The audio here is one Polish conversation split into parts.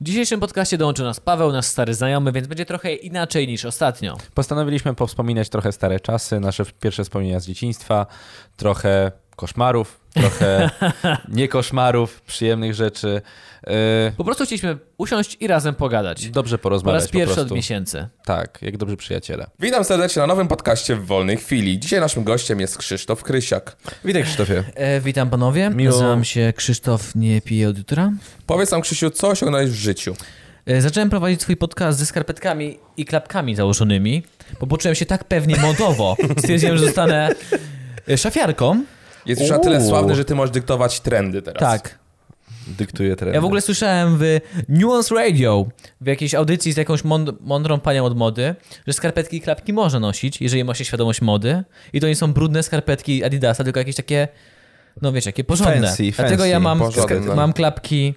W dzisiejszym podcaście dołączył nas Paweł, nasz stary znajomy, więc będzie trochę inaczej niż ostatnio. Postanowiliśmy powspominać trochę stare czasy, nasze pierwsze wspomnienia z dzieciństwa, trochę koszmarów, trochę nie koszmarów, przyjemnych rzeczy. Yy, Po prostu chcieliśmy usiąść i razem pogadać. Dobrze Po porozmawiać raz pierwszy po od prostu. miesięcy. tak, jak dobrzy przyjaciele. Witam serdecznie na nowym podcaście w wolnej chwili. Dzisiaj naszym gościem jest Krzysztof Krysiak. Witaj Krzysztofie. E, witam panowie. Miło. Nazywam się Krzysztof Nie pije od jutra. Powiedz nam, Krzysiu, co osiągnąłeś w życiu? E, zacząłem prowadzić swój podcast ze skarpetkami i klapkami założonymi, bo poczułem się tak pewnie modowo. Stwierdziłem, że zostanę e, szafiarką. Jest już na Uuu. tyle sławny, że ty możesz dyktować trendy teraz. Tak. Dyktuję teraz. Ja w ogóle słyszałem w Nuance Radio, w jakiejś audycji z jakąś mąd- mądrą panią od mody, że skarpetki i klapki można nosić, jeżeli ma się świadomość mody. I to nie są brudne skarpetki Adidasa, tylko jakieś takie, no wiecie, jakie porządne. Fancy, Dlatego ja fancy, mam, porządne. mam klapki...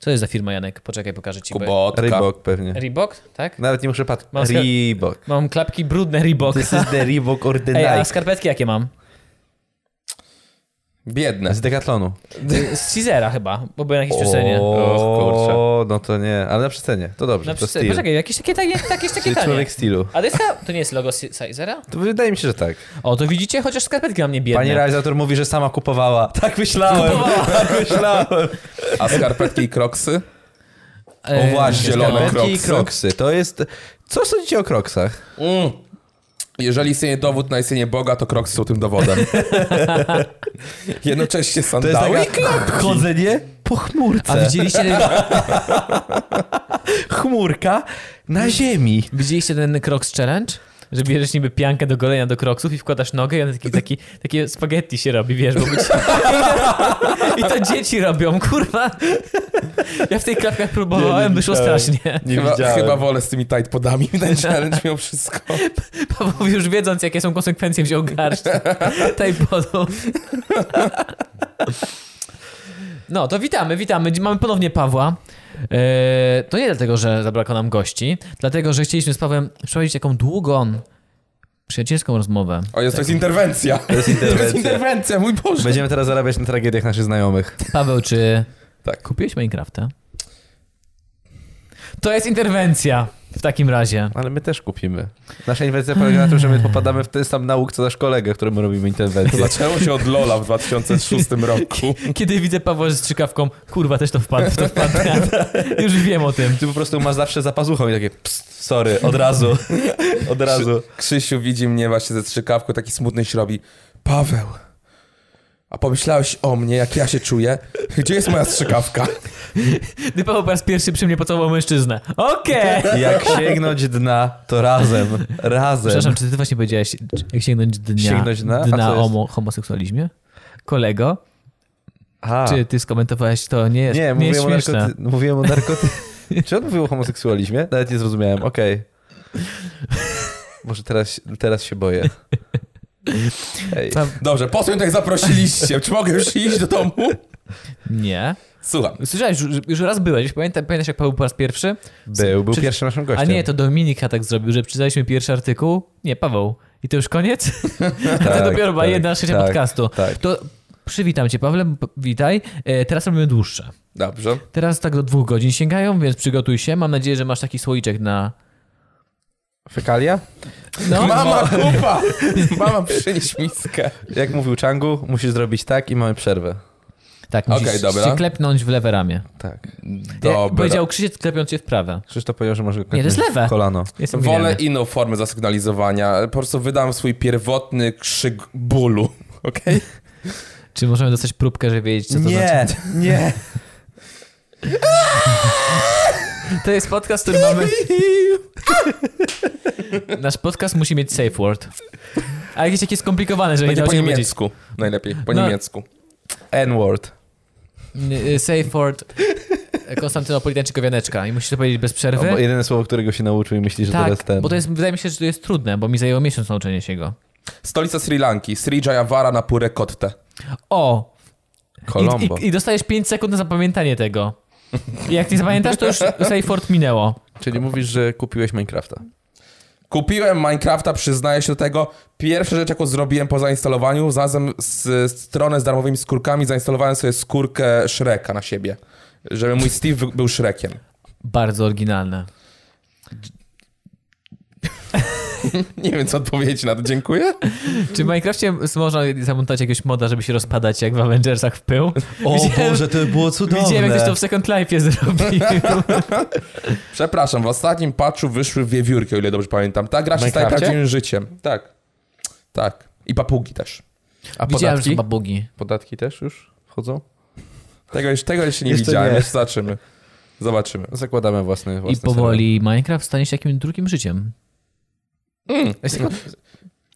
Co jest za firma, Janek? Poczekaj, pokażę ci. bo- Kubotka. Reebok pewnie. Reebok, tak? Nawet nie muszę patrzeć. Mam skarb- Reebok. Mam klapki brudne Reebok. This is the Reebok or the Ej, a Nike. skarpetki jakie mam? Biedne. Z Decathlonu. Z Cizera chyba, bo byłem na jakiejś przecenie. Och, O, kurczę. no to nie, ale na przecenie. To dobrze, Na to przecenie. styl. No, Poczekaj, jakieś takie tanie, jakieś takie Czyli tanie. człowiek stylu. A to, jest, ta- to nie jest logo Si- Cizera? To wydaje mi się, że tak. O, to widzicie? Chociaż skarpetki na mnie biedne. Pani realizator mówi, że sama kupowała. Tak myślałem, tak myślałem. A skarpetki i kroksy? O E, właśnie, zielone skarpetki i Crocsy. kroksy. To jest... Co sądzicie o kroksach? Mm. Jeżeli istnieje dowód na istnienie Boga, to kroksy są tym dowodem. Jednocześnie To jest sandały i taka chodzenie po chmurce. A widzieliście ten, Chmurka na ziemi. widzieliście ten Crocs Challenge? Że bierzesz niby piankę do golenia do kroksów i wkładasz nogę i one taki, taki, takie spaghetti się robi, wiesz, bo być... I to dzieci robią, kurwa. Ja w tych klapkach próbowałem, Nie, nie wyszło widziałem. strasznie. Nie chyba, widziałem. chyba wolę z tymi tight podami ten challenge mimo wszystko. Paweł już wiedząc, jakie są konsekwencje, wziął garść tej podów. No, to witamy, witamy. Mamy ponownie Pawła. Eee, To nie dlatego, że zabrakło nam gości, dlatego, że chcieliśmy z Pawłem przeprowadzić taką długą, przyjacielską rozmowę. O, jest, to jest interwencja. To Tak. jest To jest interwencja. interwencja, mój Boże. Będziemy teraz zarabiać na tragediach naszych znajomych. Paweł, czy Tak. kupiłeś Minecrafta? To jest interwencja w takim razie. Ale my też kupimy. Nasza inwencja polega na tym, że my popadamy w ten sam nauk, co nasz kolega, któremu robimy interwencję. Zaczęło się od Lola w 2006 roku. Kiedy widzę Pawła z strzykawką, kurwa, też to wpadł, w to wpadł. Już wiem o tym. Ty po prostu masz zawsze za pazuchą i takie pst, sorry, od razu, od razu. Krzysiu widzi mnie właśnie ze strzykawką, taki smutny się robi. Paweł, a pomyślałeś o mnie, jak ja się czuję? Gdzie jest moja strzykawka? Gdy Paweł po raz pierwszy przy mnie pocałował mężczyznę. Okej! Jak sięgnąć dna, to razem, razem. Przepraszam, czy ty właśnie powiedziałeś, jak sięgnąć dnia, Sięgnąć dna? A dna co jest? o homoseksualizmie? Kolego, A, czy ty skomentowałeś to? Nie jest, nie, nie jest mówiłem o, śmieszne. narkoty... mówiłem o narkoty... Czy on mówił o homoseksualizmie? Nawet nie zrozumiałem, okej. Może teraz, teraz się boję. Ej. Pa- Dobrze, po co mnie tak zaprosiliście? Czy mogę już iść do domu? Nie. Słucham. Słyszałeś, już, już raz byłeś, pamiętam, pamiętasz jak Paweł po raz pierwszy? Był, był Czy- pierwszym naszym A gościem. nie, to Dominika tak zrobił, że przeczytaliśmy pierwszy artykuł. Nie, Paweł. I to już koniec? Tak, to dopiero była tak, jedna trzecia tak, podcastu. Tak. To przywitam cię, Pawle, p- witaj. E, teraz robimy dłuższe. Dobrze. Teraz tak do dwóch godzin sięgają, więc przygotuj się. Mam nadzieję, że masz taki słoiczek na. Fekalia? No, Mama, kupa! Mama, przynieś miskę. Jak mówił Changu, musisz zrobić tak i mamy przerwę. tak, musisz Okej, dobra. się klepnąć w lewe ramię. Tak. Jak Dobra. powiedział Krzysiek, klepiąc się w prawe. Krzysztof powiedział, że może Nie, to jest lewe. w kolano. Jestem Wolę Wolę inną formę zasygnalizowania. Po prostu wydam swój pierwotny krzyk bólu. Okej? Czy możemy dostać próbkę, żeby wiedzieć, co to znaczy? nie. To jest podcast, który mamy... Nasz podcast musi mieć safe word. A jakieś takie skomplikowane, że nie Będzie dało po się powiedzieć. niemiecku. Najlepiej, po No. niemiecku. N-word. N- Y, Safe word Konstantynopolitańczyka Wianeczka i musisz to powiedzieć bez przerwy. Albo jedyne słowo, którego się nauczył i myśli, że teraz tak, ten. bo to jest, wydaje mi się, że to jest trudne, bo mi zajęło miesiąc nauczenie się go. Stolica Sri Lanki. Sri Jayavara na Pure Kotte. O, I, Kolombo. i, I dostajesz 5 sekund na zapamiętanie tego. I jak nie zapamiętasz, to już Seyford minęło. Czyli mówisz, że kupiłeś Minecrafta. Kupiłem Minecrafta, przyznaję się do tego. Pierwsza rzecz, jaką zrobiłem po zainstalowaniu, znalazłem z, stronę z darmowymi skórkami, zainstalowałem sobie skórkę Shreka na siebie. Żeby mój Steve był Shrekiem. Bardzo oryginalne. Nie wiem, co odpowiedzieć na to. Dziękuję. Czy w Minecrafcie można zamontać jakiegoś moda, żeby się rozpadać jak w Avengersach w pył? O Widziałem- Boże, to było cudowne. Widziałem, jak ktoś to w Second Life'ie zrobił. Przepraszam, w ostatnim patchu wyszły wiewiórki, o ile dobrze pamiętam. Ta gra się staje Minecrafcie? prawdziwym życiem. Tak. Tak. I papugi też. A Widziałem, że podatki? są babugi. Podatki też już wchodzą? Tego, jeszcze, tego jeszcze nie Jeszcze widziałem, nie. jeszcze zobaczymy. Zobaczymy. No Zakładamy własny, I własny powoli Minecraft stanie się jakimś drugim życiem.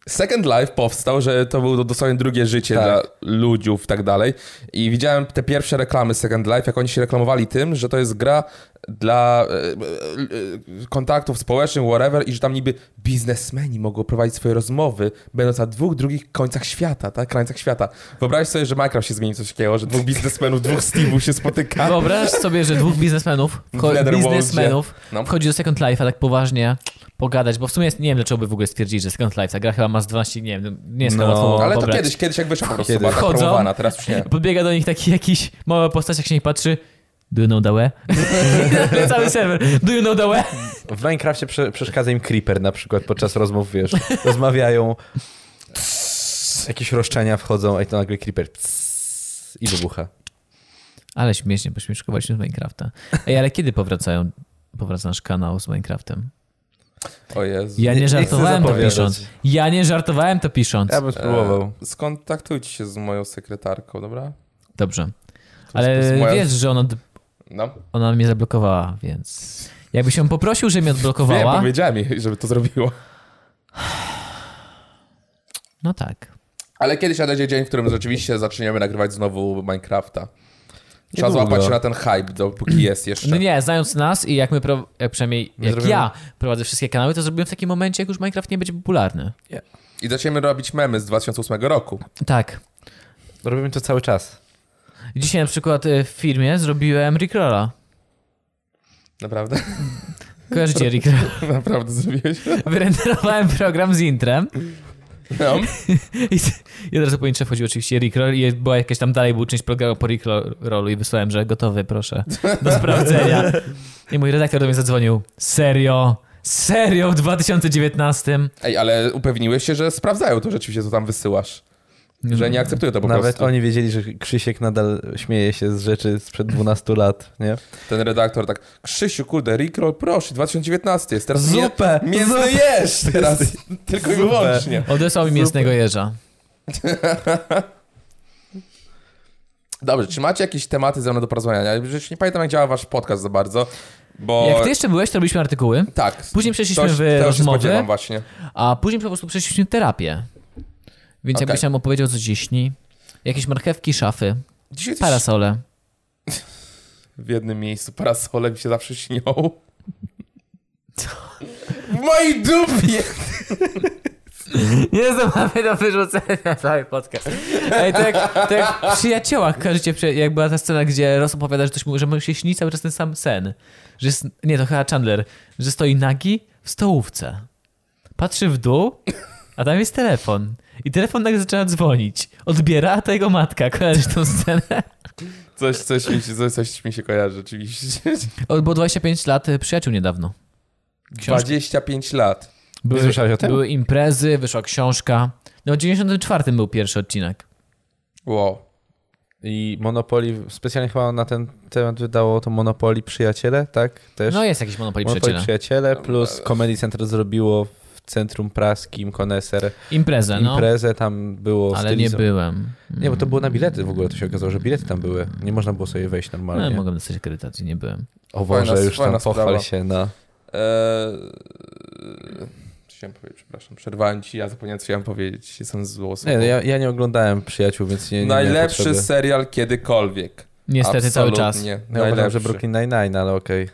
Second Life powstał, że to było dosłownie drugie życie Tak. dla ludziów i tak dalej. I widziałem te pierwsze reklamy Second Life, jak oni się reklamowali tym, że to jest gra dla e, e, e, kontaktów społecznych, whatever, i że tam niby biznesmeni mogą prowadzić swoje rozmowy, będąc na dwóch drugich końcach świata, tak? Krańcach świata. Wyobraź sobie, że Minecraft się zmieni coś takiego, że dwóch biznesmenów, dwóch Steve'ów się spotyka. No, Wyobraź sobie, że dwóch biznesmenów, W ko- Netherworldzie. biznesmenów No. wchodzi do Second Life'a tak poważnie pogadać, bo w sumie jest, nie wiem, dlaczego by w ogóle stwierdzili, że Second Life, ta gra chyba ma z 12, nie wiem, nie jest No, no, łatwo Ale to pobrać. kiedyś, kiedyś jak wyszła po prostu, Kiedy? była tak Wchodzą. promowana, teraz już nie. Podbiega do nich taki jakiś mały postać, jak się nie patrzy, do you know the way? I nagle cały serwer, do you know the way? W Minecrafcie prze, przeszkadza im creeper na przykład podczas rozmów, wiesz, rozmawiają, jakieś roszczenia wchodzą, a i to nagle creeper i wybucha. Ale śmiesznie, pośmieszkowaliśmy z Minecrafta. Ej, ale kiedy powracają, powraca nasz kanał z Minecraftem? O Jezu. Ja Nie- nie nie chcę żartowałem to zapowiadać. pisząc. Ja nie żartowałem to pisząc. Ja bym spróbował. E, Skontaktujcie się z moją sekretarką, dobra? Dobrze. to jest Ale moja- wiesz, że ona, d- No. ona mnie zablokowała, więc... Jakbyś ją poprosił, że mnie Wiem, odblokowała... powiedziałem jej, żeby to zrobiło. No tak. Ale kiedyś nadejdzie dzień, w którym rzeczywiście zaczniemy nagrywać znowu Minecrafta. Trzeba Niedługo. złapać się na ten hype, dopóki jest jeszcze. No nie, znając nas i jak my, pro, jak przynajmniej jak zrobimy- ja prowadzę wszystkie kanały, to zrobiłem w takim momencie, jak już Minecraft nie będzie popularny. I zaczniemy robić memy z 2008 roku. Tak. Robimy to cały czas. Dzisiaj na przykład y, w firmie zrobiłem Rickrolla. Naprawdę? Kojarzycie Rickroll? Naprawdę zrobiłeś? Wyrenderowałem program z intrem No. i, i od razu po intrze wchodził oczywiście Rickroll i była jakaś tam dalej, był część programu po Rickrollu i wysłałem, że gotowy, proszę, do sprawdzenia. I mój redaktor do mnie zadzwonił. Serio? Serio w 2019? Ej, ale upewniłeś się, że sprawdzają to rzeczywiście, co tam wysyłasz. Że nie akceptują to po Nawet prostu. oni wiedzieli, że Krzysiek nadal śmieje się z rzeczy sprzed 12 lat, nie? Ten redaktor tak, Krzysiu, kurde, Rickroll, proszę, 2019 jest, teraz Zupę! Mię... Mięsny jesz teraz, tylko i Zupę. wyłącznie. Odesłał mi mięsnego jeża. Dobrze, czy macie jakieś tematy ze mną do porozmawiania? Ja Już nie pamiętam, jak działa wasz podcast za bardzo, bo... Jak ty jeszcze byłeś, to robiliśmy artykuły, Tak. Później przeszliśmy to, w to się rozmowy. spodziewam właśnie. a później po prostu przeszliśmy terapię. Więc Okej. jakbyś nam opowiedział, co dziś śni. Jakieś marchewki, szafy, Dzisiaj coś parasole. w jednym miejscu parasole mi się zawsze śnią. W mojej dupie! Nie mamy do wyrzucenia cały podcast. Ej, to jak, to jak w przyjaciołach kojarzycie, przy- jak była ta scena, gdzie Ross opowiada, że, ktoś mu, że mu się śni cały czas ten sam sen. Że jest, nie, to chyba Chandler, że stoi nagi w stołówce. Patrzy w dół, a tam jest telefon. I telefon nagle zaczyna dzwonić. Odbiera, a to jego matka. Kojarzysz tą scenę? Coś, coś, mi się, coś, coś mi się kojarzy rzeczywiście. Było 25 lat y, przyjaciół niedawno. Książka. 25 lat. Były, Nie słyszałeś o tym? Były imprezy, wyszła książka. No w 94 był pierwszy odcinek. Wow. I Monopoli, specjalnie chyba na ten temat wydało to Monopoli Przyjaciele, tak? Też? No jest jakiś Monopoly Monopoli Przyjaciela. Przyjaciele plus Comedy Center zrobiło w Centrum Praskim Koneser Imprezę, no. imprezę, tam było ale nie stylizo- byłem. Mm. Nie, bo to było na bilety w ogóle, to się okazało, że bilety tam były. Nie można było sobie wejść No, normalnie. mogłem dostać akredytację, nie byłem. o Boże, Fajna- już tam fajna sprawa. pochwal się na... Eee, co chciałem powiedzieć, przepraszam, przerwałem ci, ja zapomniałem, co chciałem powiedzieć, jestem złosem. Nie, no ja, ja nie oglądałem Przyjaciół, więc nie, nie miałem Najlepszy potrzeby. serial kiedykolwiek. Niestety cały czas. Absolutnie. Ja uważam, Najlepszy. że Brooklyn Nine-Nine, ale okej.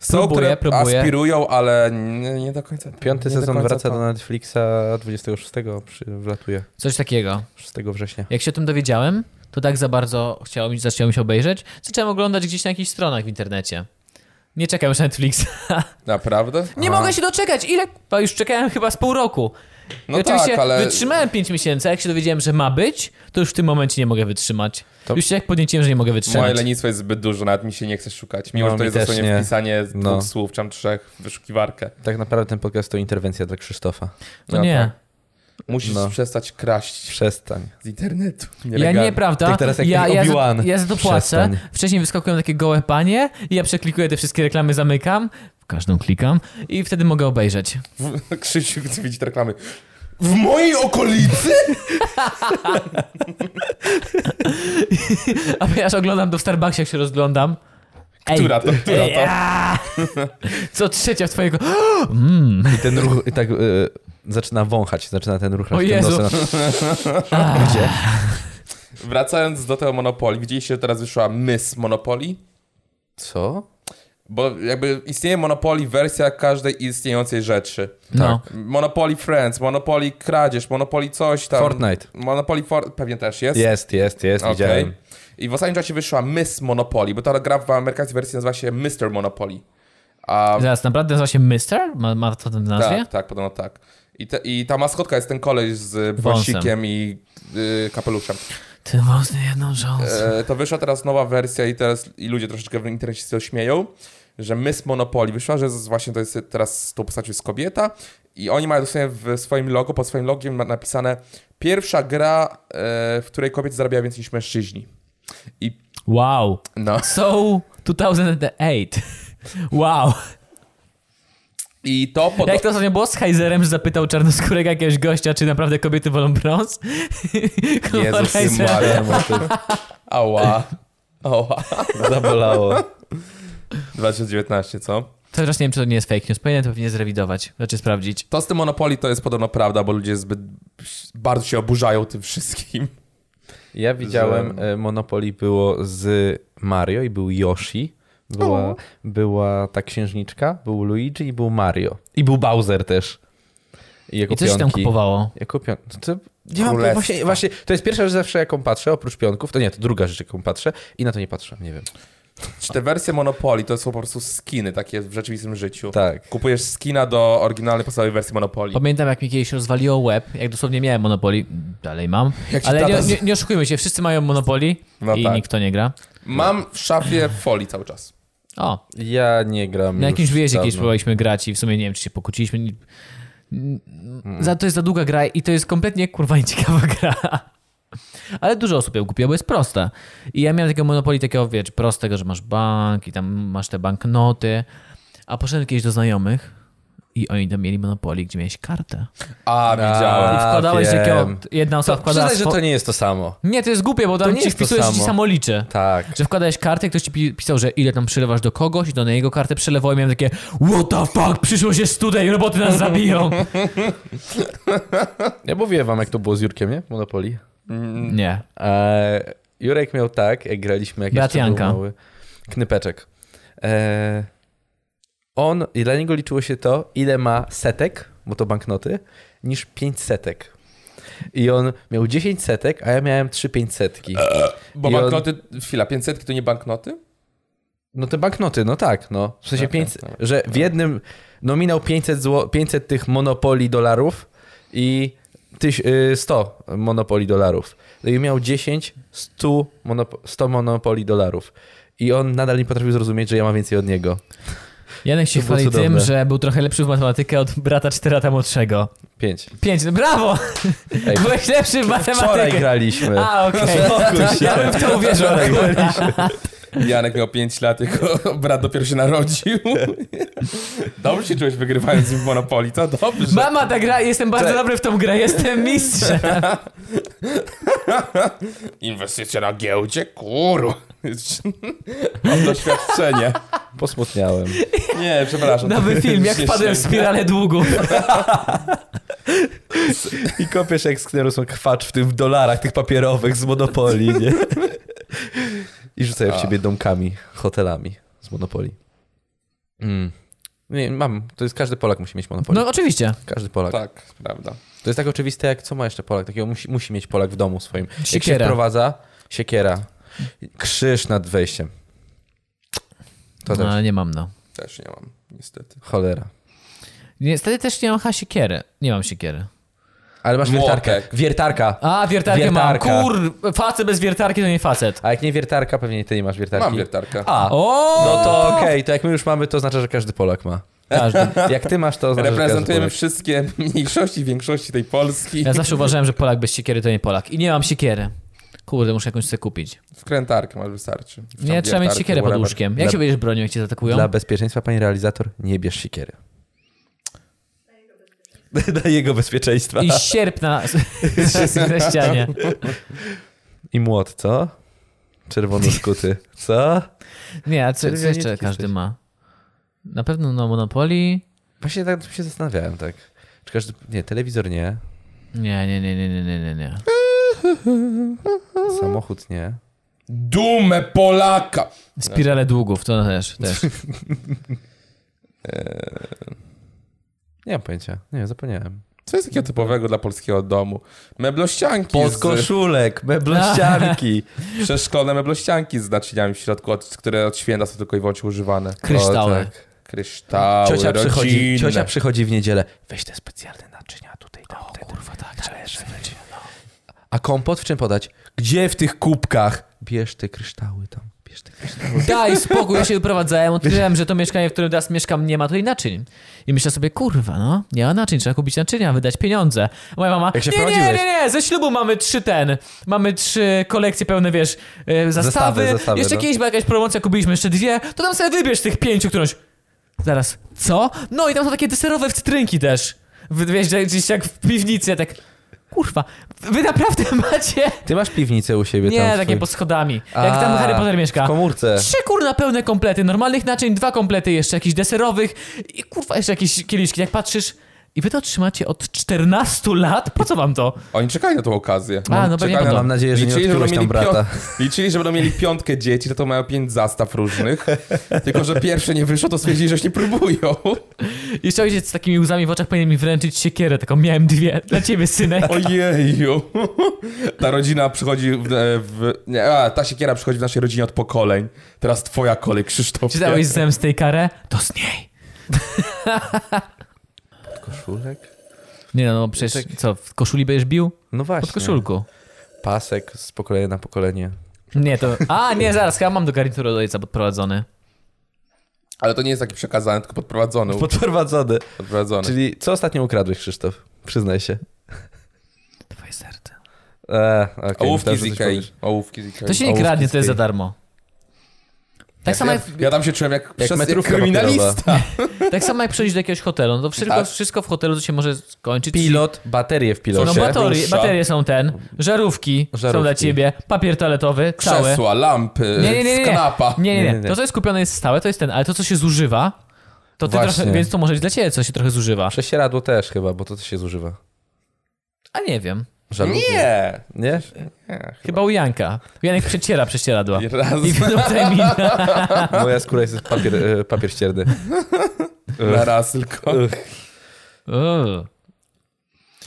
Są, Próbuję, które próbuję. aspirują, ale nie, nie do końca. Piąty nie do sezon końca wraca to. do Netflixa 26, przy, wlatuje Coś takiego. 6 września. Jak się o tym dowiedziałem, to tak za bardzo chciało mi, zaczęło mi się obejrzeć. Zacząłem oglądać gdzieś na jakichś stronach w internecie. Nie czekam już na Netflixa. Naprawdę? Nie mogę się doczekać! Ile? To już czekałem chyba z pół roku. No I oczywiście tak, ale- wytrzymałem 5 miesięcy, a jak się dowiedziałem, że ma być, to już w tym momencie nie mogę wytrzymać. To- Już się jak podnieciłem, że nie mogę Moje wytrzymać. lenistwo jest zbyt duże, nawet mi się nie chce szukać. Mimo, No, że to mi jest też dosłownie nie. wpisanie z No. dwóch słów, czy tam trzech w wyszukiwarkę. Tak naprawdę ten podcast to interwencja dla Krzysztofa. No Tak. nie. Musisz No. przestać kraść Przestań. z internetu. Ja Nielegalnie. nie, prawda? Tak teraz jak ja, ten ja, za, Obi-Wan. ja za to płacę. Przestań. Wcześniej wyskakują takie gołe panie i ja przeklikuję te wszystkie reklamy, zamykam. W Każdą klikam i wtedy mogę obejrzeć. W, Krzysiu, chce widzieć te reklamy. W mojej okolicy? A ponieważ oglądam do Starbucksie, jak się rozglądam. Ej, Która to? Która ej, to? aaa! Co trzecia w twojego... Tak. I ten ruch i tak y, zaczyna wąchać, zaczyna ten ruch O tym Jezu. nosem. Wracając do tego Monopoli, widzieliście, że teraz wyszła Miss Monopoli? Co? Bo jakby istnieje Monopoli wersja każdej istniejącej rzeczy. No. Monopoly Friends, Monopoly Kradzież, Monopoly coś tam. Fortnite. Monopoly For... pewnie też jest. Jest, jest, jest, Okej. widziałem. I w ostatnim czasie wyszła Miss Monopoly, bo ta gra w amerykańskiej wersji nazywa się Mr. Monopoly. A Zaraz, naprawdę nazywa się Mister? Ma, ma to w nazwie? tak, tak, podobno tak. I, te, I ta maskotka jest ten koleś z Wąsem. wąsikiem i y, kapeluszem. Tak. Ty wąsny jedną rządzę. E, to wyszła teraz nowa wersja i teraz i ludzie troszeczkę w internecie się z tego śmieją, że Miss Monopoly wyszła, że z- właśnie to jest teraz z tą postacią jest kobieta i oni mają dosłownie w swoim logo, pod swoim logiem ma- napisane pierwsza gra, e, w której kobiety zarabiają więcej niż mężczyźni. I Wow. no. So 2008. Wow. I to pod... Jak to ostatnio było z Heizerem, że zapytał czarnoskórego jakiegoś gościa, czy naprawdę kobiety wolą brąz? Kurwa, Jezus Heizer. Maria, bo to Ała. Ała. zabolało. 2019, co? To teraz nie wiem, czy to nie jest fake news. Powinienem to pewnie zrewidować. Znaczy sprawdzić. To z tym Monopoly to jest podobno prawda, bo ludzie zbyt bardzo się oburzają tym wszystkim. Ja widziałem, że... Monopoly było z Mario i był Yoshi. Była, była ta księżniczka, był Luigi i był Mario. I był Bowser też. I jako I coś się tam pionki. kupowało. Jako pion... no to, to, nie mam, Królestwo. właśnie, właśnie, to jest pierwsza rzecz zawsze, jaką patrzę, oprócz pionków. To nie, to druga rzecz, jaką patrzę i na to nie patrzę, nie wiem. Czy te wersje Monopoly to są po prostu skiny takie w rzeczywistym życiu? Tak. Kupujesz skina do oryginalnej podstawowej wersji Monopoly. Pamiętam, jak mi kiedyś rozwaliło łeb, jak dosłownie miałem Monopoly. Dalej mam. Jak ci Ale tata nie, z- nie, nie oszukujmy się, wszyscy mają Monopoly No i tak. nikt w to nie gra. Mam w szafie folii cały czas. O, Ja nie gram Na już jakimś wyjeździe dawno. kiedyś próbowaliśmy grać i w sumie nie wiem, czy się pokłóciliśmy. N- n- Za to jest za długa gra i to jest kompletnie kurwa nieciekawa gra. Ale dużo osób ją kupiło, bo jest prosta. I ja miałem takiego monopoli takiego, wiesz, prostego, że masz bank i tam masz te banknoty. A poszedłem kiedyś do znajomych i oni tam mieli monopoli, gdzie miałeś kartę. A, I widziałem. A, wkładałeś wiem. takiego, jedna osoba wkładała... Przyznaj, że swo- to nie jest to samo. Nie, to jest głupie, bo tam nie nie ci jest to wpisujesz i samo. samo liczy. Tak. Że wkładałeś kartę, ktoś ci pi- pisał, że ile tam przelewasz do kogoś i to na jego kartę przelewał i miałem takie What the fuck, przyszło się studej, roboty nas zabiją. Ja mówiłem wam, jak to było z Jurkiem, nie? Monopoly. Nie. E, Jurek miał tak, jak graliśmy, jak Brat jeszcze był Janka. mały, knypeczek. E, on, i dla niego liczyło się to, ile ma setek, bo to banknoty, niż pięć setek. I on miał 10 setek, a ja miałem 3 pięćsetki. Bo I on- banknoty, chwila, 500 to nie banknoty? No te banknoty, no tak, no. W sensie 500, że w jednym nominał 500, zło, 500 tych monopoli dolarów i tyś, y, 100 monopoli dolarów. No i miał 10, 100, monop, 100 monopoli dolarów. I on nadal nie potrafił zrozumieć, że ja mam więcej od niego. Janek się To było chwali tym, cudowne. że był trochę lepszy w matematykę od brata 4 lata młodszego. 5. Pięć, no brawo! Ej, Byłeś lepszy w wczoraj matematyce. graliśmy. A, okej. Ja bym w to uwierzył. Wczoraj graliśmy. Janek miał 5 lat, jego brat dopiero się narodził. Dobrze się czułeś wygrywając w Monopoly, to dobrze. Mama ta gra, jestem bardzo dobry w tą grę, jestem mistrzem. Inwestycja na giełdzie? Kurwa. Mam doświadczenie. Posmutniałem. Nie, przepraszam. Nowy film, jak wpadłem w spiralę długu. I kopiesz jak sknerus kwacz w tym w dolarach tych papierowych z Monopoli, nie? I rzucają w ciebie domkami, hotelami z Monopoli. Mm. Nie, mam. To jest każdy Polak musi mieć Monopoli. No oczywiście. Każdy Polak. Tak, prawda. To jest tak oczywiste, jak co ma jeszcze Polak? Takiego musi, musi mieć Polak w domu swoim. Jak się Siekiera. wprowadza, siekiera. Krzyż nad wejściem. To też. No, nie mam no. Też nie mam, niestety. Cholera. Niestety też nie mam chyba siekiery. Nie mam siekiery. Ale masz wiertarkę. Młotek. Wiertarka. A, wiertarkę mam. Wiertarka. Kur... Facet bez wiertarki to nie facet. A jak nie wiertarka, pewnie ty nie masz wiertarki. Mam wiertarkę. A, O! no to okej, to jak my już mamy, to oznacza, że każdy Polak ma. Każdy. Jak ty masz, to oznacza, że każdy Reprezentujemy Polak. wszystkie mniejszości, większości tej Polski. Ja zawsze uważałem, że Polak bez siekiery to nie Polak. I nie mam siekiery. Kurde, muszę jakąś sobie kupić. Wkrętarkę masz wystarczy. Czy tam Nie, trzeba mieć wiertarkę, siekierę pod whatever. łóżkiem. Jak Dla- się będziesz bronił, jak cię zaatakują? Dla bezpieczeństwa, pani realizator, nie bierz sikiery. Dla jego bezpieczeństwa. I sierp na, na ścianie. I młot, co? Czerwono skuty. Co? Nie, a co, co Czerwieniec jeszcze każdy jesteś. ma? Na pewno no Monopoly. Właśnie tak się zastanawiałem, tak. Czy każdy... Nie, telewizor nie, Nie, nie, nie, nie, nie, nie, nie, nie. samochód nie. Dumę Polaka! Spirale długów, to też, też. Nie mam pojęcia. Nie, zapomniałem. Co jest takiego typowego dla polskiego domu? Meblościanki z... Podkoszulek, meblościanki. Przeszklone meblościanki z naczyniami w środku, od, które od święta są tylko i wyłącznie używane. Kryształy. O, tak. Kryształy, Ciocia przychodzi, rodzinne. ciocia przychodzi w niedzielę. Weź te specjalne naczynia tutaj. Tam, o, kurwa, tak. no. A kompot w czym podać? Gdzie w tych kubkach? Bierz te kryształy tam. Bierz te kryształy. Daj spokój, ja się wyprowadzałem, odkryłem, że to mieszkanie, w którym teraz mieszkam, nie ma tutaj naczyń. I myślę sobie, kurwa, no, nie ma naczyń, trzeba kupić naczynia, wydać pieniądze. A Moja mama, Jak się nie, nie, prowadziłeś? nie, nie, ze ślubu mamy trzy ten, mamy trzy kolekcje pełne, wiesz, e, zastawy, Zestawy, zestawy, jeszcze no. kiedyś była jakaś promocja, kupiliśmy jeszcze dwie, to tam sobie wybierz tych pięciu którąś. Zaraz, co? No i tam są takie deserowe wstrynki też. Wy- Wiesz, że gdzieś jak w piwnicy, ja tak, kurwa, wy naprawdę macie... Ty masz piwnicę u siebie tam. Nie, w takie swoim- pod schodami, jak tam A, Harry Potter mieszka. W komórce. Trzy kurna pełne komplety, normalnych naczyń, dwa komplety jeszcze jakichś deserowych i kurwa jeszcze jakieś kieliszki. Jak patrzysz i wy to trzymacie od 14 lat? Po co wam to? Oni czekali na tą okazję. A, no Czekali pewnie na- będą. Mam nadzieję, że nie Liczyli, odkryłeś tam będą mieli brata. pią- Liczyli, że będą mieli piątkę dzieci, to to mają pięć zastaw różnych. Tylko, że pierwsze nie wyszło, to stwierdzili, że już nie próbują. Jeszcze ojciec z takimi łzami w oczach powinien mi wręczyć siekierę, taką miałem dwie. Dla ciebie, synek. Ojeju. Ta rodzina przychodzi w... e, w nie, a, ta siekiera przychodzi w naszej rodzinie od pokoleń. Teraz twoja kolej, Krzysztof. Czy dałeś zemstę i karę? To z niej. Koszulek? Nie no, no przecież Tak. co, w koszuli będziesz bił? No właśnie. Pod koszulką. Pasek z pokolenia na pokolenie. Nie, to... A, nie, zaraz, chyba mam do garnitury od ojca podprowadzony. Ale to nie jest taki przekazany, tylko podprowadzony. Podprowadzony. Podprowadzony. Czyli co ostatnio ukradłeś, Krzysztof? Przyznaj się. Twoje serce. Eee, okay, Ołówki myślałem, z że coś Ikei. powiesz. Ołówki z Ikei. To się nie Ołówki kradnie, to jest za swojej. darmo. Tak samo ja, jak... ja tam się czułem jak, przez, jak metrówka kryminalista. Tak samo jak przejść do jakiegoś hotelu, no to wszystko, Tak. wszystko w hotelu to się może skończyć. Pilot, baterie w No pilocie. się baterie, rusza. baterie są ten, żarówki, są Żarówki. dla ciebie, papier toaletowy, całe. Krzesła, lampy, Nie, nie, nie, nie. kanapa. Nie, nie, Nie, nie, nie, nie. To, co jest kupione jest stałe, to jest ten, ale to, co się zużywa, to ty Właśnie. trochę, więc to może być dla ciebie, co się trochę zużywa. Przesieradło też chyba, bo to też się zużywa. A nie wiem. Żaluzje. Nie? Nie. Chyba u Janka. Janek przeciera prześcieradła. I Raz I potem mina. Moja skóra jest papier, e, papier ścierny. na raz tylko. Uuu.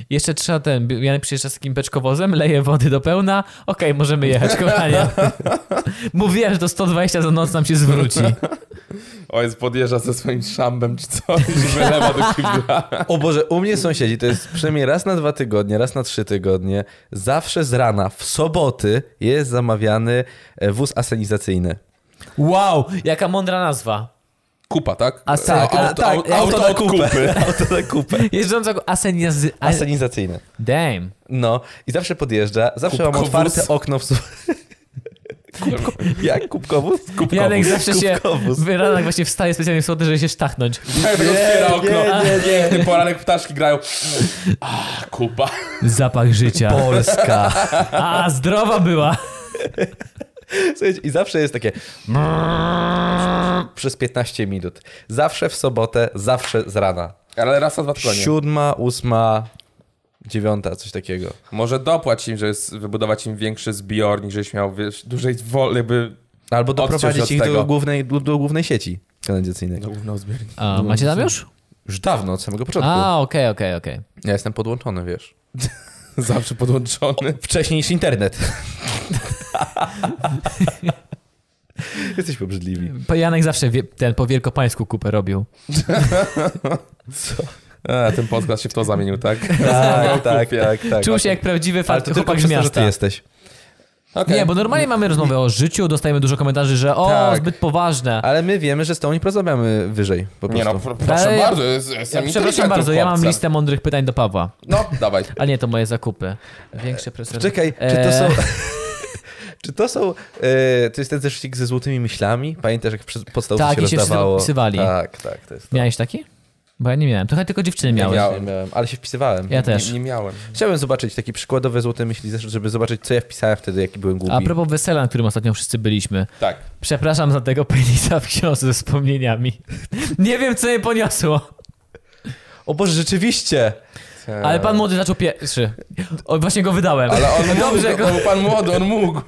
Jeszcze trzeba ten, Janek przyjeżdża z takim beczkowozem, leje wody do pełna, okej, możemy jechać, kochanie. Mówiłem, że to 120 za noc nam się zwróci. Ojciec podjeżdża ze swoim szambem czy coś, wylewa do kibla. O Boże, u mnie sąsiedzi to jest przynajmniej raz na dwa tygodnie, raz na trzy tygodnie. Zawsze z rana, w soboty jest zamawiany e, wóz asenizacyjny. Wow, jaka mądra nazwa. Kupa, tak? A tak, auto, a tak, auto, auto auto od kupy. Auto na kupę. Jeżdżąca go aseniazy... A... Asenizacyjny. Damn. No i zawsze podjeżdża, zawsze mam Kubkowóz. otwarte okno w... su- Jak? Kubkowóz? Kubkowóz. Janek zawsze się Kubkowóz. w ranach właśnie wstaje specjalnie w soboty, żeby się sztachnąć. Nie, otwiera okno. Piękny poranek, ptaszki grają. A, kupa. Zapach życia. Polska. A, zdrowa była. Słuchajcie, I zawsze jest takie przez 15 minut. Zawsze w sobotę, zawsze z rana. Ale raz na dwa tygodnie. Siódma, ósma, dziewiąta, coś takiego. Może dopłać im, żeby s- wybudować im większy zbiornik, żebyś miał wiesz, dużej woli, jakby... Albo Odciąć od doprowadzić ich tego. do głównej, do, do głównej sieci kanalizacyjnej. Główną zbiornik. A, macie tam już? Już dawno, od samego początku. A, okej, okej, okej. Ja jestem podłączony, wiesz. Zawsze podłączony. Wcześniej niż internet. Jesteśmy obrzydliwi. Pa- Janek zawsze wie, ten po wielkopańsku kupę robił. E, ten podcast się w to zamienił, tak? Tak, tak, kupię. tak, tak. Czuł się jak prawdziwy Ale fakt, to tylko chłopak przez z to, że ty miasta. jesteś. Okej. Nie, bo normalnie mamy rozmowę o życiu, dostajemy dużo komentarzy, że o, Tak. zbyt poważne. Ale my wiemy, że z tą nie porozmawiamy wyżej po prostu. Nie no, pr- proszę Ale ja- bardzo, jest- jestem Ja przepraszam inteligentem, bardzo, ja mam chłopcem. listę mądrych pytań do Pawła. No, dawaj. A nie, to moje zakupy. Większe prezenty. Czekaj, czy to E. są... Czy to są. E, to jest ten zeszycik ze złotymi myślami? Pamiętasz, jak przy podstawce Tak, i się się wszyscy rozdawało? podpisywali. Tak, tak, to jest. To. Miałeś taki? Bo ja nie miałem. Trochę tylko dziewczyny miały. miałem. Nie miałem, ale się wpisywałem. Ja też. Nie, nie miałem. Chciałbym zobaczyć taki przykładowe złote myśli, zeszyt, żeby zobaczyć, co ja wpisałem wtedy, jaki byłem głupi. A propos wesela, na którym ostatnio wszyscy byliśmy. Tak. Przepraszam za tego penisa w książce ze wspomnieniami. Nie wiem, co mnie poniosło. O Boże, rzeczywiście! Ale pan młody zaczął pierwszy. O, właśnie go wydałem. Ale on Dobrze mógł, go- to był pan młody, on mógł.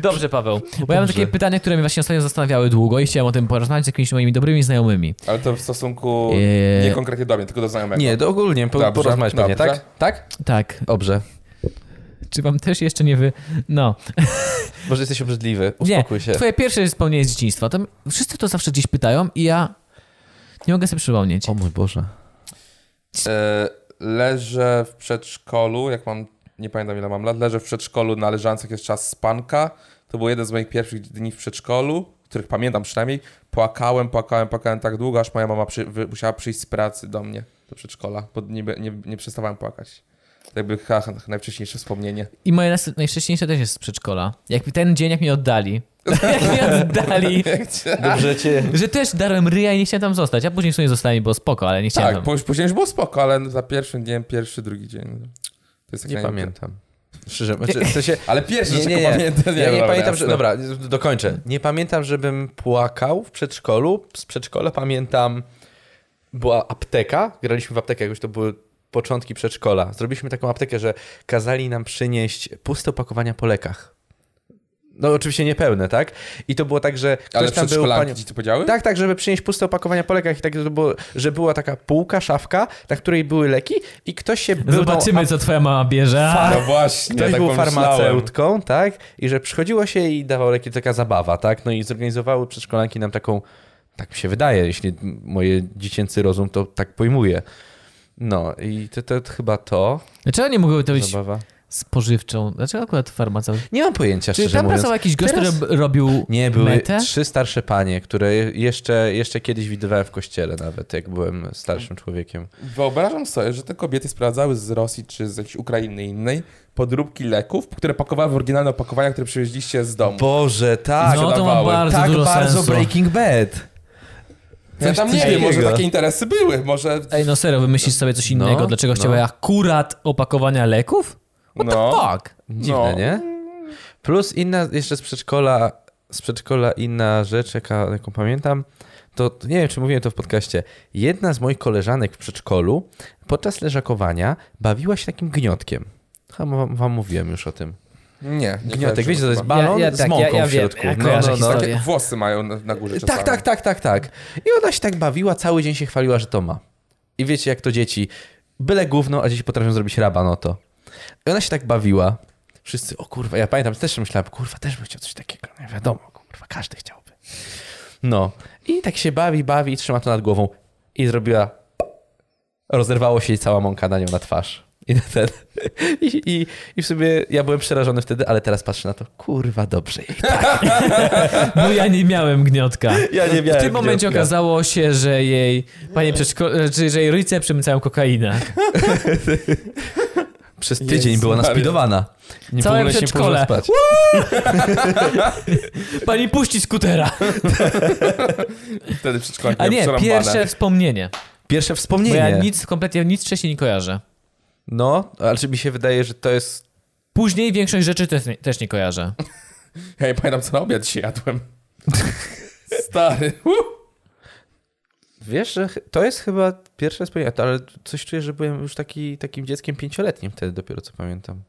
Dobrze, Paweł. Bo ja mam takie pytanie, które mnie właśnie ostatnio zastanawiały długo i chciałem o tym porozmawiać z jakimiś moimi dobrymi znajomymi. Ale to w stosunku Eee. nie konkretnie do mnie, tylko do znajomego. Nie, to ogólnie, po, Dobrze, porozmawiać pewnie, dobrze. tak? Tak? Tak. Dobrze. Czy wam też jeszcze nie wy... No. Może jesteś obrzydliwy, uspokój nie, się. twoje pierwsze wspomnienie z dzieciństwa. To m- wszyscy to zawsze gdzieś pytają i ja nie mogę sobie przypomnieć. O mój Boże. E, leżę w przedszkolu, jak mam, nie pamiętam ile mam lat, leżę w przedszkolu na leżance, jak jest czas spanka. To był jeden z moich pierwszych dni w przedszkolu, których pamiętam przynajmniej. Płakałem, płakałem, płakałem tak długo, aż moja mama przy, wy, musiała przyjść z pracy do mnie, do przedszkola, bo nie, nie, nie przestawałem płakać. To Jakby ha, ha, najwcześniejsze wspomnienie. I moje nas- najwcześniejsze też jest z przedszkola. Jak ten dzień, jak mnie oddali. jak mnie oddali. Dobrze cię. Że też darłem ryja i nie chciałem tam zostać. A później w sumie zostałem, bo spoko, ale nie chciałem. Tak, pó- później już było spoko, ale no za pierwszym dniem, pierwszy, drugi dzień. no. To jest Nie takie- pamiętam. Szczerze, znaczy, w sensie... Ale pierwszy, Nie, nie, nie, nie. pamiętam. ja nie dobra, pamiętam, że... jasne. Dobra, dokończę. Nie pamiętam, żebym płakał w przedszkolu. Z przedszkola pamiętam... Była apteka, graliśmy w aptekę, jakoś to były początki przedszkola. Zrobiliśmy taką aptekę, że kazali nam przynieść puste opakowania po lekach. No oczywiście niepełne, tak? I to było tak, że ktoś Ale tam był... przedszkolanki ci to powiedziały? Tak, tak, żeby przynieść puste opakowania po lekach i tak, to było, że była taka półka, szafka, na której były leki i ktoś się był... Zobaczymy, co twoja mama bierze. A, No właśnie, Ktoś tak był pomyślałem. farmaceutką, tak? I że przychodziło się i dawał leki, taka zabawa, tak? No i zorganizowały przedszkolanki nam taką, tak mi się wydaje, jeśli moje dziecięcy rozum to tak pojmuje. No i to, to, to chyba to, Dlaczego nie mogłyby to być zabawa. spożywczą? Dlaczego akurat farmaceut? Nie mam pojęcia, Czy szczerze tam mówiąc. pracował jakiś gość, Teraz- który robił Nie, były metę? trzy starsze panie, które jeszcze, jeszcze kiedyś widywałem w kościele nawet, jak byłem starszym człowiekiem. Wyobrażam sobie, że te kobiety sprawdzały z Rosji czy z jakiejś Ukrainy innej podróbki leków, które pakowały w oryginalne opakowania, które przywieźliście z domu. Boże, tak! No to ma sprzedawały. bardzo tak dużo bardzo sensu. Breaking Bad! ja coś tam nie wiem, takiego. może takie interesy były, może... Ej, no serio, wymyślisz sobie coś innego. No, Dlaczego no. chciałeś akurat opakowania leków? What No. the fuck? Dziwne, No. nie? Plus inna, jeszcze z przedszkola, z przedszkola inna rzecz, jaka, jaką pamiętam, to to nie wiem, czy mówiłem to w podcaście. Jedna z moich koleżanek w przedszkolu podczas leżakowania bawiła się takim gniotkiem. Chyba wam, wam mówiłem już o tym. Nie, nie Gniotek, kojarzę wiecie, to jest chyba. balon Ja- ja z tak, mąką ja- ja w wiem, środku. No, ja kojarzę historię. Takie włosy mają na, na górze Tak, czasami. tak, tak, tak, tak. I ona się tak bawiła, cały dzień się chwaliła, że to ma. I wiecie, jak to dzieci. Byle gówno, a dzieci potrafią zrobić raban o to. I ona się tak bawiła. Wszyscy, o kurwa, ja pamiętam, też myślałem, kurwa, też bym chciał coś takiego. Nie wiadomo, kurwa, każdy chciałby. No. I tak się bawi, bawi i trzyma to nad głową. I zrobiła... Rozerwało się jej cała mąka na nią na twarz. I, na ten. I, i, I w sumie ja byłem przerażony wtedy, ale teraz patrzę na to, kurwa, dobrze jej. Bo ja nie miałem gniotka. Ja nie W tym momencie okazało się, że jej panie przedszko- czy, że jej rodzice przemycają kokainę. Przez Jezu tydzień była Maria. naspidowana. Nie Całe w ogóle się nie przedszkole. położyła spać. Pani puści skutera. Wtedy przedszkolanki A miały nie, przerąbane. pierwsze wspomnienie. Pierwsze Bo wspomnienie. ja nic, kompletnie nic wcześniej nie kojarzę. No, ale czy mi się wydaje, że to jest... Później większość rzeczy też nie, też nie kojarzę. Ja nie pamiętam, co na obiad dzisiaj jadłem. Stary. Uh. Wiesz, że ch- to jest chyba pierwsze wspomnienie, to- ale coś czuję, że byłem już taki, takim dzieckiem pięcioletnim wtedy dopiero, co pamiętam.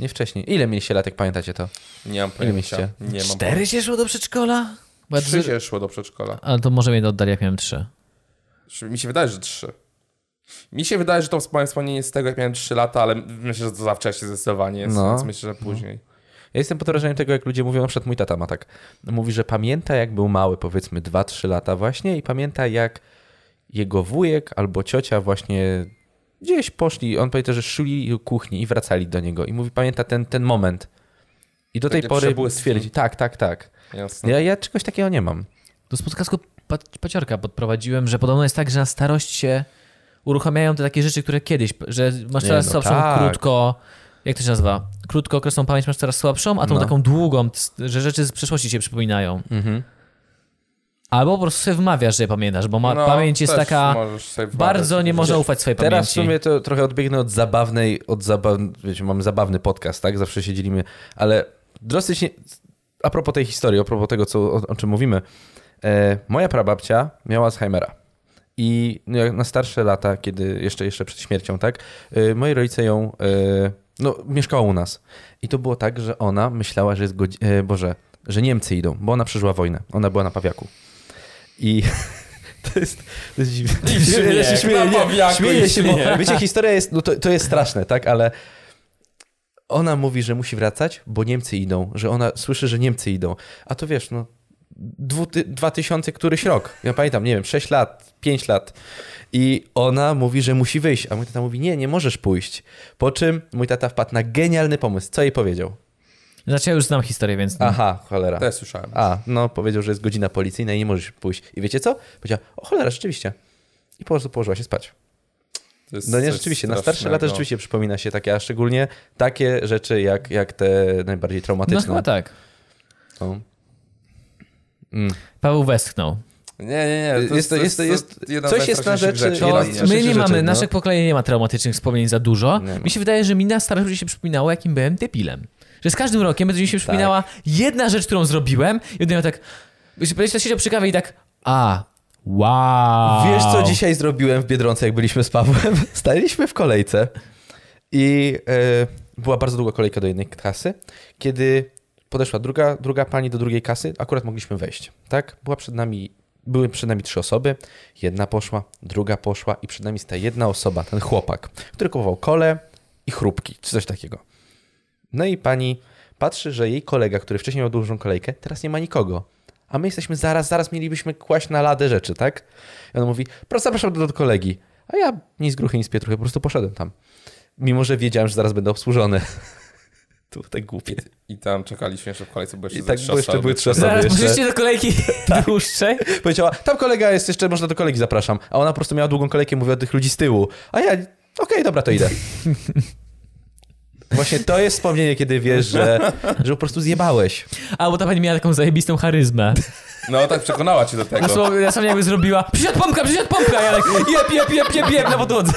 Nie wcześniej. Ile mieliście lat, jak pamiętacie to? Nie mam mieliście? pojęcia. Nie mam pojęcia. się szło do przedszkola? Bo ja Trzy trzy- się szło do przedszkola. Ale to może mnie oddali, jak miałem trzy. Mi się wydaje, że trzy. Mi się wydaje, że to moje wspomnienie jest z tego, jak miałem 3 lata, ale myślę, że to za wcześnie zdecydowanie jest, No. więc myślę, że później. Ja jestem pod wrażeniem tego, jak ludzie mówią, na przykład mój tata ma tak. Mówi, że pamięta, jak był mały, powiedzmy 2-3 lata właśnie i pamięta, jak jego wujek albo ciocia właśnie gdzieś poszli, on powiedział, że szli kuchni i wracali do niego. I mówi, pamięta ten, ten moment. I do tej Takie pory przebłyski. twierdzi, tak, tak, tak. Jasne. Ja, ja czegoś takiego nie mam. Do spotkańsku pa- paciorka podprowadziłem, że podobno jest tak, że na starość się uruchamiają te takie rzeczy, które kiedyś, że masz Nie, coraz no słabszą tak. krótko, jak to się nazywa? Krótkookresną pamięć masz coraz słabszą, a tą No. taką długą, t- że rzeczy z przeszłości się przypominają. Mhm. Albo po prostu sobie wmawiasz, że je pamiętasz, bo ma, No, pamięć jest też taka... możesz sobie wmawiać. Bardzo nie można ufać swojej Teraz pamięci. w sumie to trochę odbiegnę od zabawnej, od zabaw... wiecie, mamy zabawny podcast, tak? Zawsze się dzielimy, ale drastycznie, a propos tej historii, a propos tego, co, o, o czym mówimy, e, moja prababcia miała Alzheimera. I no, jak na starsze lata, kiedy jeszcze, jeszcze przed śmiercią, tak, e, moi rodzice ją, e, no, mieszkała u nas. I to było tak, że ona myślała, że jest godzi- e, Boże, że Niemcy idą, bo ona przeżyła wojnę. Ona była na Pawiaku. I to jest, to jest dziwne. śmiech. Ja się śmieję, Na nie, Pawiaku śmieję i się, bo wiecie, historia jest, no to, to jest straszne, tak, ale ona mówi, że musi wracać, bo Niemcy idą, że ona słyszy, że Niemcy idą. A to wiesz, no dwu, ty, 2000 któryś rok. Ja pamiętam, nie wiem, 6 lat, 5 lat. I ona mówi, że musi wyjść, a mój tata mówi, nie, nie możesz pójść. Po czym mój tata wpadł na genialny pomysł. Co jej powiedział? Mm. Znaczy ja już znam historię, więc... Aha, cholera. Też słyszałem. A, no powiedział, że jest godzina policyjna i nie możesz pójść. I wiecie co? Powiedziała, o cholera, rzeczywiście. I po prostu położyła się spać. To jest no. No nie, coś rzeczywiście, na starsze strasznego. lata rzeczywiście przypomina się takie, a szczególnie takie rzeczy jak, jak te najbardziej No traumatyczne. chyba tak. Mm. No. Paweł westchnął. Nie, nie, nie. To Jest- jest, to jest- jest, jest- jedna coś z jest na najstraszniejszych rzeczy- rzeczy. Jedna To z my nie rzeczy, mamy, no. nasze pokolenie nie ma traumatycznych wspomnień za dużo. Nie ma. Mi się wydaje, że mi na starość będzie się przypominało, jakim byłem debilem. Że z każdym rokiem będzie mi Tak. się przypominała jedna rzecz, którą zrobiłem i będę miał tak... Będziesz tak siedział przy kawie i tak... A, wow. Wiesz, co dzisiaj zrobiłem w Biedronce, jak byliśmy z Pawłem? Staliśmy w kolejce i e, była bardzo długa kolejka do jednej kasy. Kiedy podeszła druga, druga pani do drugiej kasy, akurat mogliśmy wejść, tak? Była przed nami, były przed nami trzy osoby. Jedna poszła, druga poszła i przed nami stała jedna osoba, ten chłopak, który kupował kole i chrupki, czy coś takiego. No i pani patrzy, że jej kolega, który wcześniej miał dużą kolejkę, teraz nie ma nikogo. A my jesteśmy zaraz, zaraz mielibyśmy kłaść na ladę rzeczy, tak? I on mówi, proszę, zapraszam do, do kolegi. A ja nic gruchy, nic pietruchy, po prostu poszedłem tam. Mimo, że wiedziałem, że zaraz będę obsłużony. to było tak głupie. I tam czekaliśmy jeszcze w kolejce, bo jeszcze I tak ze było, jeszcze osoby. były trzy osoby. Zaraz Jeszcze. poszliście do kolejki Tak. dłuższej. Powiedziała, tam kolega jest jeszcze, można do kolegi zapraszam. A ona po prostu miała długą kolejkę, mówiła do tych ludzi z tyłu. A ja, okej, dobra, to idę. Właśnie to jest wspomnienie, kiedy wiesz, że, że po prostu zjebałeś. A, bo ta pani miała taką zajebistą charyzmę. No tak, przekonała cię do A tego. słowo, ja sam jakby zrobiła... Przysiad pompka, przysiad pompka! Ja tak... Jep, jep, jep, jep, jep na podłodze.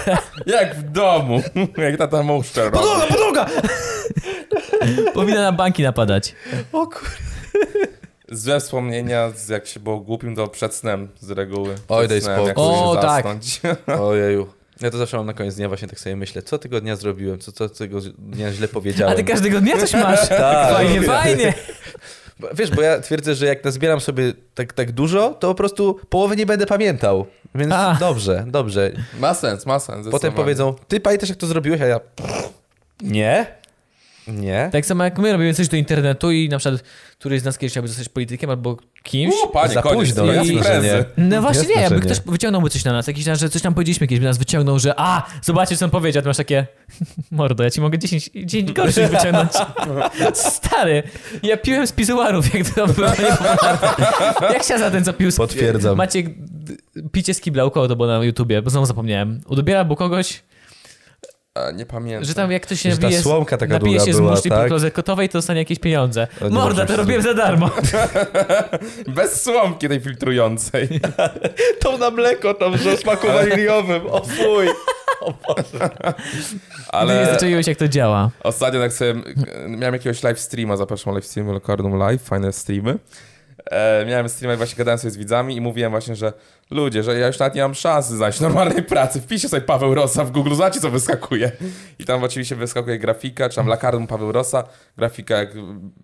Jak w domu. Jak tata muszczer robi. Podłoga, podłoga! Powinna na banki napadać. O kur... Złe wspomnienia, z jak się było głupim, to przed snem z reguły. Przed Oj, daj snem, spokój. jak chcesz O, tak. zasnąć. Ojeju. Ja to zawsze mam na koniec dnia właśnie tak sobie myślę, co tego dnia zrobiłem, co, co tego dnia źle powiedziałem. A ty każdego dnia coś masz. Tak. Fajnie, fajnie. Bo, Wiesz, bo ja twierdzę, że jak nazbieram sobie tak, tak dużo, to po prostu połowy nie będę pamiętał. Więc A. dobrze, dobrze. Ma sens, ma sens. Potem zdecydowanie. powiedzą, ty pamiętasz jak to zrobiłeś, a ja... Nie? Nie? Tak samo jak my robimy coś do internetu i na przykład któryś z nas kiedyś chciałby zostać politykiem albo kimś. U, panie, Za koniec, późno, nie, jasne, imprezy. że nie. No właśnie nie, Jasne, że jakby nie. ktoś wyciągnąłby coś na nas, jakiś nas, że coś tam powiedzieliśmy kiedyś, by nas wyciągnął, że a, zobaczcie co on powiedział, a ty masz takie, mordo, ja ci mogę 10, 10 gorszych wyciągnąć. Stary, ja piłem z pizuarów, jak to było. niepoprawne. Jak się za ten co pił z Potwierdzam. Maciek, d- picie z kibla, u kogo to było na YouTubie, bo znowu zapomniałem. Udobiera był kogoś, A, nie pamiętam. że tam jak ktoś się Że ta nabije, z- słomka taka nabije długa się z była, muszli tak? kotowej, to dostanie jakieś pieniądze. O, nie Morda, możesz to się robiłem za darmo. Bez słomki tej filtrującej. To na mleko tam ze smaku waniliowym, o fuj. Ale... Nie Ale zaczęliłeś, jak to działa. ostatnio tak sobie... e, Miałem jakiegoś live streama, zapraszam live streamy, Lokardum Live, fajne streamy. E, miałem streama i właśnie gadałem sobie z widzami i mówiłem właśnie, że ludzie, że ja już nawet nie mam szansy znaleźć normalnej pracy. Wpiszcie sobie Paweł Rosa w Google, znacie co wyskakuje. I tam oczywiście wyskakuje grafika, czy tam Lakardum Paweł Rosa, grafika jak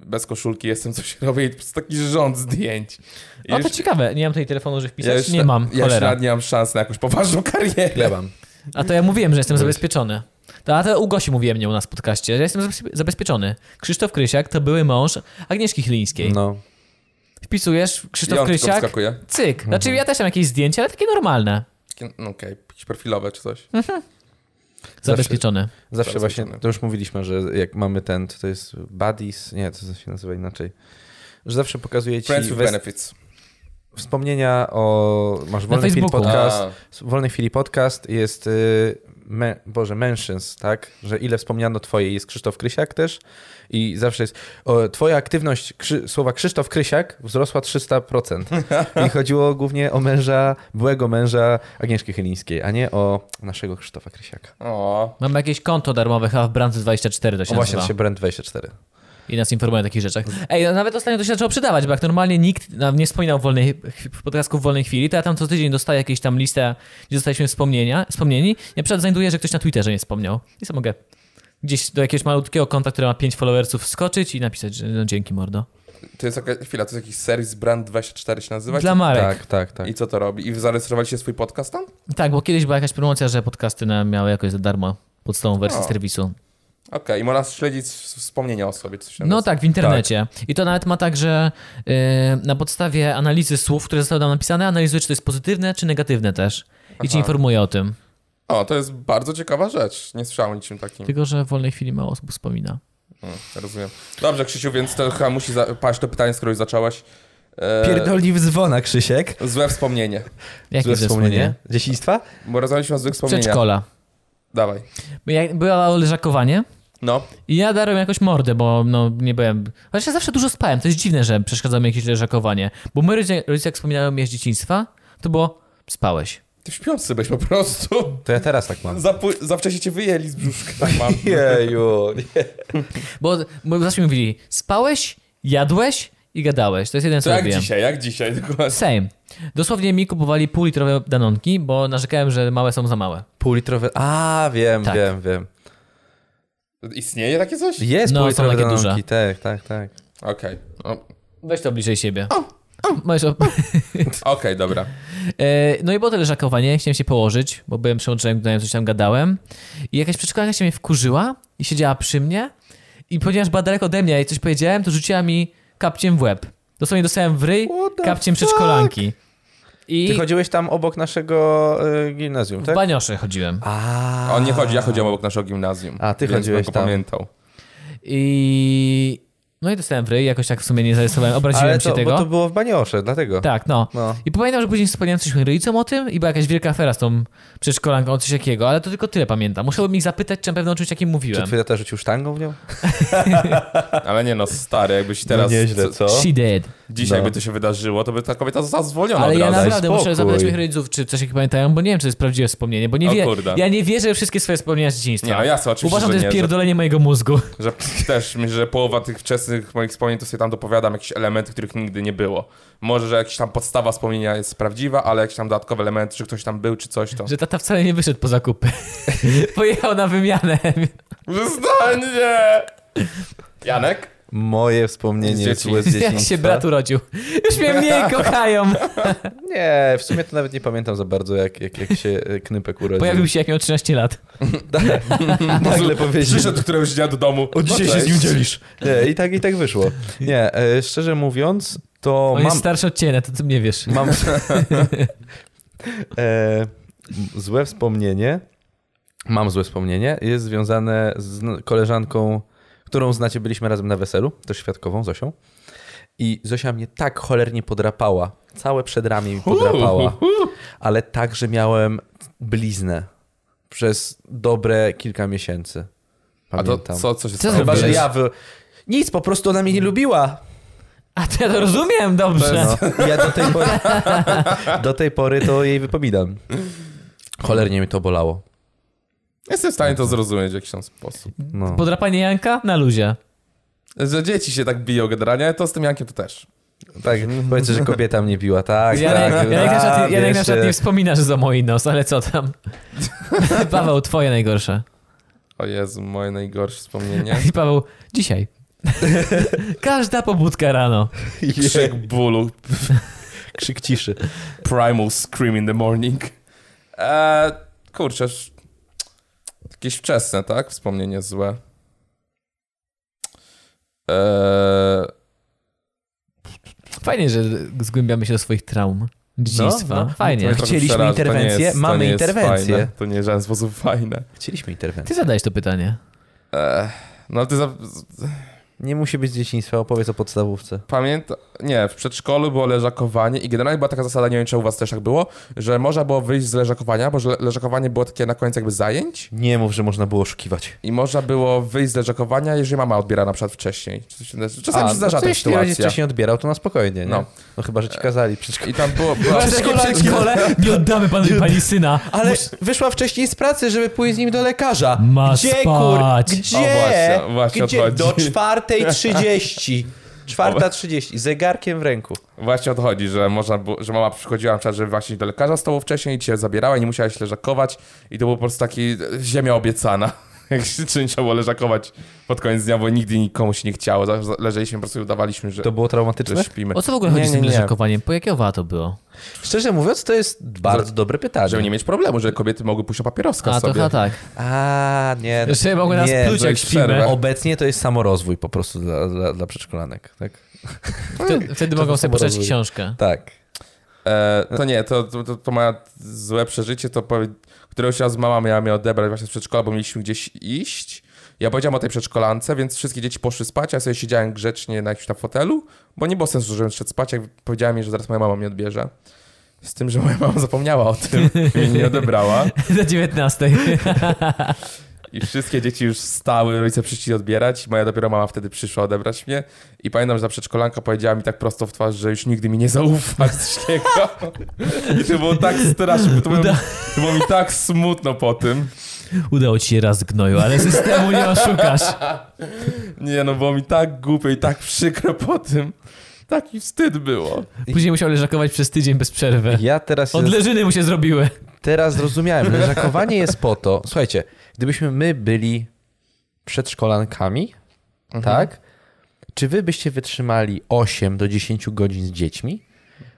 bez koszulki jestem, coś robię i po prostu taki rząd zdjęć. I O, to już- ciekawe. Nie mam tutaj telefonu, żeby wpisać? już nie na- mam, Ja już cholera. nawet nie mam szans na jakąś poważną karierę. Ja mam. A to ja mówiłem, że jestem zabezpieczony. To, a to u Gosi mówiłem nie u nas w podcaście, że jestem zabezpie- zabezpieczony. Krzysztof Krysiak to były mąż Agnieszki Chlińskiej. No. Wpisujesz I Krzysztof on tylko Krysiak, wyskakuje. Mhm. cyk. Znaczy ja też mam jakieś zdjęcia, ale takie normalne. Takie, no okej, jakieś profilowe czy coś. Hmm. Zabezpieczone. Zawsze Bardzo właśnie, fajne. to już mówiliśmy, że jak mamy ten, to to jest buddies, nie, to się nazywa inaczej, że zawsze pokazuje ci Friends with wes- benefits. wspomnienia o, masz Wolnej Chwili Facebooku. Podcast, A. w Wolnej Chwili Podcast jest, y, me, Boże, Mentions, tak, że ile wspomniano twojej, jest Krzysztof Krysiak też i zawsze jest, o, twoja aktywność, krzy, słowa Krzysztof Krysiak wzrosła 300% i chodziło głównie o męża, byłego męża Agnieszki Chylińskiej, a nie o naszego Krzysztofa Krysiaka. O, Mamy jakieś konto darmowe chyba w Brands24 to się O właśnie, to nazywa. się Brand24. I nas informuje o takich rzeczach. Ej, no, nawet ostatnio to się zaczęło przydawać, bo jak normalnie nikt nam nie wspominał w, wolnej, w podcastku w wolnej chwili, to ja tam co tydzień dostaję jakieś tam listę, gdzie zostaliśmy wspomnienia, wspomnieni. Ja przed znajduję, że ktoś na Twitterze nie wspomniał. I co mogę gdzieś do jakiegoś malutkiego konta, które ma 5 followersów, skoczyć i napisać, że no, dzięki mordo. to jest jaka, chwila, to jest jakiś serwis Brand24 się nazywa? Dla Marek. Tak. Tak, tak, tak. I co to robi? I zarejestrowaliście swój podcast tam? bo kiedyś była jakaś promocja, że podcasty na- miały jakoś za darmo podstawową wersję O. serwisu. Okej, i można śledzić s- wspomnienia o sobie. Coś No tak, w internecie. I to nawet ma tak, że yy, na podstawie analizy słów, które zostały tam napisane, analizuje, czy to jest pozytywne, czy negatywne też. I ci Aha. informuje o tym. O, to jest bardzo ciekawa rzecz. Nie słyszałem o niczym takim. Tylko, że w wolnej chwili mało osób wspomina. Mm, rozumiem. Dobrze, Krzysiu, więc to chyba musi za- paść to pytanie, z którego zacząłeś. E, Pierdolni w dzwona, Krzysiek. Złe wspomnienie. Jakie wspomnienie? Dzieciństwa? Bo rozmawialiśmy o złych wspomnieniach. Przedszkola. Dawaj. Bo ja- Było leżakowanie No, i ja darłem jakoś mordę, bo no nie byłem... Chociaż ja zawsze dużo spałem. To jest dziwne, że przeszkadza mi jakieś leżakowanie. Bo moi rodzice, rodzice jak wspominają mnie z dzieciństwa, to było spałeś. ty śpiący byś po prostu. To ja teraz tak mam. Za, pó- za wcześnie cię wyjęli z brzuszka. Tak mam. Jeju. Bo, bo zawsze mi mówili, spałeś, jadłeś i gadałeś. To jest jeden To co jak robiłem. dzisiaj, jak dzisiaj dokładnie. Same. Dosłownie mi kupowali pół litrowe danonki, bo narzekałem, że małe są za małe. Półlitrowe... A, wiem, Tak. wiem, wiem. Istnieje takie coś? Jest No, są półlitrowe takie danonki, duże. tak, tak, tak. Okej. O, Okej, Weź to bliżej siebie. Możesz op- dobra. E, no i było to leżakowanie, chciałem się położyć, bo byłem przyłączony, gdy coś tam gadałem. I jakaś przedszkolanka się mnie wkurzyła i siedziała przy mnie. I ponieważ była daleko ode mnie i coś powiedziałem, to rzuciła mi kapciem w łeb. Dosłownie dostałem w ryj What the kapciem fuck? przedszkolanki. I Ty chodziłeś tam obok naszego y, gimnazjum, w tak? baniosze chodziłem. A, On nie chodzi, ja chodziłem obok naszego gimnazjum. A, ty więc chodziłeś bym go tam. pamiętał. I... No i dostałem w ryj, jakoś tak w sumie nie zarysowałem, obraziłem Ale się to, tego. bo to było w Baniosze, dlatego. Tak, no. No. I pamiętam, że później wspomniałem coś moim rodzicom o tym i była jakaś wielka afera z tą przedszkolanką o coś takiego, ale to tylko tyle pamiętam. Musiałbym ich zapytać, czy na pewno o czymś takim Czy mówiłem. twój tata rzucił sztangą w nią? Ale nie no, stary, jakbyś teraz... co- She did. Dzisiaj No. by to się wydarzyło, to by ta kobieta została zwolniona Ale od ja razu. naprawdę Spokój. muszę zapytać moich rodziców, czy coś ich pamiętają, bo nie wiem, czy to jest prawdziwe wspomnienie, bo nie O wie, kurde. ja nie wierzę w wszystkie swoje wspomnienia z dzieciństwa. Nie, no jasne, oczywiście, Uważam, że to jest nie, że- pierdolenie mojego mózgu. Że też myślę, że połowa tych wczesnych moich wspomnień to sobie tam dopowiadam jakieś elementy, których nigdy nie było. Może, że jakaś tam podstawa wspomnienia jest prawdziwa, ale jakieś tam dodatkowe elementy, że ktoś tam był czy coś, to... Że tata wcale nie wyszedł po zakupy. Pojechał na wymianę. Zostanie! Janek? Moje Z wspomnienie dzieci. złe z dzieciństwa. Jak się brat urodził. Już mnie mniej kochają. Nie, w sumie to nawet nie pamiętam za bardzo, jak, jak, jak się y, Knypek urodził. Tak. Pojawił się jak miał 13 lat. Nagle powiedział. Przyszedł któregoś dnia do domu. O dzisiaj No się z nim cześć. dzielisz. Nie, i tak, i tak wyszło. Nie, e, szczerze mówiąc, to On jest mam, starszy od ciebie, to ty mnie wiesz. mam e, złe wspomnienie. Mam złe wspomnienie. Jest związane z n- koleżanką, którą znacie, byliśmy razem na weselu, też świadkową, Zosią. I Zosia mnie tak cholernie podrapała. Całe przedramię mi podrapała. Ale tak, że miałem bliznę przez dobre kilka miesięcy. A to Pamiętam. co, co się Co stało? Chyba, że Wiesz? ja wy... Nic, po prostu ona mnie nie lubiła. A to ja to rozumiem dobrze. No, ja do tej, pory, do tej pory to jej wypominam. Cholernie mi to bolało. Jestem w stanie to zrozumieć w jakiś tam sposób. No. Podrapanie Janka na luzie. Że dzieci się tak biją generalnie, ale to z tym Jankiem to też. Tak, powiedz, że kobieta mnie biła, tak, Janek, tak. Janek, na przykład, a, Janek wiesz, na przykład e, nie wspomina, że za moi nos, ale co tam. Paweł, twoje najgorsze. O Jezu, moje najgorsze wspomnienie. I Paweł, dzisiaj. Każda pobudka rano. Krzyk bólu, Krzyk ciszy. Primal Scream in the Morning. Eee, kurczę, sz- jakieś wczesne, tak? Wspomnienie złe. Eee, E, Fajnie, że zgłębiamy się do swoich traum. dzieciństwa. no, Fajnie. Mnie trochę Chcieliśmy przeraża, to nie interwencję, jest- to mamy nie jest interwencję. Fajne. To nie jest w żaden sposób fajne. Chcieliśmy interwencji. Ty zadałeś to pytanie. Ech, no ty za... Nie musi być z dzieciństwa, opowiedz o podstawówce. pamiętam, nie, w przedszkolu było leżakowanie i generalnie była taka zasada, nie wiem czy u was też tak było, że można było wyjść z leżakowania, bo że le- leżakowanie było takie na koniec jakby zajęć Nie mów, że można było oszukiwać. i można było wyjść z leżakowania, jeżeli mama odbiera na przykład wcześniej. Czasami się zdarza no to jeśli ta rodzic sytuacja. wcześniej odbierał, to na spokojnie, nie? No. No, no chyba, że ci kazali przed szkołą. I tam było... była- Nie oddamy panu pani syna. Ale wyszła wcześniej z pracy, żeby pójść z nim do lekarza. Ma Gdzie, spać. kur... Gdzie? O, właśnie, właśnie o to Gdzie? chodzi. Do czwartej trzydzieści. Czwarta trzydzieści. Zegarkiem w ręku. Właśnie o to chodzi, że, można, było- że mama przychodziła na przykład, żeby właśnie do lekarza z tobą wcześniej i cię zabierała i nie musiałaś leżakować i to był po prostu taki e, ziemia obiecana. Jak się czy nie trzeba było leżakować pod koniec dnia, bo nigdy nikomu się nie chciało. Zawsze leżeliśmy, po prostu i udawaliśmy, że, To było że traumatyczne? śpimy. O co w ogóle Nie, chodzi z tym nie, nie. leżakowaniem? Po jakiego wała to było? Szczerze mówiąc, to jest bardzo dobre pytanie. Żeby nie mieć problemu, że kobiety mogły pójść o papieroska A, to sobie. chyba tak. A, nie. Że mogły nas nie, pluć, to jak jest śpimy. przerwa. Obecnie to jest samorozwój po prostu dla, dla, dla przedszkolanek. Tak. Wtedy, wtedy mogą sobie poczytać samorozwój. książkę. tak. E, to nie, to, to, to, to moje złe przeżycie, to powie... któregoś razu mama miała mnie odebrać właśnie z przedszkola, bo mieliśmy gdzieś iść. Ja powiedziałem o tej przedszkolance, więc wszystkie dzieci poszły spać, a ja sobie siedziałem grzecznie na jakimś tam fotelu, bo nie było sensu, żebym szedł spać, jak powiedziała mi, że zaraz moja mama mnie odbierze. Z tym, że moja mama zapomniała o tym i mnie nie odebrała. Do 19. I wszystkie dzieci już wstały, rodzice przyszli odbierać. Moja dopiero mama wtedy przyszła odebrać mnie. I pamiętam, że ta przedszkolanka powiedziała mi tak prosto w twarz, że już nigdy mi nie zaufa z niego. I to było tak straszne, to było, Uda- to było mi tak smutno po tym. Udało ci się raz gnoju, ale systemu nie oszukasz. Nie no, było mi tak głupio i tak przykro po tym. Taki wstyd było. Później musiał leżakować przez tydzień bez przerwy. Ja teraz, Od leżyny mu się zrobiły. teraz zrozumiałem. Leżakowanie jest po to. Słuchajcie, gdybyśmy my byli przedszkolankami, Mhm. tak? Czy wy byście wytrzymali 8 do 10 godzin z dziećmi?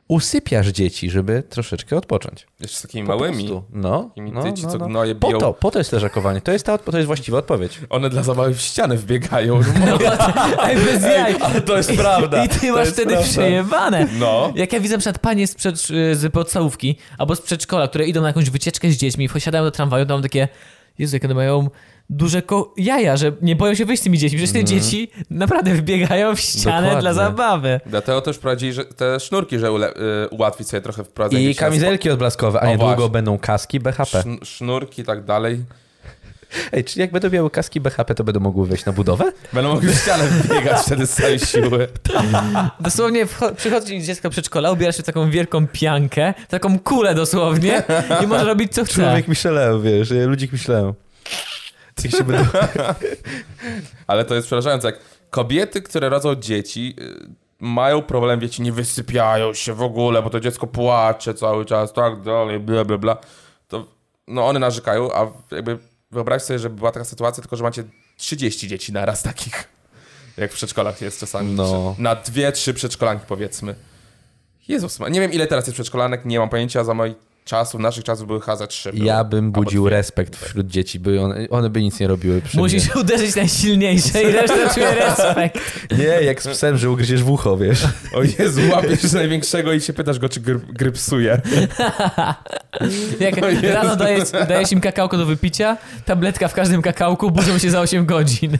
Usypiasz dzieci, żeby troszeczkę odpocząć. Jeszcze z takimi Po małymi. prostu. No, Takimi no, dzieci, no, co no. gnoje Po biją. to, po to jest leżakowanie. To jest, ta, odpo- to jest właściwa odpowiedź. One dla zabawy w ścianę wbiegają. No, Ej, bez jaj. Ale to jest prawda. I ty To masz jest wtedy prawda. przejebane. No. Jak ja widzę na przykład panie z, przed, z podstawówki albo z przedszkola, które idą na jakąś wycieczkę z dziećmi, wsiadają do tramwaju, to mam takie, Jezu, jakie one mają duże ko- jaja, że nie boją się wyjść z tymi dziećmi, że te dzieci naprawdę wbiegają w ścianę Dokładnie. dla zabawy. Dlatego też wprowadzili że te sznurki, że ule, y, ułatwić sobie trochę wprowadzenie. I dzieci na kamizelki odblaskowe, a O, niedługo właśnie. będą kaski BHP. Szn- sznurki i tak dalej. Ej, czy jak będą miały kaski BHP, to będą mogły wejść na budowę? Będą mogli w ścianę biegać wtedy z całej siły. Dosłownie wcho- przychodzi dziecko przedszkola, ubiera się w taką wielką piankę, taką kulę dosłownie i może robić co chce. Michelin, wiesz, ludzik Michelin. Tak. Jak się będą... Ale to jest przerażające. Jak kobiety, które rodzą dzieci, y, mają problem, wiecie, nie wysypiają się w ogóle, bo to dziecko płacze cały czas, tak dalej, bla, bla, bla. To no one narzekają, a jakby wyobraź sobie, że była taka sytuacja, tylko że macie 30 dzieci naraz takich. Jak w przedszkolach jest czasami. No. Na dwie, trzy przedszkolanki powiedzmy. Jezus, ma- nie wiem ile teraz jest przedszkolanek, nie mam pojęcia, za moich czasów, naszych czasów były chyba ze trzy. Ja bym Albo budził respekt wśród dzieci, by one, one by nic nie robiły przy Musisz uderzyć najsilniejsze i reszta czuje respekt. mnie. Nie, jak z psem, że ugryziesz w ucho, wiesz. O Jezu, łapiesz największego i się pytasz go, czy gry, gry psuje. Jak O Jezu. rano dajesz, dajesz im kakałko do wypicia, tabletka w każdym kakałku, budzą się za 8 godzin.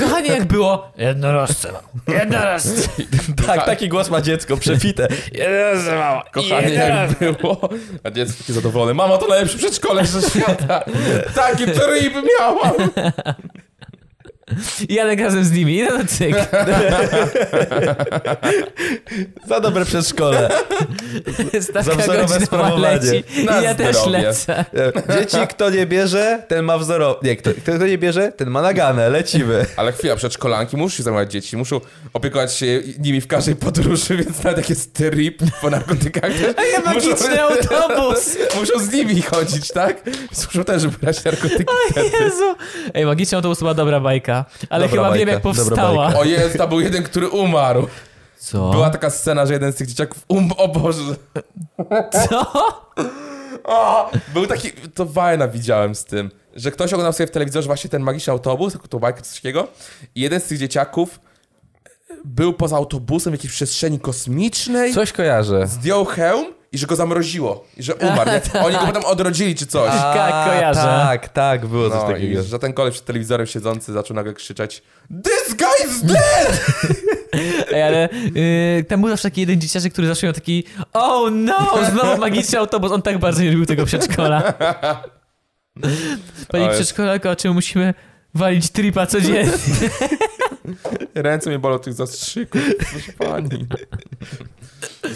Kochanie, jak było? Jednorożce mam. Jednorożce. tak, taki głos ma dziecko, przepite. Jednorożce mama. Kochanie, jak było. A dziecko takie zadowolone. Mama, to najlepsze przedszkole ze świata. Takie tryb miałam. I Janek razem z nimi, idę na cyk. Za dobre przedszkole. Stawka Zawzorowe godzinowa sprawowanie. leci i Na ja też zdrowie. lecę. Dzieci, kto nie bierze, ten ma wzorow... Nie, kto, kto nie bierze, ten ma naganę, lecimy. Ale chwila, przedszkolanki muszą się zajmować dzieci, muszą opiekować się nimi w każdej podróży, więc nawet jak jest tryb po narkotykach, też A ja magiczny autobus. muszą z nimi chodzić, tak? Więc Muszą też brać narkotyki. Jezu. Ej, magiczny autobus to była dobra bajka. Ale Dobra chyba wiem, bajka, jak dobra powstała. bajka. O Jezu, tam był jeden, który umarł. Co? Była taka scena, że jeden z tych dzieciaków um... O Boże. Co? O, był taki, to Wajna widziałem z tym, że ktoś oglądał sobie w telewizorze właśnie ten magiczny autobus, taką tą bajkę, coś takiego i jeden z tych dzieciaków był poza autobusem w jakiejś przestrzeni kosmicznej, Coś kojarzę. zdjął hełm i że go zamroziło. I że umarł. nie? Oni go potem odrodzili czy coś. Tak, kojarzę. Tak, tak, było coś No i takiego. że ten koleś przed telewizorem siedzący zaczął nagle krzyczeć This guy's dead! Ej, ale yy, tam był zawsze taki jeden dzieciaczek, który zawsze miał taki Oh no, znowu magiczny autobus. On tak bardzo nie lubił tego przedszkola. Pani Ale- przedszkolako, czemu musimy walić tripa codziennie? Ręce mnie bolą od tych zastrzyków. Proszę pani.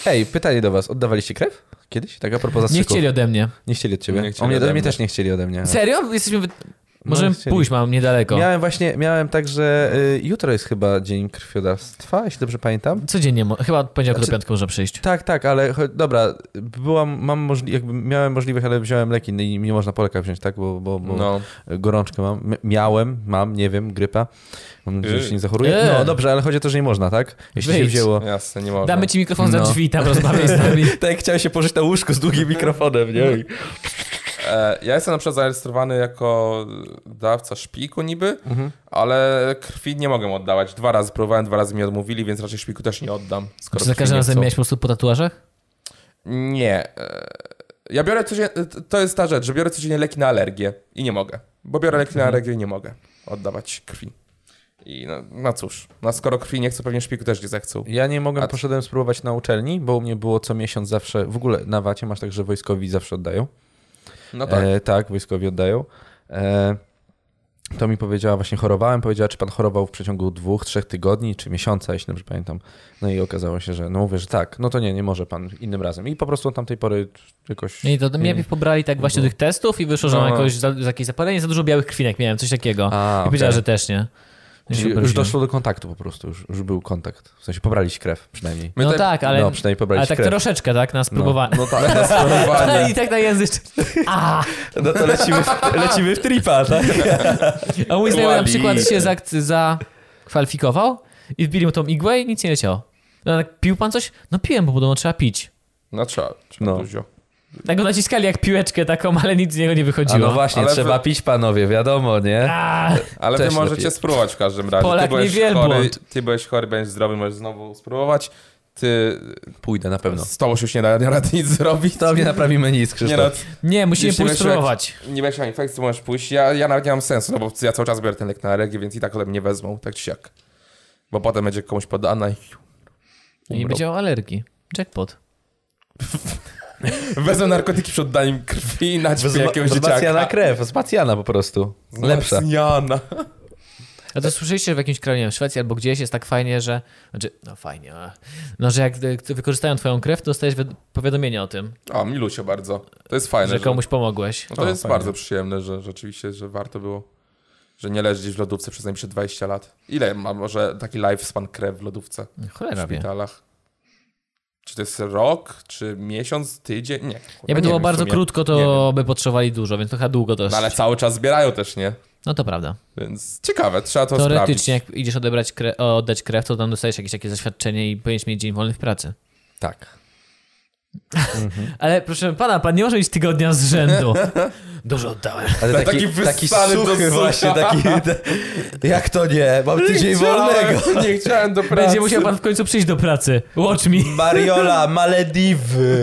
Hej, pytanie do was. Oddawaliście krew? Kiedyś? Tak a propos Nie zastrzyków. chcieli ode mnie. Nie chcieli od ciebie? Nie chcieli o mnie, ode ode mnie mnie. też nie chcieli ode Tak. mnie. Serio? Jesteśmy... No, Wy... Możemy chcieli. pójść, mam niedaleko. Miałem właśnie, miałem tak, że y, jutro jest chyba dzień krwiodawstwa, jeśli dobrze pamiętam. Codziennie, mo- chyba od poniedziałku Znaczy- do piątku można przyjść. Tak, tak, ale cho- dobra, byłam, mam możli- jakby miałem możliwość, ale wziąłem leki no i nie można Polaka wziąć, tak, bo, bo, bo No. gorączkę mam. M- miałem, mam, nie wiem, grypa. Mam nadzieję, że Yy. się nie zachoruję. Eee. No dobrze, ale chodzi o to, że nie można, tak? Jeśli się Wyjdź. wzięło. Jasne, nie mogę. Damy ci mikrofon za No. drzwi, tam rozmawiaj z nami. Tak, chciałem się położyć na łóżku z długim mikrofonem, nie? E, ja jestem na przykład zarejestrowany jako dawca szpiku niby, Mhm. ale krwi nie mogę oddawać. Dwa razy próbowałem, dwa razy mi odmówili, więc raczej szpiku też nie oddam. skoro Czy za krwi każdym nie razem chcą. miałeś po prostu po tatuażach? Nie. e, Ja biorę codziennie, e, to jest ta rzecz, że biorę codziennie leki na alergię i nie mogę. Bo biorę leki Mhm. na alergię i nie mogę oddawać krwi. I no, no cóż, no skoro krwi nie chcą, pewnie szpiku też nie zechcą. Ja nie mogłem, A ty- poszedłem spróbować na uczelni, bo u mnie było co miesiąc zawsze, w ogóle na wacie masz tak, że wojskowi zawsze oddają. No tak. E, tak, wojskowi oddają. E, to mi powiedziała, właśnie chorowałem, powiedziała, czy pan chorował w przeciągu dwóch, trzech tygodni, czy miesiąca, jeśli dobrze pamiętam. No i okazało się, że no mówię, że tak, no to nie, nie może pan innym razem. I po prostu od tamtej pory jakoś... I to mnie najpierw pobrali tak właśnie do tych testów i wyszło, że mam No. jakoś za, za jakieś zapalenie, za dużo białych krwinek miałem, coś takiego. A, I powiedziała, okej. że też nie. Ja się Czyli już obraziłem. doszło do kontaktu po prostu, już, już był kontakt. W sensie pobraliście krew przynajmniej. My No tutaj- tak, ale, no, przynajmniej ale pobraliście tak krew. troszeczkę, tak, na spróbowanie. No tak, na Ale sterowanie. I tak na język. A, No to lecimy w, lecimy w tripa, tak? a mój znajomy na Wali. przykład się za- zakwalifikował i wbili mu tą igłę i nic nie leciało. No, tak, pił pan coś? No piłem, bo podobno trzeba pić. No trzeba, trzeba No. dużo. Tak go naciskali jak piłeczkę taką, ale nic z niego nie A wychodziło. no właśnie, Ale wy- trzeba pić panowie, wiadomo, nie? A, Ale Też wy możecie lepiej. spróbować w każdym razie. Polak niewielbłąd. chory, ty byłeś chory, będziesz zdrowy, możesz znowu spróbować. Ty Pójdę na pewno. z tobą się już nie da rady nic zrobić. To mnie naprawimy nic, nie, Krzysztof. no, nie, tak. musimy Jeśli pójść myślę- spróbować. nie będziesz miał infekcji, możesz pójść. Ja, ja nawet nie mam sensu, no bo ja cały czas biorę ten lek na alergię, więc i tak ode mnie wezmą, tak czy siak. Bo potem będzie komuś podana i No I będzie miał alergii. Jackpot. wezmą narkotyki przed oddaniem krwi i naćpię jakiegoś z dzieciaka. Bacjana krew, z Bacjana po prostu. Lepsza. Wzmacniana. A to słyszeliście, że w jakimś kraju, nie wiem, w Szwecji albo gdzieś jest tak fajnie, że... Znaczy, no fajnie, ale- no że jak y, wykorzystają twoją krew, to dostajesz wi- powiadomienie o tym, O, milusio bardzo. To jest fajne. że że- komuś pomogłeś. No to O, jest fajnie. bardzo przyjemne, że rzeczywiście, że warto było, że nie leży gdzieś w lodówce przez najbliższe 20 lat. Ile ma może taki lifespan krew w lodówce w Cholera wie. szpitalach? Czy to jest rok, czy miesiąc, tydzień? Nie. kurwa, Jakby to nie było wiem w bardzo sumie. krótko, Nie to wiem. by potrzebowali dużo, więc to chyba długo dość. No, ale cały czas zbierają też, nie? No to prawda. Więc ciekawe, trzeba to sprawdzić. Teoretycznie, jak idziesz odebrać kre... o, oddać krew, to tam dostajesz jakieś takie zaświadczenie i powinieneś mieć dzień wolny w pracy. Tak. Ale proszę pana, pan nie może iść tygodnia z rzędu. Dużo oddałem. Ale taki, Taki taki wyssany do suchy sucha. właśnie, taki... Jak to nie? Mam tydzień wolnego. nie chciałem do pracy. Będzie musiał pan w końcu przyjść do pracy. Watch me. Mariola, Malediwy.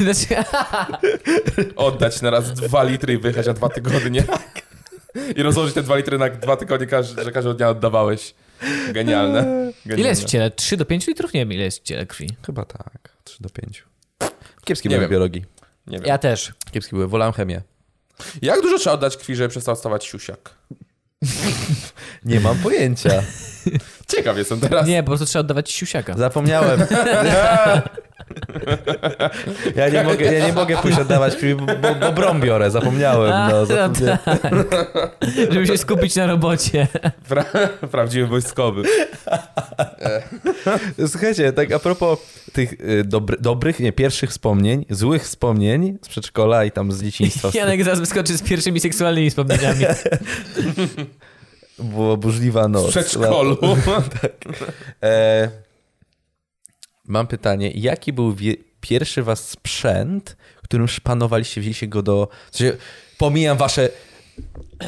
Znaczy, Oddać na raz dwa litry i wyjechać na dwa tygodnie. Tak. I rozłożyć te dwa litry na dwa tygodnie, każ- że każdego dnia oddawałeś. Genialne. Genialne. Ile jest w ciele? 3 do 5 litrów? Nie wiem, ile jest w ciele krwi. Chyba tak, 3 do 5. Kiepski Nie byłem wiem. w biologii. Nie wiem. Ja też. Kiepski byłem, wolałem chemię. Jak dużo trzeba oddać krwi, żeby przestał stawać siusiak? Nie mam pojęcia. Ciekaw jestem teraz. Nie, po prostu trzeba oddawać siusiaka. Zapomniałem. Ja nie mogę, ja nie mogę pójść oddawać krwi, bo, bo, bo brom biorę, zapomniałem. No, zapomniałem. tak. Żeby się skupić na robocie. Pra prawdziwy wojskowy. Słuchajcie, tak a propos tych y, dobry, dobrych, nie, pierwszych wspomnień, złych wspomnień z przedszkola i tam z dzieciństwa. Janek zaraz wyskoczy z pierwszymi seksualnymi wspomnieniami. Była No, burzliwa noc. W przedszkolu. E, mam pytanie, jaki był wie, pierwszy was sprzęt, którym szpanowaliście, wzięliście go do... W sensie, pomijam wasze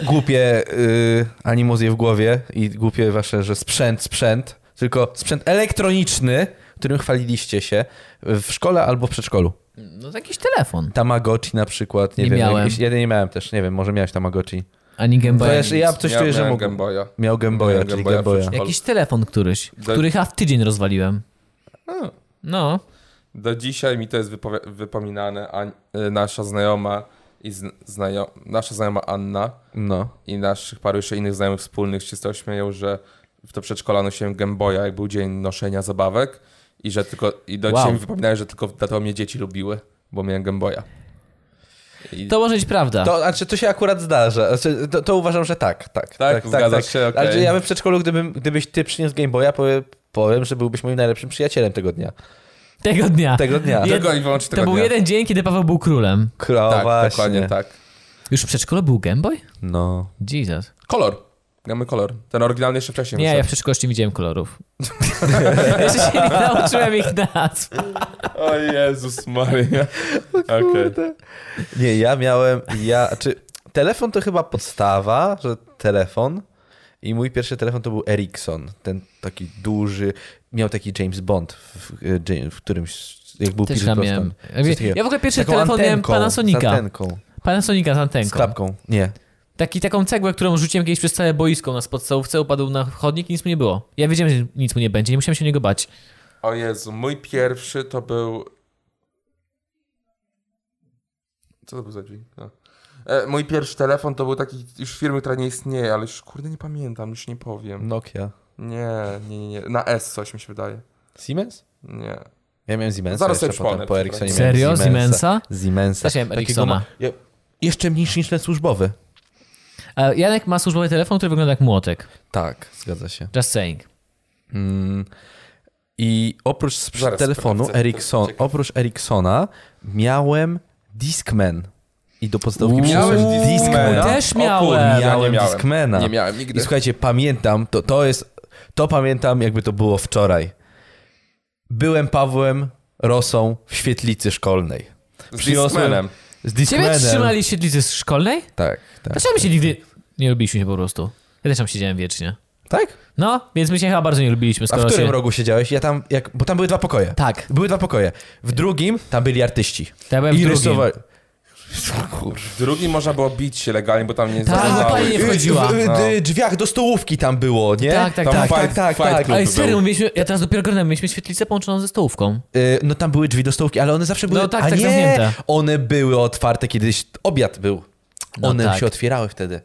głupie y, animozje w głowie i głupie wasze, że sprzęt, sprzęt, tylko sprzęt elektroniczny, którym chwaliliście się w szkole albo w przedszkolu. No to jakiś telefon. Tamagotchi na przykład, nie, Nie wiem. miałem. Jakieś, ja nie miałem też, nie wiem, może miałeś Tamagotchi. Ani Game Boya, Wiesz, nic. ja coś Ja czuję, że miałem mógł. Game Boya. Miał Game Boya, Miałem czyli Game Game Boya w Boya. Jakiś telefon któryś, Do- który ja w tydzień rozwaliłem. No. Do dzisiaj mi to jest wypowi- wypominane. A, y, nasza znajoma i zn- znajo- nasza znajoma Anna No. i naszych paru jeszcze innych znajomych wspólnych się z tego śmieją, że w to przedszkola nosiłem Game Boya, jak był dzień noszenia zabawek i że tylko i do Wow. dzisiaj mi wypominają, że tylko dlatego mnie dzieci lubiły, bo miałem Game Boya. I To może być prawda. To, znaczy, to się akurat zdarza. Znaczy, to, to uważam, że tak. Tak, zgadzasz się, okej. Ale ja bym w przedszkolu, gdybym, gdybyś ty przyniósł Game Boya, powiem, powiem, że byłbyś moim najlepszym przyjacielem tego dnia. Tak, Tego dnia. Tego dnia. Jed- Tylko i wyłącznie tego to był dnia. jeden No dzień, kiedy Paweł był królem. Kro, tak, właśnie. dokładnie tak. Już w przedszkolu był Game Boy? No. Jesus. Kolor. Gramy kolor. Ten oryginalny jeszcze wcześniej. Nie, ja w przedszkolu jeszcze nie widziałem kolorów. jeszcze się nie nauczyłem ich nazw. wyszedł. O Jezus Maria. Okej. Nie, ja miałem, ja, czy telefon to chyba podstawa, że telefon i mój pierwszy telefon to był Ericsson, ten taki duży, miał taki James Bond w, w, w którymś, jak był Też Pilot ja Boston. miałem. Coś takiego. Ja w ogóle pierwszy Taką telefon miałem antenką, Z Panasonica. antenką, Panasonica z z antenką. klapką, nie. Taki, taką cegłę, którą rzuciłem kiedyś przez całe boisko na podstawówce, upadł na chodnik i nic mu nie było. Ja wiedziałem, że nic mu nie będzie, nie musiałem się niego bać. Tak, O Jezu, mój pierwszy to był... Co to był za dźwięk? No. E, mój pierwszy telefon to był taki już firmy, która nie istnieje, ale już kurde nie pamiętam, już nie powiem. Nokia. Nie, nie, nie, nie. Na S coś mi się wydaje. Siemens? Nie. Ja miałem Siemensa Zaraz jeszcze sobie potem, przypomnę, po Ericssonie miałem Serio? Siemensa. Siemensa? Siemensa. Też miałem Takiego Ericssona. ma- ja- Jeszcze mniejszy niż ten służbowy. A Janek ma służbowy telefon, który wygląda jak młotek. Tak, zgadza się. Just saying. Mm. I oprócz sprz- Zaraz telefonu sprawdzę, Ericsson, to jest oprócz Ericssona miałem Discman. I do podstawówki Miałeś przyszedł Discmana? Też O kur- miałem. Ja nie Miałem miałem. Discmana. Nie miałem nigdy. I słuchajcie, pamiętam, to, to jest, to pamiętam jakby to było wczoraj. Byłem Pawłem Rosą w świetlicy szkolnej. Z Przyniosłem- Discmanem. Z Ciebie Discmanem. trzymali w siedlicy z szkolnej? Tak, tak. Dlaczego my się nigdy nie lubiliśmy się po prostu? Ja też tam siedziałem wiecznie. Tak? No, więc my się chyba bardzo nie lubiliśmy, A w skoro którym się... rogu siedziałeś? Ja tam, jak, bo tam były dwa pokoje. Tak. Były dwa pokoje. W drugim tam byli artyści. Ja byłem w I drugim. rysowali. W drugim można było bić się legalnie, bo tam nie Tak, zależało. bo pani nie W- wchodziła. W, w, No. w drzwiach do stołówki tam było, nie? Tak, tak, Tam tak. fight- tak, tak, fight tak. club Ale był. serio, mieliśmy, ja teraz dopiero ogarnąłem, mieliśmy świetlicę połączoną ze stołówką. Y, No tam były drzwi do stołówki, ale one zawsze były... No tak, a tak, nie, zamknięte. one były otwarte kiedyś, obiad był. No one tak. się otwierały wtedy.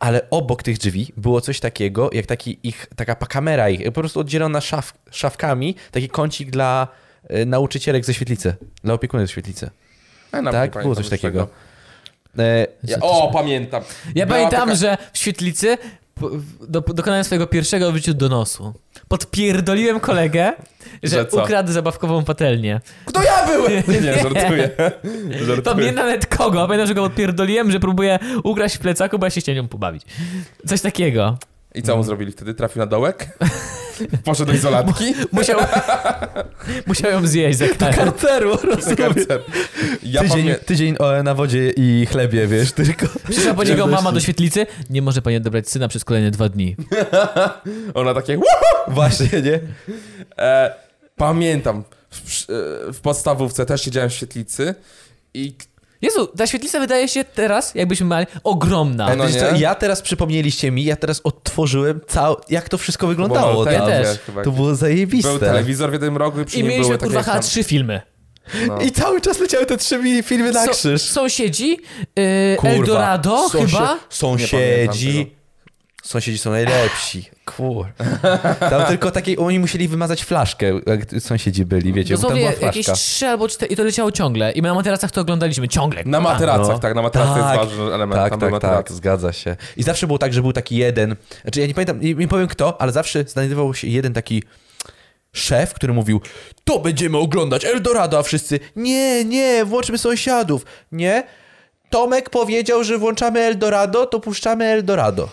Ale obok tych drzwi było coś takiego, jak taki ich, taka pa- kamera ich, po prostu oddzielona szaf, szafkami, taki kącik dla y, nauczycielek ze świetlicy, dla opiekunów ze świetlicy. Ja nawet nie tak, było pamiętam coś już takiego. tego. E, Ja, o, pamiętam. Ja Była pamiętam, taka- że w świetlicy po- w- do, dokonałem swojego pierwszego w życiu donosu. Podpierdoliłem kolegę, że, Że co? ukradł zabawkową patelnię. Kto ja byłem? Nie, żartuję. żartuję. Pamiętam nawet kogo, pamiętam, że go odpierdoliłem, że próbuję ukraść w plecaku, bo ja się chciałem nią pobawić. Coś takiego. I co mu zrobili wtedy? Trafił na dołek? Poszedł do izolatki? Musiał, musiał ją zjeść za karę. Karteru, rozumiem. Karcer. Ja tydzień, pamiętam. tydzień o, na wodzie i chlebie, wiesz, tylko. Przyszła po niego mama do świetlicy, nie może pani odebrać syna przez kolejne dwa dni. Ona takie... Właśnie, nie? E, pamiętam. W, przy- e, w podstawówce też siedziałem w świetlicy i Jezu, ta świetlica wydaje się teraz, jakbyśmy mieli, ogromna. No Wiesz nie. co, ja teraz przypomnieliście mi, ja teraz odtworzyłem cał... jak to wszystko wyglądało. Bo tam. był telewizor też. chyba. To było zajebiste. Był telewizor w jednym rogu i przy I nim mieliśmy były takie... kurwa jak chyba tam- trzy filmy. no. I cały czas leciały te trzy mi- filmy na Tak, So- krzyż. Sąsiedzi, yy, Kurwa. Eldorado Sąsie- chyba. Nie pamiętam Sąsiedzi. Sąsiedzi są najlepsi. Kur. Tam tylko takiej, oni musieli wymazać flaszkę, jak sąsiedzi byli, wiecie, bo tam była Dosłownie No jakieś flaszka. trzy albo cztery i to leciało ciągle. I my na materacach to oglądaliśmy ciągle. Na kurwa. materacach, No. tak, na materacach to Tak. jest ważny element. Tak, tam były tak, tak, materace. zgadza się. I zawsze było tak, że był taki jeden, znaczy ja nie pamiętam, nie, nie powiem kto, ale zawsze znajdował się jeden taki szef, który mówił, to będziemy oglądać Eldorado, a wszyscy, nie, nie, włączmy sąsiadów, nie. Tomek powiedział, że włączamy Eldorado, to puszczamy Eldorado.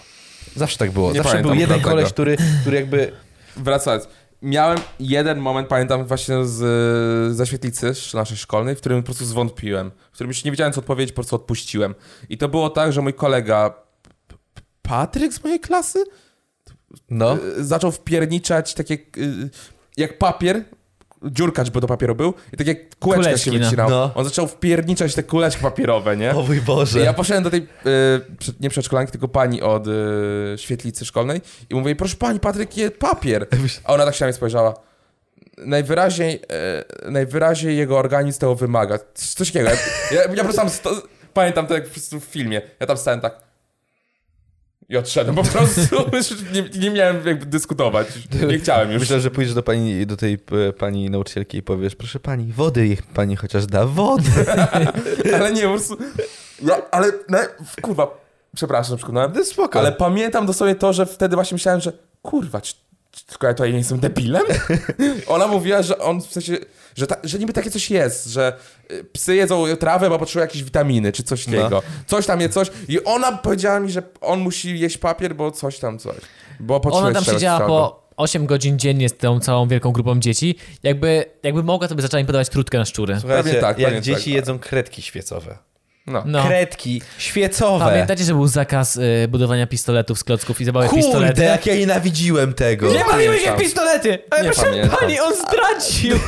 Zawsze tak było. Nie zawsze pamiętam był jeden tego. koleś, który, który jakby... Wracając. Miałem jeden moment, pamiętam właśnie z, ze świetlicy sz- naszej szkolnej, w którym po prostu zwątpiłem. W którym już nie wiedziałem, co odpowiedzieć, po prostu odpuściłem. I to było tak, że mój kolega Patryk z mojej klasy No. y, zaczął wpierniczać takie, y, jak papier, dziurkacz by do papieru był, i takie kółeczka Kuleczki, się no. wycinało. No. On zaczął wpierniczać te kółeczki papierowe, nie? O mój Boże. Ja poszedłem do tej, y, przed- nie przedszkolanki, tylko pani od y, świetlicy szkolnej i mówię, proszę pani, Patryk je papier. A ona tak się na mnie spojrzała. Najwyraźniej, y, najwyraźniej jego organizm tego wymaga. Coś coś takiego. Ja, ja, ja po prostu tam sto, pamiętam to jak po prostu w filmie. Ja tam stałem tak. I odszedłem po prostu. nie, nie miałem jakby dyskutować. Nie chciałem już. Myślę, że pójdziesz do pani, do tej e, pani nauczycielki i powiesz, proszę pani, wody ich pani chociaż da, wody. Ale nie, po prostu... Ja, ale, no, kurwa, przepraszam, przekonałem. No spoko. Ale pamiętam dosłownie to, że wtedy właśnie myślałem, że kurwa, czy, czy tylko ja tutaj nie jestem debilem? Ona mówiła, że on w sensie, że, ta, że niby takie coś jest, że y, psy jedzą trawę, bo potrzebują jakieś witaminy czy coś No. takiego. Coś tam je coś i ona powiedziała mi, że on musi jeść papier, bo coś tam coś. Bo potrzebuje Ona tam czegoś siedziała całego. po 8 godzin dziennie z tą całą wielką grupą dzieci. Jakby, jakby mogła, to by zaczęła im podawać trutkę na szczury. Słuchajcie, Pewnie tak, jak pewnie dzieci tak. jedzą kredki świecowe. No. No. Kredki świecowe. Pamiętacie, że był zakaz y, budowania pistoletów z klocków i zabawy w pistolety? Kurde, jak ja nienawidziłem tego. Nie bawimy się w pamiętam. pistolety! Ale Nie proszę pamiętam. pani, on zdradził!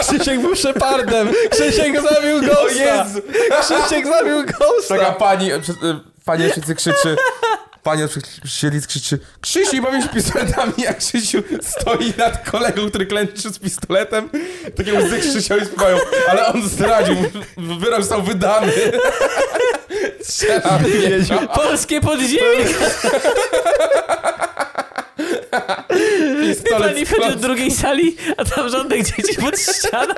Krzysiek był szepardem. Krzysiek zabił O Jezu! Krzysiek zabił ghosta. Taka pani, e, przez- e, pani od siedlicy krzyczy, pani od siedlicy krzyczy, Krzysiu, nie bawisz pistoletami, jak Krzysiu stoi nad kolegą, który klęczy z pistoletem. Takie łzy Krzysia i spływają, ale on zdradził, wyrok został wydany. Strzelam. Polskie podziemie! Wie Pistolet pani w wchodzi klatce. do drugiej sali, a tam żadnych dzieci pod ścianą.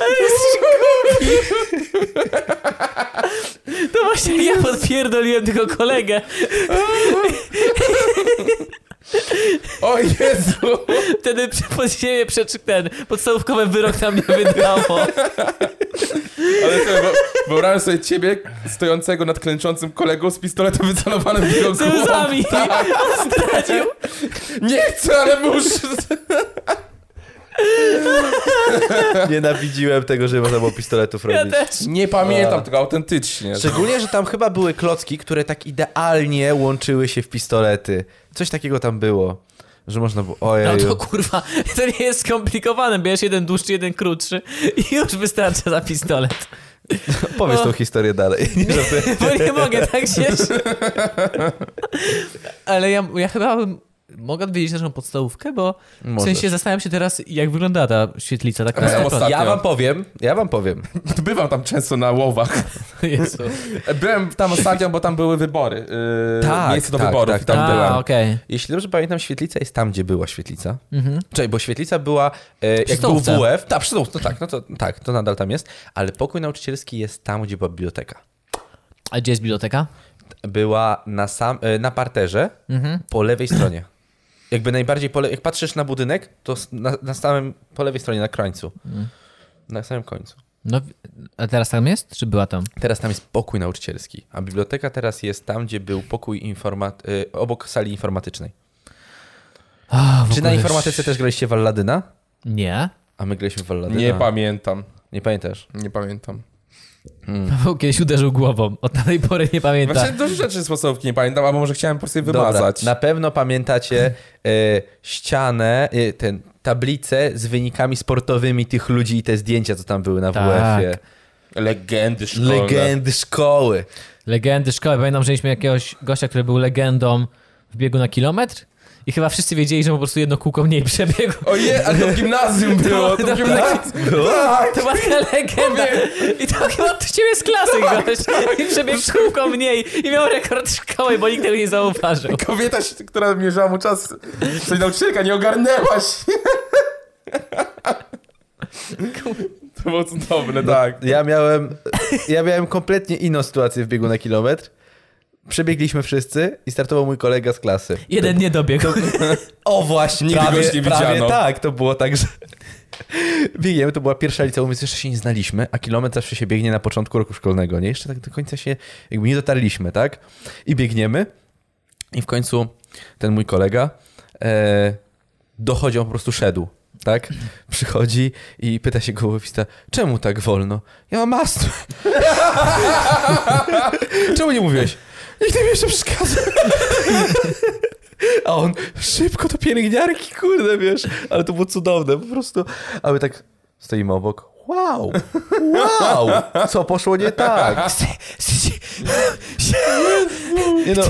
Ale jesteś głupi. To właśnie ja podpierdoliłem tylko kolegę. O Jezu! Wtedy pod siebie przeczy ten podstawówkowy wyrok tam nie wydało. Ale sobie, bo- wyobrażam sobie ciebie stojącego nad klęczącym kolegą z pistoletem wycelowanym w jego Z głowę. łzami. Zdradził. Nie chcę, ale muszę. Nienawidziłem tego, że można było pistoletów Ja robić. też. Nie pamiętam tego autentycznie. Szczególnie, że tam chyba były klocki, które tak idealnie łączyły się w pistolety. Coś takiego tam było, że można było... No Ojej. to kurwa, to nie jest skomplikowane. Bierzesz jeden dłuższy, jeden krótszy i już wystarcza za pistolet. Powiedz tą historię dalej. Nie żartuję. Bo nie mogę tak się... Ale ja, ja chyba bym... Mogę odwiedzić naszą podstawówkę, bo w Możesz. sensie zastanawiam się teraz, jak wygląda ta świetlica tak Ja mam naprawdę. ostatnio. Ja wam powiem, ja wam powiem. Bywam tam często na łowach. Jezu. Byłem tam ostatnio, bo tam były wybory. Yy, Tak, miejsce do tak, wyborów tak, i tam tak. byłem. A, okej. Jeśli dobrze pamiętam, świetlica jest tam, gdzie była świetlica. Czyli, bo świetlica była, e, jak był stołówce. WF, tak, przy stołówce, no tak, no to, tak, to nadal tam jest, ale pokój nauczycielski jest tam, gdzie była biblioteka. A gdzie jest biblioteka? Była na, sam, e, na parterze, po lewej stronie. Jakby najbardziej, po le- jak patrzysz na budynek, to s- na, na samym, po lewej stronie, na krańcu. Na samym końcu. No, a teraz tam jest? Czy była tam? Teraz tam jest pokój nauczycielski, a biblioteka teraz jest tam, gdzie był pokój informat- e, obok sali informatycznej. A, w Czy na ogóle- informatyce też graliście w Alladyna? Nie. A my graliśmy w Alladyna. Nie pamiętam. Nie pamiętasz? Nie pamiętam. Paweł kiedyś uderzył głową. Od tej pory nie pamięta. Właśnie dużo rzeczy z podstawówki nie pamiętam, albo może chciałem po prostu je wymazać. tak. na pewno pamiętacie e, ścianę, e, ten, tablicę z wynikami sportowymi tych ludzi i te zdjęcia, co tam były na Tak. WF-ie. Legendy szkolne. Legendy szkoły. Legendy szkoły. Pamiętam, że mieliśmy jakiegoś gościa, który był legendą w biegu na kilometr i chyba wszyscy wiedzieli, że po prostu jedno kółko mniej przebiegł. O je, ale to w gimnazjum Tak, było. To w to- gimnazjum. Tak, To była ta legenda. I to chyba od ciebie z klasy gość. I przebiegł kółko mniej i miał rekord szkoły, bo nikt tego nie zauważył. Kobieta, się- która mierzała mu czas, coś nauczycielka, nie ogarnęłaś. To było cudowne, tak. No, Ja miałem, ja miałem kompletnie inną sytuację w biegu na kilometr. Przebiegliśmy wszyscy i startował mój kolega z klasy. Jeden nie dobiegł. O właśnie, Nigdy prawie, goś nie prawie widziano. tak, to było tak, że biegniemy, to była pierwsza liceum, więc jeszcze się nie znaliśmy, a kilometr zawsze się biegnie na początku roku szkolnego, nie? Jeszcze tak do końca się jakby nie dotarliśmy, tak? I biegniemy i w końcu ten mój kolega e, dochodzi, on po prostu szedł. tak? Przychodzi i pyta się gołowista, czemu tak wolno? Ja mam astmę. czemu nie mówiłeś? Nikt mi jeszcze przeszkadza. A on szybko do pielęgniarki, kurde, wiesz. Ale to było cudowne, po prostu. A my tak stoimy obok. Wow! Wow! Co poszło nie tak? Nie no,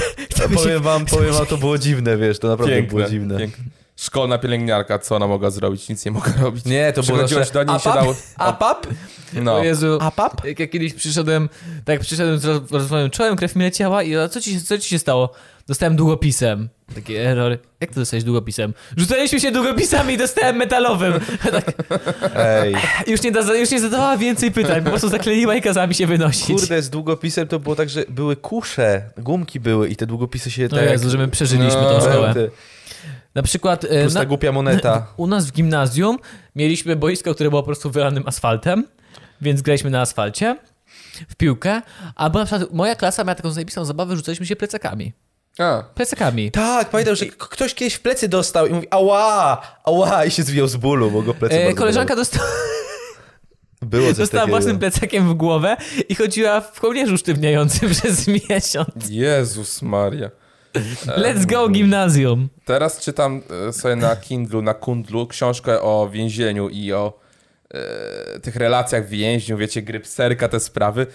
powiem wam, powiem wam, to było dziwne, wiesz, to naprawdę było dziwne. piękne. Szkolna pielęgniarka, co ona mogła zrobić? Nic nie mogła robić. Nie, to było Przychodziłaś nasze... do niej i się apap? dało... Apap? No. O Jezu. Apap? Jak ja kiedyś przyszedłem, tak przyszedłem z roz- rozwojem czołem, krew mi leciała i a co ci, się- co ci się stało? Dostałem długopisem. Taki error. Jak to dostałeś długopisem? Rzucaliśmy się długopisami i dostałem metalowym. Tak, Ej. już, nie da, już nie zadawała więcej pytań, po prostu zakleiła i kazała mi się wynosić. Kurde, z długopisem to było tak, że były kusze, gumki były i te długopisy się No tak... Jezu, że my przeżyliśmy No, tą szkołę. Ty, Na przykład e, Plus ta na, głupia moneta. u nas w gimnazjum mieliśmy boisko, które było po prostu wylanym asfaltem, więc graliśmy na asfalcie w piłkę, a była na przykład, moja klasa miała taką zajebistą zabawę, rzucaliśmy się plecakami. A, Plecakami. Tak, pamiętam, że k- ktoś kiedyś w plecy dostał i mówi ała, ała i się zwijał z bólu, bo go plecy E, bardzo koleżanka dostała, bolały. Było coś dostała takiego. własnym plecakiem w głowę i chodziła w kołnierzu sztywniającym przez miesiąc. Jezus Maria. Tak. Let's go gimnazjum. Teraz czytam e, sobie na Kindlu, na Kundlu książkę o więzieniu i o e, tych relacjach więźniów, wiecie, grypserka, te sprawy.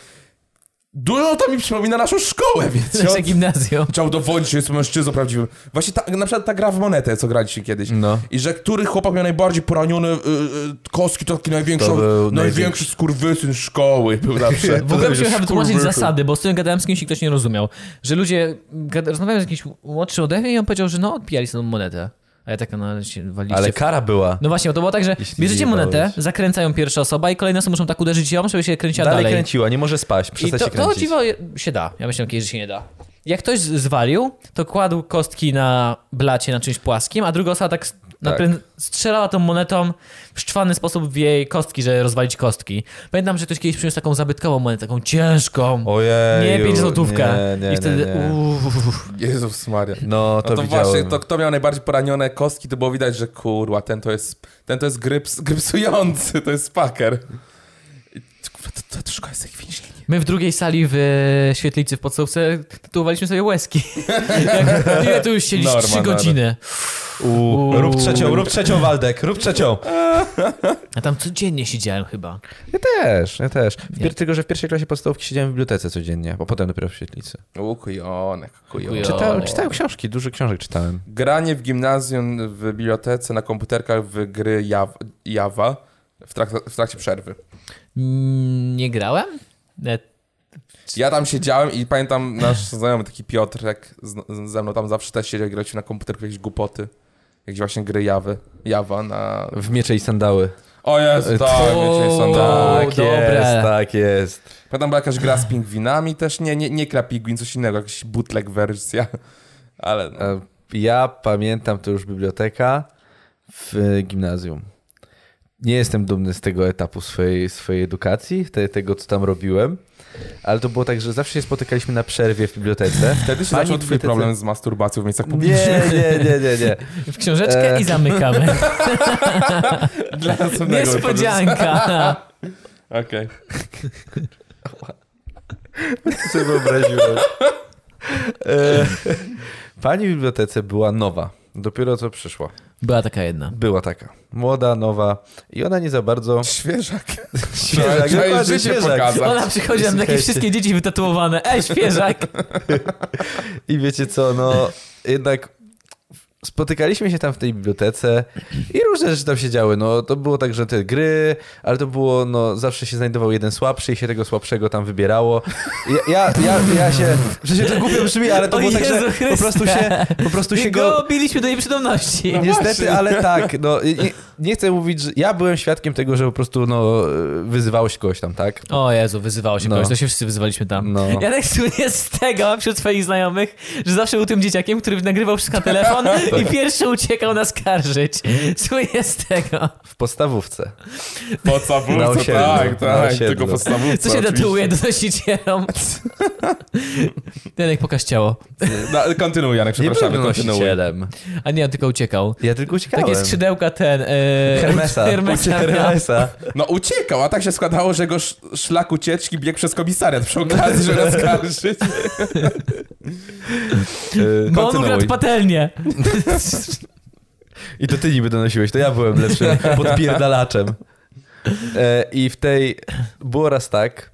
Dużo to mi przypomina naszą szkołę, wiecie. Nasze On gimnazjum. Chciał dowodzić, że jest mężczyzną prawdziwym. Właśnie ta, na przykład ta gra w monetę, co graliście kiedyś. No. I że który chłopak miał najbardziej poranione y, y, kostki, to taki największy, To był największy. największy skurwysyn szkoły był zawsze. W ogóle Powiedział, musiałem że wytłumaczyć wkurwy- zasady, bo z tym gadałem z kimś i ktoś nie rozumiał. Że ludzie, gada- rozmawiałem z jakimś młodszym ode mnie i on powiedział, że no odbijali sobie monetę. A ja tak no, ale się waliście Ale w kara była. No właśnie, bo to było tak, że Jeśli bierzecie nie monetę, dałeś. zakręcają pierwsza osoba i kolejne osoby muszą tak uderzyć ją, żeby się kręciła dalej, dalej. kręciła, nie może spać, I przestać to, się to kręcić. dziwo je- się da. Ja myślałem kiedyś, że się nie da. Jak ktoś z- zwalił, to kładł kostki na blacie, na czymś płaskim, a druga osoba tak, s- naprę- strzelała tą monetą w szczwany sposób w jej kostki, żeby rozwalić kostki. Pamiętam, że ktoś kiedyś przyniósł taką zabytkową monetę, taką ciężką. Ojej. nie pięć złotówkę. Nie, nie, I wtedy nie, nie. uff. Jezus Maria. No, to, No to widziałem. właśnie, to kto miał najbardziej poranione kostki, to było widać, że kurwa, ten to jest, ten to jest gryps, grypsujący, to jest spaker. I Kurwa, to, to, to szkoda jest jak więzienie. My w drugiej sali w e, świetlicy w podstawce tatuowaliśmy sobie łezki. Jak- Ile tu już siedzisz? Norma, Trzy norma. godziny. U, rób trzecią, rób trzecią, Waldek, rób trzecią. Ja tam codziennie siedziałem chyba. Ja też, ja też. W pier- tylko, że w pierwszej klasie podstawówki siedziałem w bibliotece codziennie, a potem dopiero w świetlicy. O, kujonek, kujonek. Kujonek. Czytałem, O. czytałem książki, dużo książek czytałem. Granie w gimnazjum, w bibliotece, na komputerkach w gry Jaw- Java w, trak- w trakcie przerwy. Mm, Nie grałem? E, Ja tam siedziałem i pamiętam nasz znajomy taki Piotrek z, ze mną tam zawsze też siedział i graliśmy na komputerku jakieś głupoty. Jakieś właśnie gry Jawy. Jawa na... W miecze i sandały. O E, Jezu, tak, wiecie, są tak. Tak dobre. jest, tak jest. Potem była jakaś gra z pingwinami też, nie, nie, nie krapigwin, coś innego, jakaś bootleg wersja. Ale no. E, Ja pamiętam to już biblioteka w e, gimnazjum. Nie jestem dumny z tego etapu swojej, swojej edukacji, te, tego co tam robiłem, ale to było tak, że zawsze się spotykaliśmy na przerwie w bibliotece. wtedy się Pani zaczął twój bibliotece- problem z masturbacją w miejscach publicznych. Nie, nie, nie, nie, nie. W książeczkę E. i zamykamy. Dla następnego Niespodzianka. wypadku. Okej. Co sobie wyobraziłem. E, Pani w bibliotece była nowa, dopiero co przyszła. Była taka jedna. Była taka, młoda, nowa i ona nie za bardzo... Świeżak. Świeżak, Trzeba jej dokładnie życie świeżak. pokazać. Ona przychodzi nam takie Słuchajcie. wszystkie dzieci wytatuowane. Ej, świeżak! I wiecie co, no jednak spotykaliśmy się tam w tej bibliotece i różne rzeczy tam się działy. No to było tak, że te gry, ale to było, no zawsze się znajdował jeden słabszy i się tego słabszego tam wybierało. Ja, ja, ja, ja się, że się to głupio brzmi, ale to O było tak, Jezu że po Chryste. prostu się, po prostu się I go... No. go biliśmy do nieprzytomności. Niestety, ale tak, no, i- nie, nie chcę mówić, że ja byłem świadkiem tego, że po prostu no, wyzywało się kogoś tam, tak? O Jezu, wyzywało się No. kogoś, to się wszyscy wyzywaliśmy tam. No. Ja tak słynie z tego wśród swoich znajomych, że zawsze był tym dzieciakiem, który nagrywał wszystko na telefon i pierwszy uciekał nas karżyć. Słynie z tego. W podstawówce. Na Podstawówce, osiedlu, tak, na tak. osiedlu. Tylko podstawówce. Co się oczywiście. tatuuje donosicielom? Janek, pokaż ciało. No, kontynuuj, Janek, Nie byłem przepraszamy, kontynuuj. nosicielem. A nie, on tylko uciekał. Ja tylko uciekałem. Takie skrzydełka ten, e, Eee, Hermesa. Hermesa. tak. Hermesa. No uciekał, a tak się składało, że jego sz szlak ucieczki biegł przez komisariat przy okazji, żeby rozkarżyć. Yy, Bo on ukradł kontynuuj. patelnię. I to ty niby donosiłeś, to ja byłem lepszym podpierdalaczem. E, I w tej było raz tak,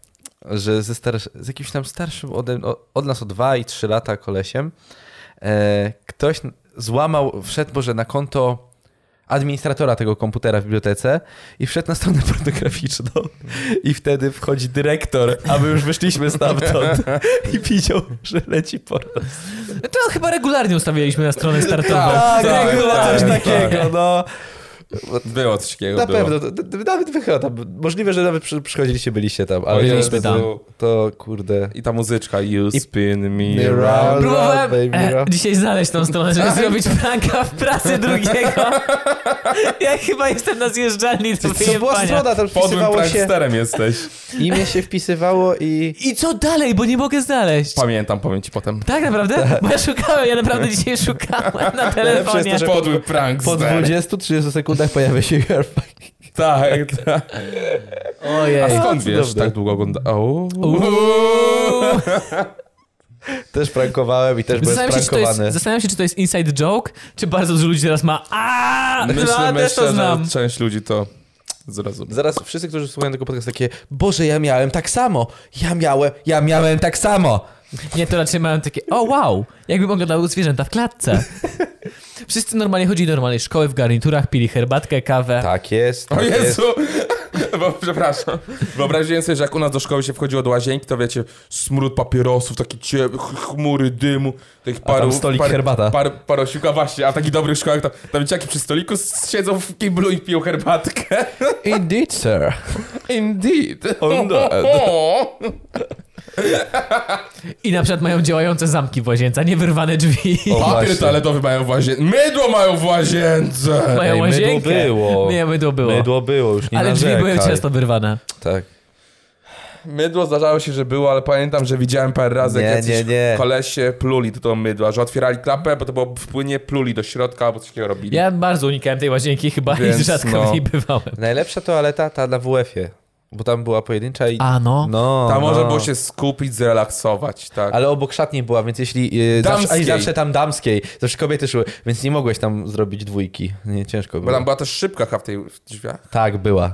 że ze starsz... z jakimś tam starszym ode... o- od nas o 2 i 3 lata kolesiem e, ktoś złamał, wszedł może na konto administratora tego komputera w bibliotece i wszedł na stronę pornograficzną i wtedy wchodzi dyrektor, a my już wyszliśmy stamtąd i widział, że leci porno. To No chyba regularnie ustawialiśmy na stronę startową. Tak, tak, było tak, coś tak. takiego, no. Było coś takiego. Na było. pewno, to- to- to- nawet wy chyba tam, możliwe, że nawet przy, przychodziliście, byliście tam, ale O Jezu. Byliśmy tam. to kurde. I ta muzyczka, you I- spin me Mirror. around. Próbowałem Baby e, Rock. dzisiaj znaleźć tą stronę, Tak. żeby zrobić pranka w pracy drugiego. Ja chyba jestem na zjeżdżalni do To była wyjebania. strona, tam Podłym wpisywało się, pranksterem jesteś. imię się wpisywało i... I co dalej, bo nie mogę znaleźć. Pamiętam, powiem ci potem. Tak naprawdę? Bo ja szukałem, ja naprawdę dzisiaj szukałem na telefonie. że- Podły prankster. Po 20-30 sekundach pojawia się Your Fucking- Tak, tak. Ojej. A skąd wiesz, Cudowne. tak długo oglądałem? Uuu. Też prankowałem i też byłem Zastanawiam się, czy to jest, prankowany. zastanawiam się, czy to jest inside joke, czy bardzo dużo ludzi teraz ma aaa, Myślę, no, też myślę, to że znam. część ludzi to zrozumie. Zaraz wszyscy, którzy słuchają tego podcastu takie, Boże, ja miałem tak samo, ja miałem, ja miałem tak samo. Nie, to raczej mają takie, o wow, jakbym oglądał zwierzęta w klatce. Wszyscy normalnie chodzili do normalnej szkoły w garniturach, pili herbatkę, kawę. Tak jest, tak O jest. Jezu! Bo, przepraszam. Wyobraziłem sobie, że jak u nas do szkoły się wchodziło do łazienki, to wiecie, smród papierosów, takie cie- ch- chmury dymu, tych tam paru... stolik par, herbata. Par, parosiłka, właśnie, a w takich dobrych szkołach to, tam dzieciaki przy stoliku s- siedzą w kiblu i piją herbatkę. Indeed, sir. Indeed. I na przykład mają działające zamki w łazience, a nie wyrwane drzwi. O, właśnie. Papier toaletowy mają w łazience. Mydło mają w łazience! mają Ej, łazienkę. mydło było. Nie, mydło było. Mydło było, już nie Ale drzwi były narzekaj. często wyrwane. Tak. Mydło zdarzało się, że było, ale pamiętam, że widziałem parę razy, Nie, jak jacyś nie, nie. kolesie pluli do tego mydła, że otwierali klapę, bo to było wpłynie, pluli do środka albo coś takiego robili. Ja bardzo unikałem tej łazienki chyba Więc i rzadko no. w niej bywałem. Najlepsza toaleta ta na WF-ie, bo tam była pojedyncza i... A no. No, Tam no. można było się skupić, zrelaksować, tak. Ale obok szatni była, więc jeśli... Yy, zawsze, a i Damskiej. zawsze tam damskiej. Zawsze kobiety szły, więc nie mogłeś tam zrobić dwójki. Nie, ciężko Bo było. tam była też szybka ha w tej w drzwiach, Tak, była.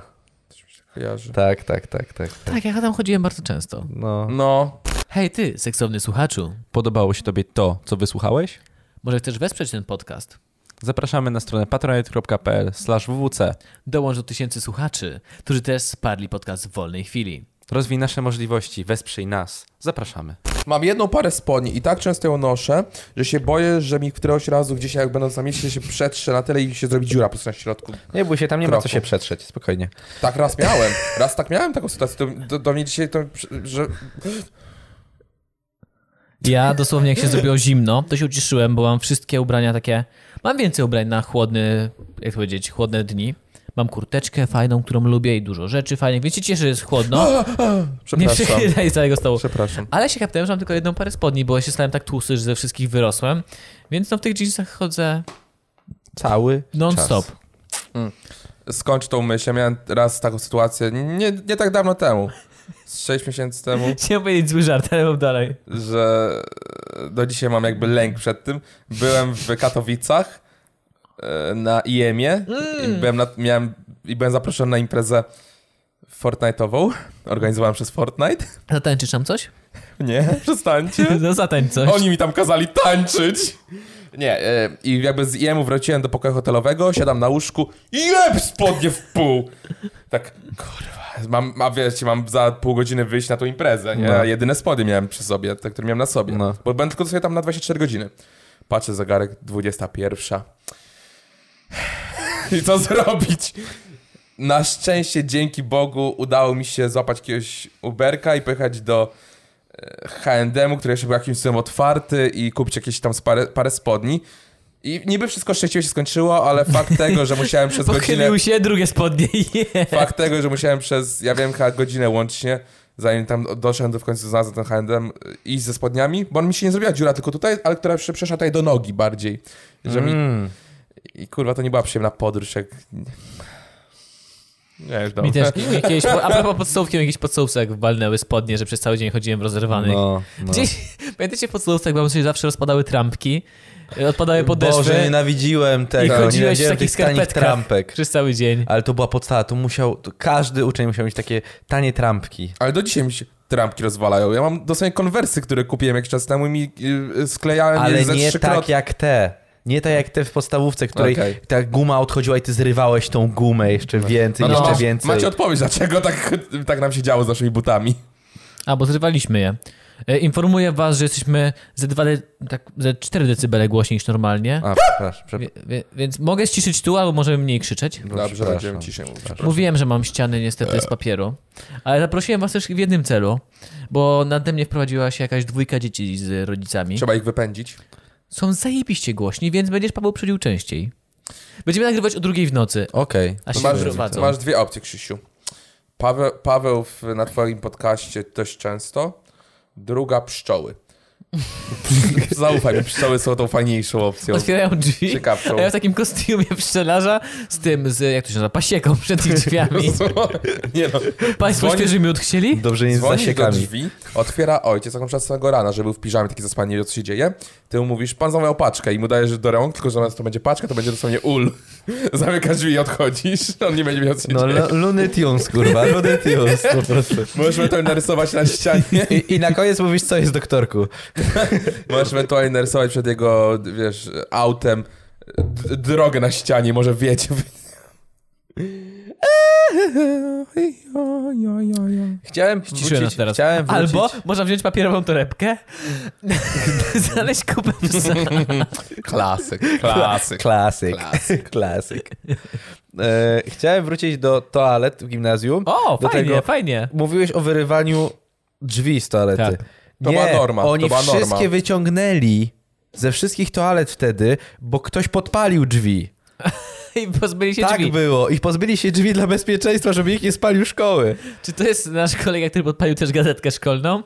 kojarzy. Tak, tak, tak, tak. Tak, ja tam chodziłem bardzo często. No. No, Hej ty, seksowny słuchaczu, Podobało się tobie to, co wysłuchałeś? może chcesz wesprzeć ten podcast? Zapraszamy na stronę patronite.pl slash wwc. Dołącz do tysięcy słuchaczy, którzy też sparli podcast w wolnej chwili. Rozwij nasze możliwości, wesprzyj nas. Zapraszamy. mam jedną parę spodni i tak często ją noszę, że się boję, że mi któregoś razu gdzieś jak będąc na mieście się przetrze na tyle i się zrobi dziura po prostu na środku. Nie bój się, tam nie ma Kroku. co się przetrzeć, spokojnie. Tak raz miałem, raz tak miałem taką sytuację, do, do, do mnie dzisiaj to, że... Ja dosłownie jak się zrobiło zimno, to się uciszyłem, bo mam wszystkie ubrania takie... Mam więcej ubrań na chłodny, jak to powiedzieć, chłodne dni. Mam kurteczkę fajną, którą lubię i dużo rzeczy fajnych, więc się cieszę, że jest chłodno. Nie Przepraszam, przychylaj całego stołu. przepraszam. Ale się kaptałem, że mam tylko jedną parę spodni, bo ja się stałem tak tłusty, że ze wszystkich wyrosłem. Więc no w tych jeansach chodzę Cały non-stop. czas. skończ tą myśl. Ja miałem raz taką sytuację, nie, nie tak dawno temu, z 6 miesięcy temu, Chciałem powiedzieć zły żart, ale mam dalej. że do dzisiaj mam jakby lęk przed tym. Byłem w Katowicach e, na IEM-ie i, byłem na, miałem, i byłem zaproszony na imprezę Fortnite'ową, organizowaną przez Fortnite. Zatańczysz tam coś? Nie, przestańcie. No zatańcz coś. Oni mi tam kazali tańczyć. Nie, e, i jakby z IEM-u wróciłem do pokoju hotelowego, siadam na łóżku i jeb spodnie w pół. Tak, kurwa, mam, a wiecie, mam za pół godziny wyjść na tą imprezę, nie? No. A Jedyne spodnie miałem przy sobie, te, które miałem na sobie. No. Bo będę tylko sobie tam na 24 godziny. Patrzę zegarek, 21. I co zrobić? Na szczęście, dzięki Bogu, udało mi się złapać jakiegoś Uberka i pojechać do e, H&M, który jeszcze był jakimś cudem otwarty i kupić jakieś tam parę, parę spodni. I niby wszystko szczęśliwie się skończyło, ale fakt tego, że musiałem przez godzinę... Pochylił się, drugie spodnie je. Fakt tego, że musiałem przez, ja wiem, chyba godzinę łącznie, zanim tam doszedłem do w końcu znalazłem ten H&M, iść ze Mm. spodniami, bo on mi się nie zrobiła dziura tylko tutaj, ale która się przeszła tutaj do nogi bardziej. Że mi, I kurwa, to nie była przyjemna podróż, jak... Nie, już Mi dobrze. też jakieś, a propos podstawki, jakieś podstawce, jak walnęły spodnie, że przez cały dzień chodziłem w rozerwanych. No, no. Gdzieś, pamiętacie w podstawce, jak wam się zawsze rozpadały trampki, E, odpadały podeszwy E, Boże, nienawidziłem tego. i chodziłeś w nienawidziłem takich tych tanich skarpetkach trampek. przez cały dzień. Ale to była podstawa, to musiał, to każdy uczeń musiał mieć takie tanie trampki. Ale do dzisiaj mi się trampki rozwalają. Ja mam dosłownie konwersy, które kupiłem jakiś czas temu i mi y, y, sklejałem je Ale ze nie trzykrotnie. tak jak te. Nie tak jak te w podstawówce, w której Okej. ta guma odchodziła i ty zrywałeś tą gumę jeszcze więcej, No, jeszcze masz- więcej. Macie odpowiedź, dlaczego tak, tak nam się działo z naszymi butami. A, bo zrywaliśmy je. E, Informuję was, że jesteśmy ze 2, tak, ze 4 decybele głośniej niż normalnie, A, przepraszam, przepraszam. wie, wie, więc mogę ściszyć tu, albo możemy mniej krzyczeć. Dobrze, przepraszam. będziemy ciszej mówić. Mówiłem, że mam ściany E. niestety z papieru, ale zaprosiłem was też w jednym celu, bo nade mnie wprowadziła się jakaś dwójka dzieci z rodzicami. Trzeba ich wypędzić. Są zajebiście głośni, więc będziesz Paweł przychodził częściej. Będziemy nagrywać o drugiej w nocy, Okej. a To się Masz, wyprowadzą. masz dwie opcje, Krzysiu. Paweł, Paweł w, na twoim podcaście dość często. Druga pszczoły. Zaufaj mi, pszczoły są tą fajniejszą opcją. Otwierają drzwi, Ciekawszą. a ja w takim kostiumie pszczelarza z tym, z, jak to się nazywa, pasieką przed ich drzwiami. tak- Nie no. Państwo Dzwoni- świeży miód chcieli? Dobrze nie z Dzwonisz do zasiekami. drzwi, otwiera ojciec, tak na przykład samego rana, że był w piżamie, taki zaspany, nie wiedział, co się dzieje. Ty mu mówisz, pan zamawiał paczkę i mu dajesz do rąk, tylko że zamiast to będzie paczka, to będzie dosłownie ul. Zamykasz drzwi i odchodzisz, on nie będzie wiedział, co się No dzieje. lu- Looney Tunes, kurwa, Looney Tunes. po prostu. Możesz ewentualnie narysować na ścianie. I, I na koniec mówisz, co jest doktorku. Możesz ewentualnie narysować przed jego, wiesz, autem d- drogę na ścianie, może wiecie. Chciałem Ciszyłem nas wrócić, teraz. chciałem wrócić. Albo można wziąć papierową torebkę, znaleźć kupę psa. Klasyk, klasyk. Klasyk. Klasyk. E, chciałem wrócić do toalet w gimnazjum. O, do fajnie, tego- fajnie. Mówiłeś o wyrywaniu drzwi z toalety. Tak. To nie, była norma, to Oni była norma. wszystkie wyciągnęli ze wszystkich toalet wtedy, bo ktoś podpalił drzwi. I pozbyli się tak drzwi. było. I pozbyli się drzwi dla bezpieczeństwa, żeby ich nie spalił szkoły. Czy to jest nasz kolega, który podpalił też gazetkę szkolną?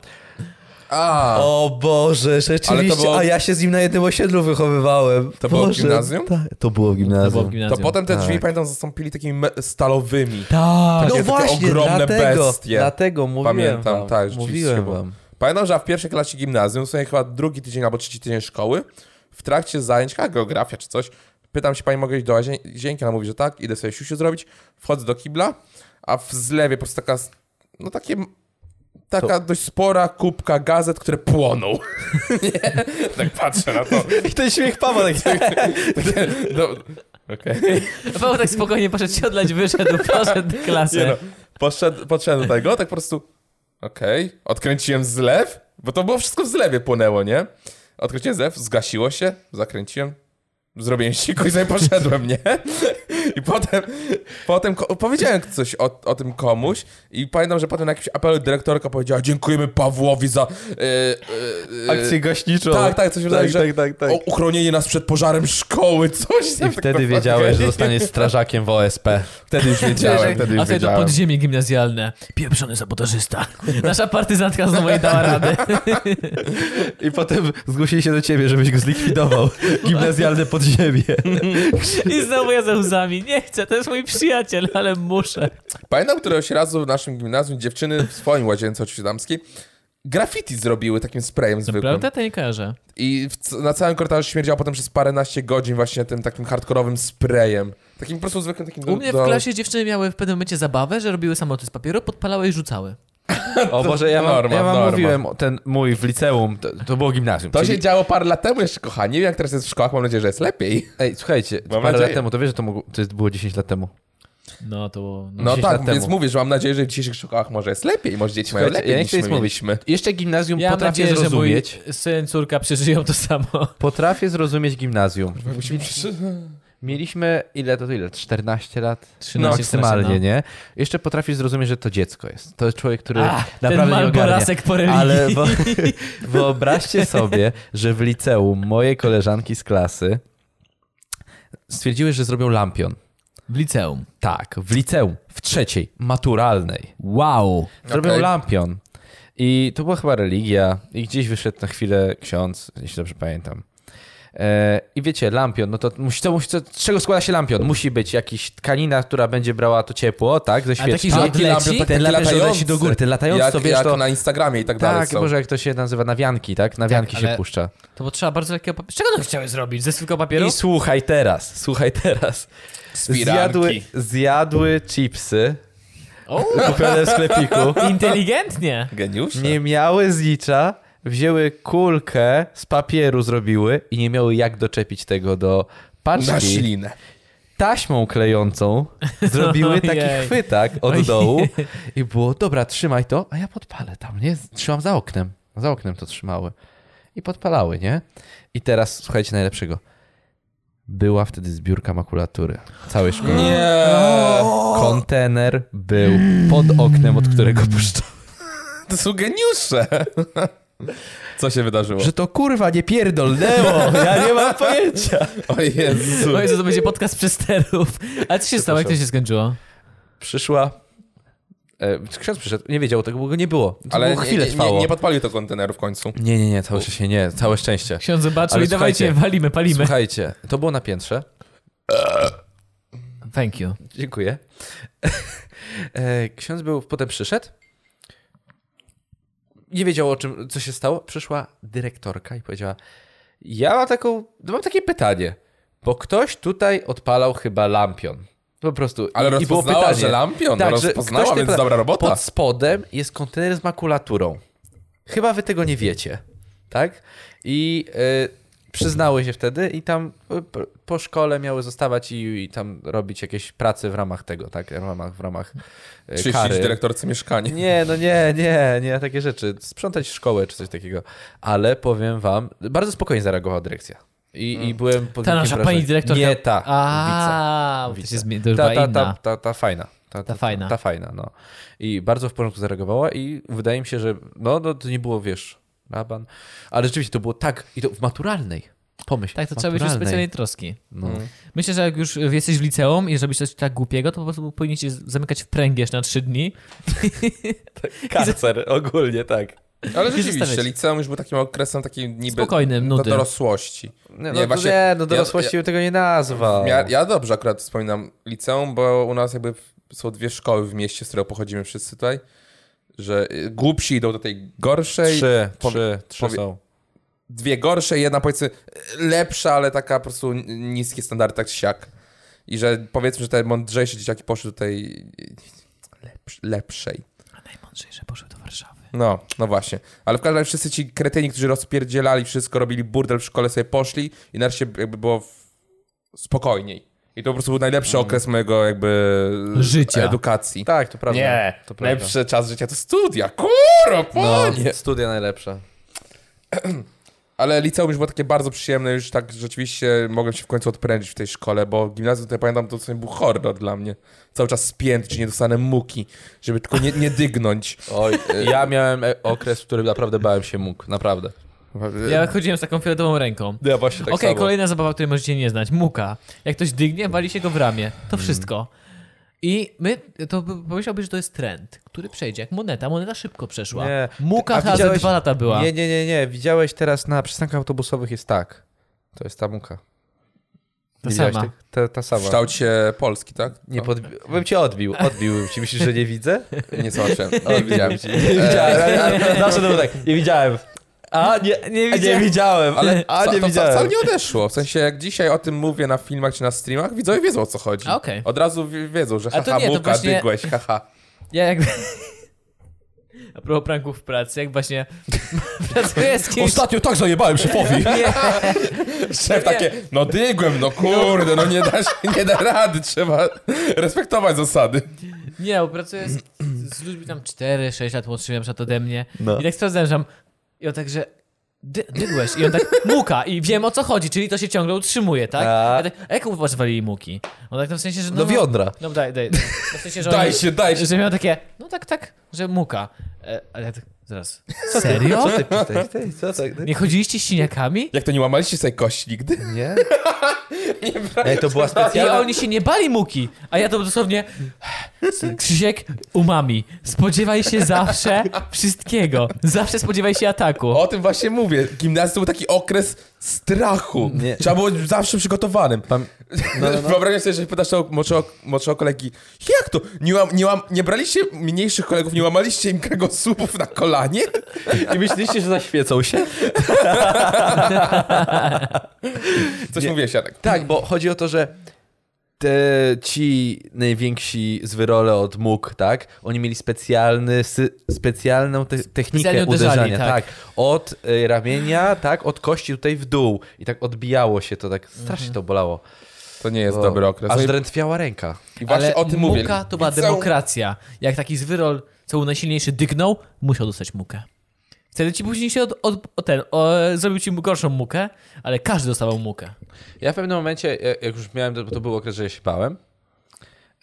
A, O Boże, rzeczywiście. było- A ja się z nim na jednym osiedlu wychowywałem. To było w Boże, gimnazjum? ta- to było w To było gimnazjum. w to gimnazjum. potem te drzwi, Tak. pamiętam, zastąpili takimi me- stalowymi. Tak. takie no właśnie, ogromne dlatego, bestie. dlatego mówiłem Pamiętam, wam. tak, rzeczywiście mówiłem było. wam. Pamiętam, że w pierwszej klasie gimnazjum, w sumie chyba drugi tydzień albo trzeci tydzień szkoły, w trakcie zajęć, chyba geografia czy coś, pytam się pani, mogę iść do łazienki? Ona mówi, że tak, idę sobie siusiu zrobić, wchodzę do kibla, a w zlewie po prostu taka, s- no takie, taka dość spora kubka gazet, które płoną. Nie? Tak patrzę na to. I ten śmiech Pawła taki. Takie, no, okej. Paweł tak spokojnie poszedł się odlać, wyszedł, poszedł do Nie no, klasy. poszedł, podszedłem do tego, tak po prostu, okej, odkręciłem zlew, bo to było wszystko w zlewie płonęło, nie? Odkręciłem zlew, zgasiło się, zakręciłem, zrobiłem siku i sobie poszedłem, nie? I potem, potem ko- powiedziałem coś o, o tym komuś i pamiętam, że potem na jakimś apelu dyrektorka powiedziała, dziękujemy Pawłowi za... e, e, e, Akcję gaśniczą. tak, tak, coś tak, wydaje, tak, że tak, tak, tak. O, uchronienie nas przed pożarem szkoły, coś tam I tak wtedy naprawdę. wiedziałeś, że zostaniesz strażakiem w OSP. Wtedy już wiedziałem, wtedy A już wtedy to wiedziałem. podziemie gimnazjalne. Pieprzony sabotażysta. Nasza partyzantka znowu nie dała rady. I potem zgłosili się do ciebie, żebyś go zlikwidował. Gimnazjalne podziemie. I znowu ja za łzami. Nie chcę, to jest mój przyjaciel, ale muszę. Pamiętam któregoś razu w naszym gimnazjum dziewczyny w swoim łazience oczywiście damskiej graffiti zrobiły takim sprayem zwykłym. Prawda? To nie kojarzę. I w, c- na całym korytarzu śmierdziało potem przez paręnaście godzin właśnie tym takim hardkorowym sprayem. Takim po prostu zwykłym takim... No, U mnie w klasie dziewczyny miały w pewnym momencie zabawę, że robiły samoloty z papieru, podpalały i rzucały. O Boże, ja wam, Norma, ja wam norma. mówiłem, o ten mój w liceum, to, to było gimnazjum. To się czyli- działo parę lat temu jeszcze, kochani. Nie wiem, jak teraz jest w szkołach, mam nadzieję, że jest lepiej. Ej, słuchajcie, Mam parę lat nadzieję. temu, to wiesz, że to, mogło, to jest, było 10 lat temu. No to było... No. No 10 tak, lat więc temu. mówię, że mam nadzieję, że w dzisiejszych szkołach może jest lepiej. Może dzieci mają Słuchajcie, lepiej ja nie niż chcę nic my mówić. mieliśmy. Jeszcze gimnazjum Ja mam potrafię nadzieję, że mój zrozumieć. syn, córka przeżyją to samo. Potrafię zrozumieć gimnazjum. Musimy przy- Mieliśmy, ile to, to ile? 14 lat? 13, maksymalnie, 14, nie? Jeszcze potrafisz zrozumieć, że to dziecko jest. To jest człowiek, który A, ten naprawdę nie ogarnia. malborasek po religii. Ale wo- wyobraźcie sobie, że w liceum moje koleżanki z klasy stwierdziły, że zrobią lampion. W liceum. Tak, w liceum, w trzeciej, maturalnej. Wow. Zrobią Okej. lampion. I to była chyba religia. I gdzieś wyszedł na chwilę ksiądz, jeśli dobrze pamiętam. E, I wiecie, lampion, no to, musi, to, musi, to z czego składa się lampion? Musi być jakiś tkanina, która będzie brała to ciepło, tak, ze taki, świeczki. że Taki odleci? lampion, taki Ten lampion, że latający. leci do góry, ten latający, jak, to wiesz, jak to- na Instagramie i tak, dalej Tak, są. Boże, jak to się nazywa, nawianki, tak? Nawianki się ale- puszcza. To potrzeba bardzo lekkiego papieru. Czego one chciały zrobić? Ze swojego papieru? I słuchaj teraz, słuchaj teraz. Spiranki. Zjadły, zjadły chipsy O, kupione w sklepiku. inteligentnie. Geniusze. Nie miały zlicza, wzięły kulkę z papieru zrobiły i nie miały jak doczepić tego do Na paczki. ślinę. Taśmą klejącą zrobiły taki Ojej. chwytak od Ojej. dołu i było, dobra, trzymaj to, a ja podpalę tam, nie? Trzymam za oknem. Za oknem to trzymały. I podpalały, nie? I teraz, słuchajcie najlepszego. Była wtedy zbiórka makulatury całej szkoły. Nie. No. Kontener był pod oknem, od którego puszczono. To są geniusze. Co się wydarzyło? Że to kurwa nie pierdolnęło, ja nie mam pojęcia. O Jezu. O Jezu, to będzie podcast przesterów. Ale co się stało? Jak to się skończyło? Przyszła. E, ksiądz przyszedł, nie wiedział tego, bo go nie było. To Ale było nie, chwilę nie, nie, trwało. nie podpalił to konteneru w końcu. nie, nie, nie, całe szczęście, nie, całe szczęście. Ksiądz zobaczył Ale i dawajcie, słuchajcie. walimy, palimy. Słuchajcie, to było na piętrze. Thank you. Dziękuję. E, Ksiądz był, potem przyszedł. Nie wiedział o czym, co się stało. Przyszła dyrektorka i powiedziała: Ja mam taką, mam takie pytanie, bo ktoś tutaj odpalał chyba lampion. Po prostu. Ale I, i było rozpoznała, pytanie. że lampion. Tak, że rozpoznała, ktoś więc tutaj- dobra robota. Pod spodem jest kontener z makulaturą. Chyba wy tego nie wiecie, tak? I y, przyznały się wtedy i tam y, p- po szkole miały zostawać i, i tam robić jakieś prace w ramach tego, tak? W ramach, w ramach y, Czyścić kary. dyrektorce mieszkanie. Nie, no nie, nie, nie, takie rzeczy. Sprzątać szkołę czy coś takiego. Ale powiem wam, bardzo spokojnie zareagowała dyrekcja. I, i byłem pod Ta wielkim nasza wrażeniem. pani dyrektorka. Nie ta, wica. A, to, Wica. się zmie- to już Ta, była ta, inna. ta, ta, ta fajna. Ta fajna. Ta fajna, no. I bardzo w porządku zareagowała i wydaje mi się, że no, no to nie było, wiesz, raban. Ale rzeczywiście to było tak i to w maturalnej. Pomyśl. Tak, to w trzeba być już maturalnej. specjalnej troski. No. Myślę, że jak już jesteś w liceum i zrobisz coś tak głupiego, to po prostu powinniście zamykać w pręgierz na trzy dni. Karcer ogólnie, tak. Ale Gdzie się rzeczywiście, stawiać? liceum już był takim okresem takim niby... Spokojnym, do nudy. dorosłości. No, Nie, no, właśnie- nie, no ja- dorosłości bym tego nie nazwał. Ja, ja dobrze akurat wspominam liceum, bo u nas jakby w- są dwie szkoły w mieście, z którego pochodzimy wszyscy tutaj, że y, głupsi idą do tej gorszej, Trzy, po- trzy, trzy powie- są. dwie gorsze, jedna powiedzmy y, lepsza, ale taka po prostu n- niskie standardy, tak czy siak. I że powiedzmy, że te mądrzejsze dzieciaki poszły do tej y, lepsz, lepszej. A najmądrzejsze poszły do Warszawy. No, no właśnie. Ale w każdym razie wszyscy ci kretyni, którzy rozpierdzielali wszystko, robili burdel w szkole, sobie poszli i nareszcie jakby było w... spokojniej. I to po prostu był najlepszy okres mojego jakby... Życia. Edukacji. Tak, to prawda. Nie, to prawda. najlepszy czas życia to studia, kurwa, No, panie! studia najlepsze. Ale liceum już było takie bardzo przyjemne, już tak rzeczywiście mogłem się w końcu odprężyć w tej szkole, bo gimnazjum tutaj pamiętam, to sobie był horror dla mnie. Cały czas spięty, czy nie dostanę muki, żeby tylko nie, nie dygnąć. Oj, ja miałem e- okres, w którym naprawdę bałem się mógł, naprawdę. Ja chodziłem z taką fioletową ręką. Ja właśnie tak Okej, kolejna zabawa, której możecie nie znać. Muka. Jak ktoś dygnie, wali się go w ramię. To Mm. wszystko. I my, to by- pomyślałbyś, że to jest trend, który przejdzie jak moneta. Moneta szybko przeszła. Nie. Muka A ta widziałeś- ze dwa lata była. Nie, nie, nie, nie. Widziałeś teraz na przystankach autobusowych jest tak. To jest ta muka. Ta Nie widziałeś sama. tych? Ta, ta W sama. kształcie Polski, tak? Nie podbi- bym cię odbił, odbiłbym cię. Myślisz, że nie widzę? Nie zobaczyłem, ale widziałem. E, Nie widziałem. Zawsze to było tak, nie widziałem. A, nie, nie widziałem. Nie widziałem, ale a, Wca- nie to wca- wcale widziałem. nie odeszło. W sensie, jak dzisiaj o tym mówię na filmach czy na streamach, widzowie wiedzą o co chodzi. A, okej. Od razu wi- wiedzą, że A to haha, nie, to muka, właśnie- dygłeś, haha. Ja jak... A propos pranków w pracy, jak właśnie pracuję z kimś... tak zajebałem szefowi. Nie. Szef takie, no dygłem, no kurde, no nie da, się, nie da rady, trzeba respektować zasady. Nie, bo pracuję z, z ludźmi tam 4-6 lat młodszymi na przykład ode mnie. I tak sprawdzałem, że mam- I on tak, że dy, dygłeś. I on tak, muka. I wiem o co chodzi, czyli to się ciągle utrzymuje, tak? A. A, tak, a jak u was walili muki? On tak no w sensie, że... No, Do wiodra. No, no daj, daj. No, w sensie, że Daj oni- się, daj się. Że miał takie, no tak, tak, że muka. E, ale ja tak, Zaraz. Serio? Ty, ty, ty, co tak? Nie chodziliście z siniakami? Jak to nie łamaliście sobie kości nigdy? Nie? Ej, to była I specjalna... oni się nie bali muki, a ja to dosłownie... Krzysiek, umami. Spodziewaj się zawsze wszystkiego. Zawsze spodziewaj się ataku. O tym właśnie mówię. Gimnazjum to był taki okres strachu. Nie. Trzeba było być zawsze przygotowanym. Pam... No, no, no. Wyobraź sobie, że pytasz o młodszego, młodszego kolegi, jak to? Nie, łam, nie, łam, nie braliście mniejszych kolegów, nie łamaliście im kręgosłupów na kolanie? I myśliście, że zaświecą się? Coś mówię, Siarek. No. Tak, bo chodzi o to, że te, ci najwięksi z wyrole od móg, tak? Oni mieli specjalny, sy, specjalną te, technikę Specjalnie uderzali, uderzania, tak. tak. Od y, ramienia, tak, od kości tutaj w dół. I tak odbijało się to, tak strasznie Mhm. to bolało. To nie jest Bo- dobry okres. Aż No i- drętwiała ręka. I właśnie Ale o tym muka mówię. to była Liceum- demokracja. Jak taki zwyrol, co był najsilniejszy, dygnął, musiał dostać mukę. Wtedy ci później się od, od, o ten, o, zrobił ci gorszą mukę, ale każdy dostawał mukę. Ja w pewnym momencie, ja- jak już miałem, to, to był okres, że ja się bałem.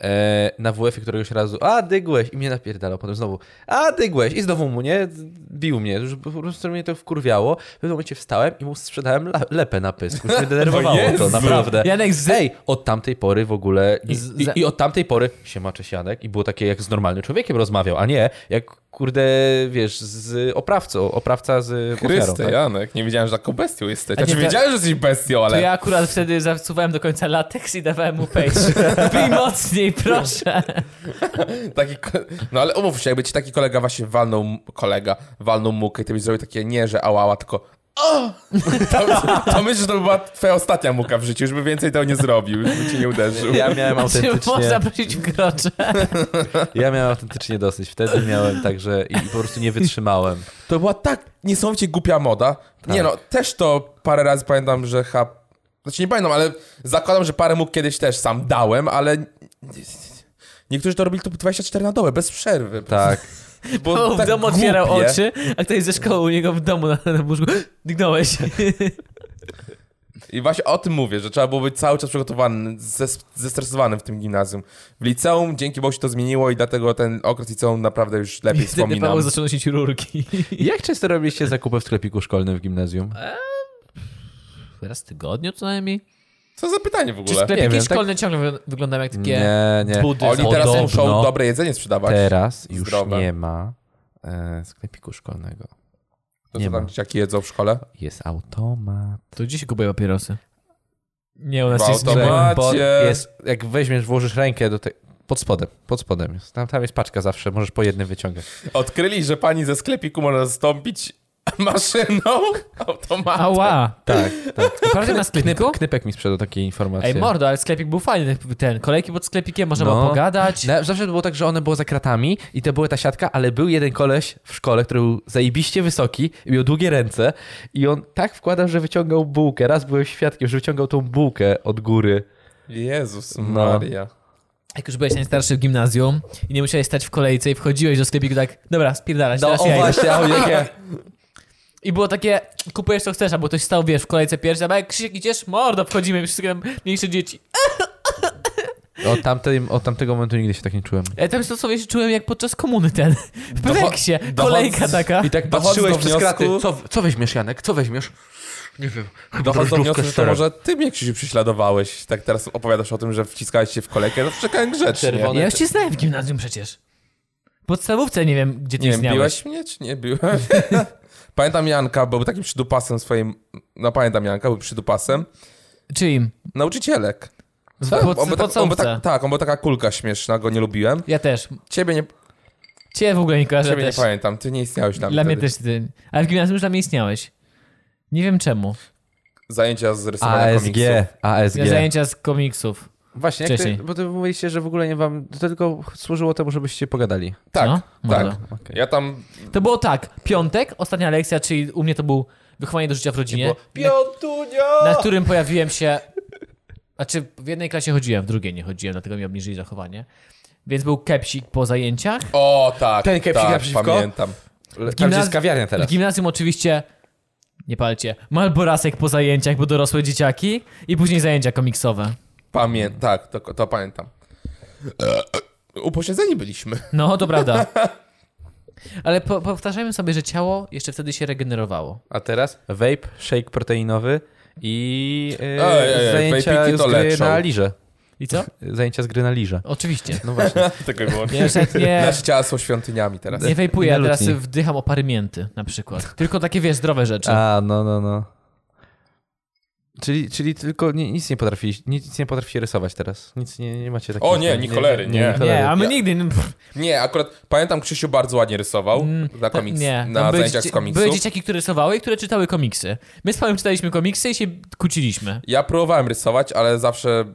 E, na WF-ie któregoś razu, a dygłeś i mnie napierdalał, potem znowu, a dygłeś i znowu mu, nie, bił mnie, już po prostu mnie to wkurwiało. W pewnym momencie wstałem i mu sprzedałem la- lepę na pysk, już mnie denerwowało Jezu! to, naprawdę. Janek, z... Ej, od tamtej pory w ogóle, i, Z- i, za- i od tamtej pory siema Czesianek i było takie jak z normalnym człowiekiem rozmawiał, a nie jak kurde, wiesz, z oprawcą, oprawca z ofiarą. Chryste, Tak? Janek, nie wiedziałem, że taką bestią jesteś. A nie, Znaczy, to- wiedziałem, że jesteś bestią, to ale... ja akurat wtedy zasuwałem do końca lateks i dawałem mu page. Pij mocniej, proszę. Taki, ko- no ale umów się, jakby ci taki kolega właśnie walnął, m- kolega walnął mukę i ty byś zrobił takie nie, że ałała, tylko o! To, to myślę, że to by była twoja ostatnia muka w życiu, już by więcej tego nie zrobił, już by ci nie uderzył. Ja miałem Czy autentycznie... można prosić w grocze? Ja miałem autentycznie dosyć. Wtedy miałem także i i po prostu nie wytrzymałem. To była tak niesamowicie głupia moda. Nie no, też to parę razy pamiętam, że ha... Znaczy nie pamiętam, ale zakładam, że parę mógł kiedyś też sam dałem, ale... Niektórzy to robili tu 24 na dobę, bez przerwy. Tak. Bo w domu otwierał oczy, a ktoś ze szkoły u niego w domu na, na łóżku. Dygnąłeś. I właśnie o tym mówię, że trzeba było być cały czas przygotowany, zes- zestresowany w tym gimnazjum. W liceum dzięki Bogu się to zmieniło i dlatego ten okres liceum naprawdę już lepiej Wtedy Paweł wspominam. zaczął nosić rurki. Jak często robiliście zakupy w sklepiku szkolnym w gimnazjum? Raz w tygodniu co najmniej. Co za pytanie w Czy ogóle? sklepiki Nie wiem, tak- szkolne ciągle wy- wyglądają jak takie Nie, nie. budy. Oni teraz Podobno. No. muszą dobre jedzenie sprzedawać. Teraz już Zdrowe. nie ma e, sklepiku szkolnego. to nie co tam ma. dzieciaki jedzą w szkole? Jest automat. To gdzie się kupuje papierosy? Nie, u nas W jest automat. niżej. Macie. Pod, jest, jak weźmiesz, włożysz rękę do tej... Pod spodem, pod spodem jest. Tam, tam jest paczka zawsze, możesz po jednym wyciągać. Odkryli, że pani ze sklepiku można zastąpić maszyną automatem. Ała! Tak, tak. Naprawdę na sklepiku? Knypek mi sprzedał takie informacje. Ej, mordo, ale sklepik był fajny. Ten, kolejki pod sklepikiem, można było No. pogadać. Na- Zawsze było tak, że one było za kratami i to była ta siatka, ale był jeden koleś w szkole, który był zajebiście wysoki i miał długie ręce i on tak wkładał, że wyciągał bułkę. Raz byłem świadkiem, że wyciągał tą bułkę od góry. Jezus No. Maria. Jak już byłeś najstarszy w gimnazjum i nie musiałeś stać w kolejce i wchodziłeś do sklepiku tak, dobra, No, spierdalać, teraz ja idę. a jakie... I było takie, kupujesz co chcesz, albo ktoś stał, wiesz, w kolejce pierwszy, a jak Krzysiek idziesz, mordo, wchodzimy, już wszystkie tam mniejsze dzieci. Od, tamtej, od tamtego momentu nigdy się tak nie czułem. Ja tam stosownie się czułem jak podczas komuny ten, w Docho- Peweksie, dochodz- kolejka taka. I tak Dochodzę patrzyłeś do przez kraty. wniosku- Co, co weźmiesz, Janek? Co weźmiesz? Nie wiem. Chyba Dochodzę do wniosku, że to szczerą. może ty mnie Krzysiu prześladowałeś. Tak teraz opowiadasz o tym, że wciskałeś się w kolejkę. No czekałem grzecznie. Czerwone. Ja już cię znałem w gimnazjum przecież. W podstawówce nie wiem, gdzie ty Nie wiem, istniałeś. biłeś mnie, czy nie biłeś? pamiętam Janka, bo był takim przydupasem swoim... No pamiętam Janka, był przydupasem. Czyim? Nauczycielek. W Tak, pod, on był tak, on był podstawówce. tak, tak, on był taka kulka śmieszna, go nie lubiłem. Ja też. Ciebie nie, Cię w ogóle nie kojarzę ciebie nie też. pamiętam, ty nie istniałeś dla mnie, Dla mnie wtedy. też ty. Ale w gimnazjum już dla mnie istniałeś. Nie wiem czemu. Zajęcia z rysowania ASG, komiksów. ASG. Ja zajęcia z komiksów. Właśnie, jak ty, Wcześniej. bo ty mówiliście, że w ogóle nie wam... To tylko służyło temu, żebyście pogadali. Tak, No? tak. Dobra. Okej. Ja tam... To było tak. Piątek, ostatnia lekcja, czyli u mnie to był wychowanie do życia w rodzinie, Piątunio! na którym pojawiłem się... Znaczy, w jednej klasie chodziłem, w drugiej nie chodziłem, dlatego mi obniżyli zachowanie. Więc był kepsik po zajęciach. O, tak, Ten kepsik tak, naprzeciwko? pamiętam. Tam gdzie Gimnaz- jest kawiarnia teraz. W gimnazjum oczywiście, nie palcie, malborasek po zajęciach, bo dorosłe dzieciaki i później zajęcia komiksowe. Pamię... Tak, to, to pamiętam. Upośledzeni byliśmy. No, to prawda. Ale po, powtarzajmy sobie, że ciało jeszcze wtedy się regenerowało. A teraz vape, shake proteinowy i yy, Ej, ej, ej, zajęcia vapiki z to gry leczą. na liże. I co? Zajęcia z gry na liże. Oczywiście. No właśnie. Tego było. Ja już nawet nie, Nasz ciała są świątyniami teraz. nie wejpuję, na ja teraz lutni. wdycham opary mięty na przykład. Tylko takie, wiesz, zdrowe rzeczy. A, no, no, no. Czyli, czyli tylko ni- nic nie potrafi, nic nie potrafi rysować teraz. Nic nie, nie macie takiego. O nie, ni cholery, nie. nie, a my Ja- nigdy... nie- Pff, Nie, akurat pamiętam Krzysiu bardzo ładnie rysował na komiks, Mm, Tak, nie. na Tam były zajęciach z dzieci- komiksu. Były dzieciaki, które rysowały i które czytały komiksy. My z Pawłem czytaliśmy komiksy i się kłóciliśmy. Ja próbowałem rysować, ale zawsze...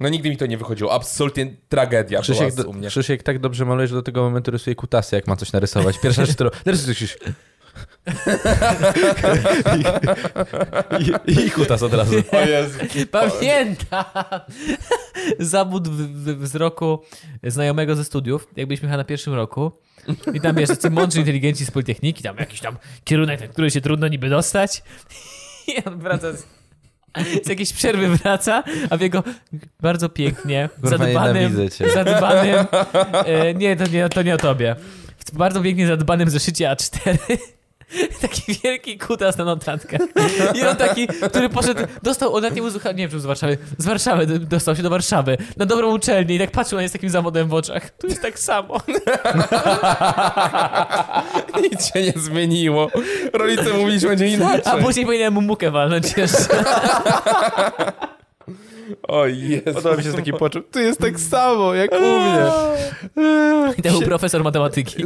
No nigdy mi to nie wychodziło. Absolutnie tragedia była Krzysiek, z, do, u mnie. Krzysiek tak dobrze maluje, że do tego momentu rysuje kutasy, jak ma coś narysować. Pierwsza rzecz, którą... Narysuj Krzysiek. I, i, I kutas od razu. O Jezu. Pamiętam! Zabud w, w wzroku znajomego ze studiów, jak byliśmy chyba na pierwszym roku. I tam wiesz, tacy mądrzy inteligenci z Politechniki, tam jakiś tam kierunek, na który się trudno niby dostać. I on wraca z, z jakiejś przerwy wraca, a w jego bardzo pięknie, Kurwa, zadbanym, nienawidzę cię. zadbanym, e, nie, to nie, to nie o tobie, w bardzo pięknie zadbanym zeszycie A4 taki wielki kutas na notatkach. I on taki, który poszedł, dostał od niej uzucha, nie wiem, czy z Warszawy, z Warszawy d- dostał się do Warszawy, na dobrą uczelnię i tak patrzył na nie z takim zawodem w oczach. Tu jest tak samo. Nic się nie zmieniło. Rodzice mówili, że będzie A inaczej. później powinienem mu mukę walnąć jeszcze. O Jezu. Podoba mi się z takim płaczem. Tu jest tak samo, jak u mnie. Eee, I to był profesor matematyki.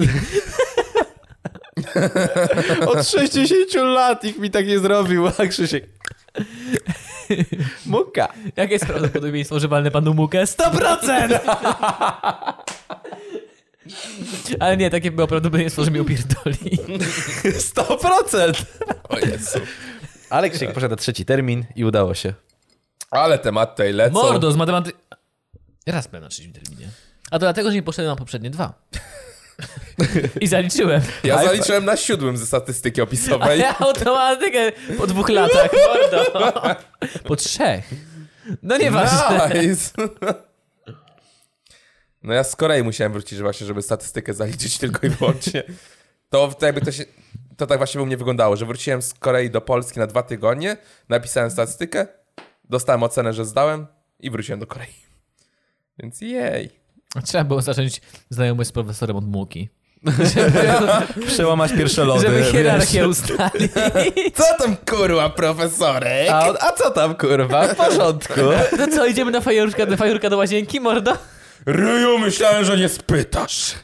Od 60 lat ich mi tak nie zrobił, a Krzysiek... Muka. Jakie jest prawdopodobieństwo, że walnę panu mukę? 100%! Ale nie, takie było prawdopodobieństwo, że mi upierdoli. 100%! O Jezu. Ale Krzysiek poszedł na trzeci termin i udało się. Ale temat tej lecą. Mordo z matematyki... Raz byłem na trzecim terminie. A to dlatego, że nie poszedłem na poprzednie dwa. I zaliczyłem. Ja zaliczyłem na siódmym ze statystyki A opisowej. ja automatykę po dwóch latach, mordo. Po trzech. No nieważne. Nice. No ja z Korei musiałem wrócić, że właśnie, żeby statystykę zaliczyć tylko i wyłącznie. To w- jakby to się... To tak właśnie u mnie wyglądało, że wróciłem z Korei do Polski na dwa tygodnie, napisałem statystykę, dostałem ocenę, że zdałem i wróciłem do Korei. Więc jej. No. Trzeba było zacząć znajomość z profesorem od muki. Przełamać pierwsze lody. Żeby wiesz. hierarchię ustalić. Co tam kurwa, profesorek? A, on, a co tam, kurwa? W porządku. To No co, idziemy na fajurka, do, fajurka do łazienki, mordo? Ryju, myślałem, że nie spytasz.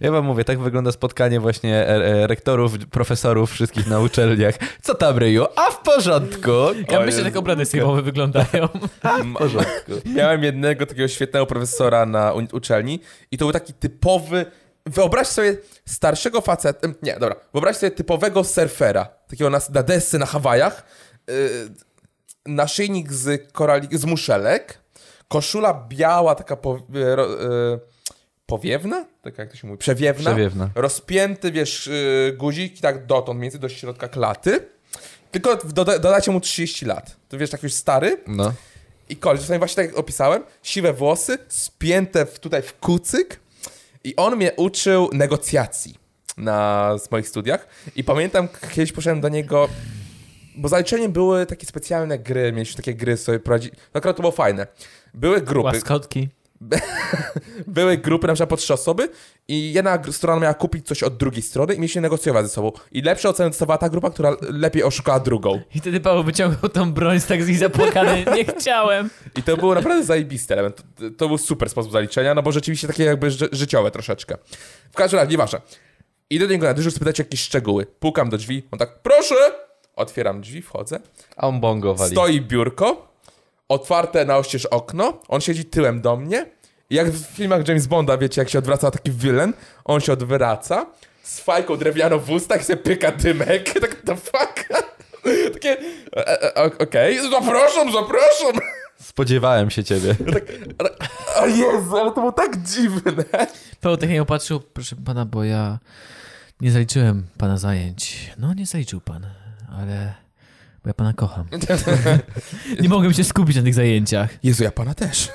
Ja wam mówię, tak wygląda spotkanie właśnie e, e, rektorów, profesorów wszystkich na uczelniach. Co tam, Ryju? A w porządku. Ja Oj, myślę, że Jezu. tak obrady sejmowe wyglądają. W Tak? Miałem jednego takiego świetnego profesora na u- uczelni i to był taki typowy... Wyobraź sobie starszego faceta... em, Nie, dobra. Wyobraź sobie typowego surfera. Takiego na, na desce na Hawajach. Yy, naszyjnik z korali... z muszelek. Koszula biała, taka po, yy, ro- yy, powiewna? Tak jak to się mówi? Przewiewna. Przewiewna. Rozpięty, wiesz, yy, guzik i tak dotąd, mniej więcej do środka klaty. Tylko w- doda- dodacie mu 30 lat. To wiesz, tak już stary. No. I koleś, w sumie właśnie tak jak opisałem, siwe włosy, spięte w, tutaj w kucyk i on mnie uczył negocjacji na z moich studiach i pamiętam, k- kiedyś poszedłem do niego, bo zaliczeniem były takie specjalne gry, mieliśmy takie gry sobie prowadzi. No akurat to było fajne. Były grupy, Łaskotki. były grupy na przykład po trzy osoby i jedna gr- strona miała kupić coś od drugiej strony i mieliśmy negocjować ze sobą. I lepsze oceny dostawała ta grupa, która lepiej oszukała drugą. I wtedy Paweł wyciągnął tą broń z tak z nich zapłakany. Nie chciałem. I to był naprawdę zajebisty element. To, to był super sposób zaliczenia, no bo rzeczywiście takie jakby ży życiowe troszeczkę. W każdym razie, nieważne. Idę do niego na dyżur spytać jakieś szczegóły. Pukam do drzwi, on tak, proszę! Otwieram drzwi, wchodzę. A on bongo wali. Stoi biurko, otwarte na oścież okno, on siedzi tyłem do mnie. I jak w filmach James Bonda, wiecie, jak się odwraca taki wylen, on się odwraca z fajką drewnianą w ustach i sobie pyka dymek. Tak, the fuck? Takie, e, e, ok- okej, zapraszam, zapraszam! Spodziewałem się ciebie. O Jezu, ale to było tak dziwne. Paweł tak na nią patrzył. Proszę pana, bo ja nie zaliczyłem pana zajęć. No, nie zaliczył pan, ale Bo ja pana kocham. nie mogłem się skupić na tych zajęciach. Jezu, ja pana też.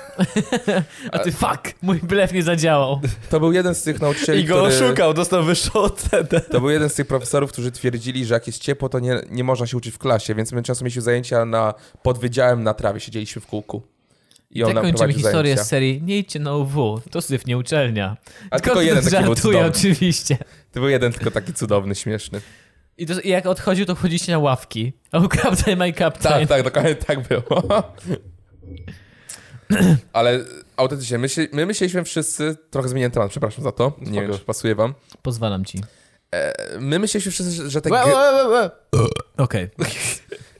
A ty fuck! Mój blef nie zadziałał. To był jeden z tych nauczycieli, I go który... oszukał, dostał wyższą ocenę. To był jeden z tych profesorów, którzy twierdzili, że jak jest ciepło, to nie, nie można się uczyć w klasie, więc my często mieliśmy zajęcia na, pod wydziałem na trawie, siedzieliśmy w kółku. I Tak kończymy prowadził historię zajęcia. z serii Nie idźcie na UW, to syf nie uczelnia. A tylko jeden taki był Żartuję cudowny. oczywiście. To był jeden tylko taki cudowny, śmieszny. I, to, I jak odchodził, to wchodzicie na ławki. Oh, Captain, my Captain. Tak, tak, dokładnie tak było. Ale autentycznie, my, się, my myśleliśmy wszyscy, trochę zmieniłem temat, przepraszam za to, nie wiem, Spoko. czy pasuje wam. Pozwalam ci. E, My myśleliśmy wszyscy, że- że te, Łe, gry, łe, łe, łe. Okej.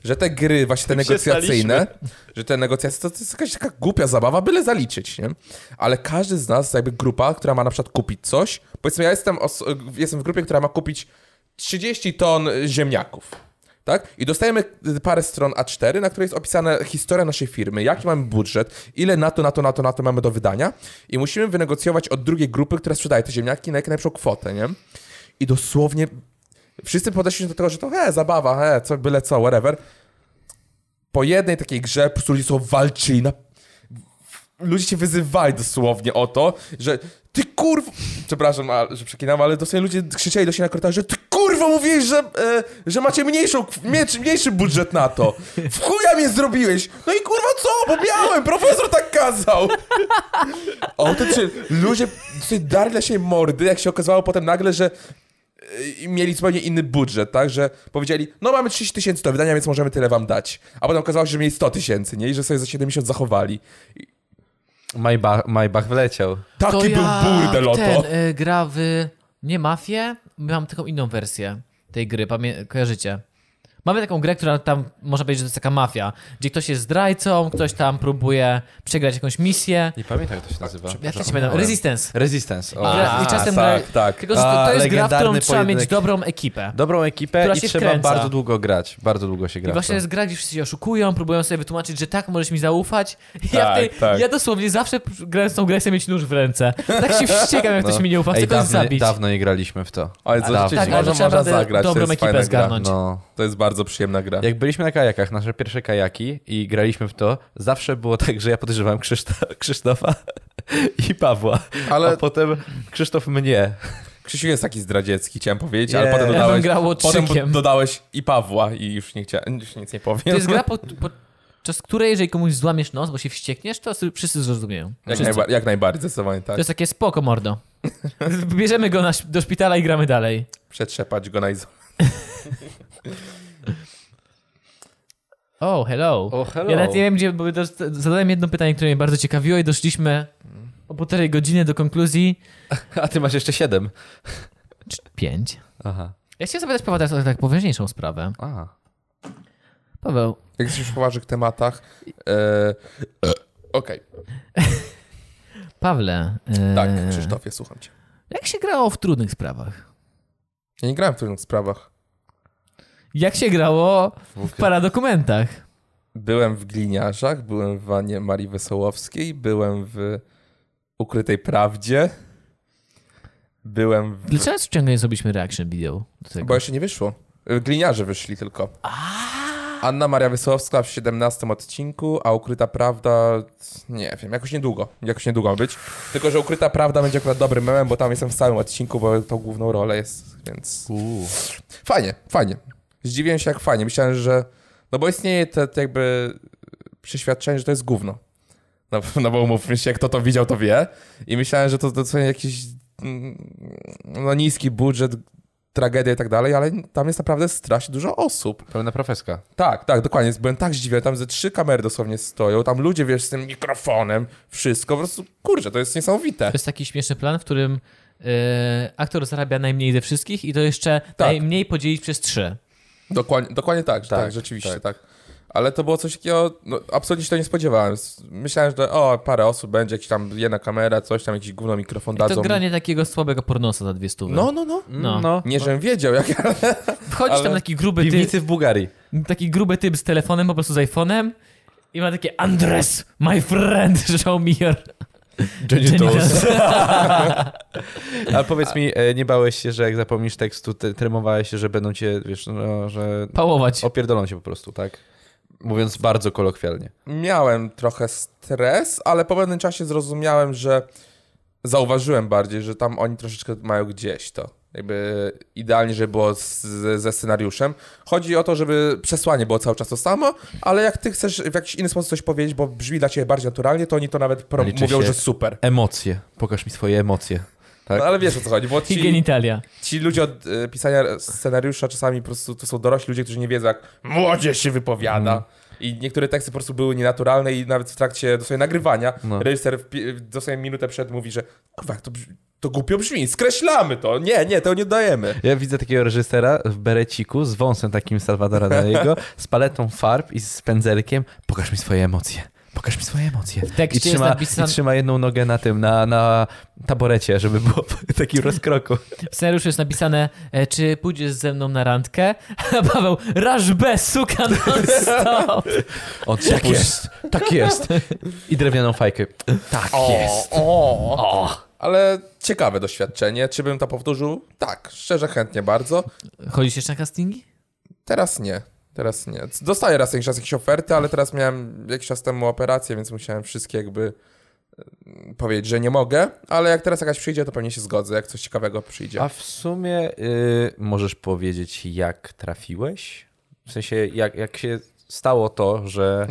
że te gry, właśnie te negocjacyjne, że te negocjacje to, to jest jakaś taka głupia zabawa, byle zaliczyć, nie? Ale każdy z nas, jakby grupa, która ma na przykład kupić coś, powiedzmy ja jestem, oso- jestem w grupie, która ma kupić 30 ton ziemniaków. Tak? I dostajemy parę stron A4, na której jest opisana historia naszej firmy, jaki mamy budżet, ile na to, na to, na to, na to mamy do wydania i musimy wynegocjować od drugiej grupy, która sprzedaje te ziemniaki na jak najlepszą kwotę, nie? I dosłownie wszyscy podeszli do tego, że to he, zabawa, he, co, byle co, whatever po jednej takiej grze po prostu ludzie są walczyli na... Ludzie się wyzywali dosłownie o to, że ty kurw... Przepraszam, a, że przekinam, ale dosłownie ludzie krzyczeli do siebie na korytarzu, że ty kurwa mówiłeś, że, e, że macie mniejszą, miecz, mniejszy budżet na to. W chuja mnie zrobiłeś. No i kurwa co, bo miałem, profesor tak kazał. O, to czy ludzie sobie darli na siebie mordy, jak się okazało potem nagle, że i mieli zupełnie inny budżet, tak? Że powiedzieli, no mamy 30 tysięcy do wydania, więc możemy tyle wam dać. A potem okazało się, że mieli 100 tysięcy, nie? I że sobie za 70 zachowali. I Majbach, Majbach wleciał. Taki To był jak burdel o to. Ten y, gra w nie mafię. Mam taką inną wersję tej gry, pamię- kojarzycie. Mamy taką grę, która tam można powiedzieć, że to jest taka mafia, gdzie ktoś jest zdrajcą, ktoś tam próbuje przegrać jakąś misję. Nie pamiętam, jak to się nazywa. Ja też nie pamiętam. Resistance. Resistance. O. Gra- I czasem gra- tak, tak. Tylko, że to, A, to jest gra, w którą legendarny trzeba mieć pojedynek. dobrą ekipę. Dobrą ekipę która i się trzeba wkręca. bardzo długo grać. Bardzo długo się gra. I w właśnie to. jest gra, gdzie wszyscy się oszukują, próbują sobie wytłumaczyć, że tak, możesz mi zaufać. I ja, w tej, Tak, tak. ja dosłownie zawsze grając w tą grę chcę mieć nóż w ręce. Tak się wściekam, No. jak ktoś mi nie ufa, chcę Ej, kogoś dawno, nie- zabić. dawno nie graliśmy w to. Ale to Dawno. rzeczywiście Tak, ale można, trzeba można naprawdę zagrać, to dobrą jest ekipę fajna gra. zgarnąć. No. To jest bardzo przyjemna gra. Jak byliśmy na kajakach, nasze pierwsze kajaki i graliśmy w to, zawsze było tak, że ja podejrzewałem Krzysztof, Krzysztofa i Pawła, Ale- a potem Krzysztof mnie. Krzysiu jest taki zdradziecki, chciałem powiedzieć, ale Nie. potem Ja bym dodałeś, grał potem łotrzykiem. dodałeś i Pawła i już nie chciałem, już nic nie powiem. To jest gra, po- podczas której jeżeli komuś złamiesz nos, bo się wściekniesz, to sobie wszyscy zrozumieją. Tak, jak, Wszyscy. najba- jak najbardziej, zdecydowanie tak. To jest takie spoko, mordo. Bierzemy go na, do szpitala i gramy dalej. Przetrzepać go na izolację. Oh, hello. O, hello. Ja nawet nie wiem, gdzie, bo dost- zadałem jedno pytanie, które mnie bardzo ciekawiło i doszliśmy o półtorej godziny do konkluzji. A ty masz jeszcze siedem. Cz- Pięć. Aha. Ja chciałem zapytać Pawła teraz o tak poważniejszą sprawę. A. Paweł, Jak jesteś w poważnych tematach. E, e, Okej, Pawle, e, tak, Krzysztofie, słucham cię. jak się grało w trudnych sprawach? Ja nie grałem w trudnych sprawach. Jak się grało w paradokumentach? Byłem w Gliniarzach, byłem w Wanie Marii Wesołowskiej, byłem w Ukrytej Prawdzie, byłem w... Dlaczego ciągle nie zrobiliśmy reaction video do Bo tego? jeszcze nie wyszło. Gliniarze wyszli tylko. Anna Maria Wesołowska w 17 odcinku, a Ukryta Prawda... Nie wiem, jakoś niedługo. Jakoś niedługo ma być. Tylko, że Ukryta Prawda będzie akurat dobrym memem, bo tam jestem w całym odcinku, bo to główną rolę jest, więc... Fajnie, fajnie. Zdziwiłem się jak fajnie. Myślałem, że. No bo istnieje te, te jakby przeświadczenie, że to jest gówno. No, no bo umówmy się, kto to widział, to wie. I myślałem, że to, to są jakiś mm, no, niski budżet, tragedia i tak dalej, ale tam jest naprawdę strasznie dużo osób. Pełna profeska. Tak, tak, dokładnie. Byłem tak zdziwiony. Tam ze trzy kamery dosłownie stoją, tam ludzie, wiesz, z tym mikrofonem, wszystko. Po prostu, kurczę, to jest niesamowite. To jest taki śmieszny plan, w którym e, aktor zarabia najmniej ze wszystkich i to jeszcze Tak. najmniej podzielić przez trzy. Dokładnie, dokładnie tak, tak, tak, rzeczywiście, tak. Ale to było coś takiego, no, absolutnie się to nie spodziewałem. S- Myślałem, że o, parę osób będzie, jakiś tam jedna kamera, coś tam, jakiś gówno mikrofon I dadzą. to mi. granie takiego słabego pornosa za dwie stówy. No, no, no. No. Nie, żebym wiedział, jak Wchodzisz ale- tam taki gruby typ, Piwnicy w Bułgarii. taki gruby typ z telefonem, po prostu z iPhone'em i ma takie Andres, my friend, żał Mier. Johnny Toast. A powiedz mi, e, nie bałeś się, że jak zapomnisz tekstu, te, tremowałeś się, że będą cię, wiesz, no, że Pałować. opierdolą cię po prostu, tak? Mówiąc bardzo kolokwialnie. Miałem trochę stres, ale po pewnym czasie zrozumiałem, że zauważyłem bardziej, że tam oni troszeczkę mają gdzieś to. Jakby idealnie, żeby było z, ze scenariuszem. Chodzi o to, żeby przesłanie było cały czas to samo, ale jak ty chcesz w jakiś inny sposób coś powiedzieć, bo brzmi dla ciebie bardziej naturalnie, to oni to nawet pro- Liczy mówią, się- że super. Emocje. Pokaż mi swoje emocje. Tak? No, ale wiesz o co chodzi, bo I ci, genitalia. ci ludzie od y, pisania scenariusza czasami po prostu to są dorośli ludzie, którzy nie wiedzą, jak młodzież się wypowiada. I niektóre teksty po prostu były nienaturalne i nawet w trakcie dosłownie nagrywania No. reżyser wpi- dosłownie minutę przed mówi, że kurwa, to, brz- to głupio brzmi, skreślamy to, nie, nie, to nie dajemy. Ja widzę takiego reżysera w bereciku z wąsem takim Salwadora Daliego, z paletą farb i z pędzelkiem. Pokaż mi swoje emocje. Pokaż mi swoje emocje. tekście I jest trzyma, napisane- I trzyma jedną nogę na tym, na, na taborecie, żeby było w takim rozkroku. W scenariuszu jest napisane, e, czy pójdziesz ze mną na randkę? A Paweł, raż B, suka non stop. On tak jest, tak jest. I drewnianą fajkę. Tak jest. O, Ale ciekawe doświadczenie, czy bym to powtórzył? Tak, szczerze, chętnie bardzo. Chodzisz jeszcze na castingi? Teraz nie. Teraz nie. Dostaję raz jakiś czas jakieś oferty, ale teraz miałem jakiś czas temu operację, więc musiałem wszystkie jakby e, powiedzieć, że nie mogę, ale jak teraz jakaś przyjdzie, to pewnie się zgodzę, jak coś ciekawego przyjdzie. A w sumie y, możesz powiedzieć, jak trafiłeś? W sensie, jak, jak się stało to, że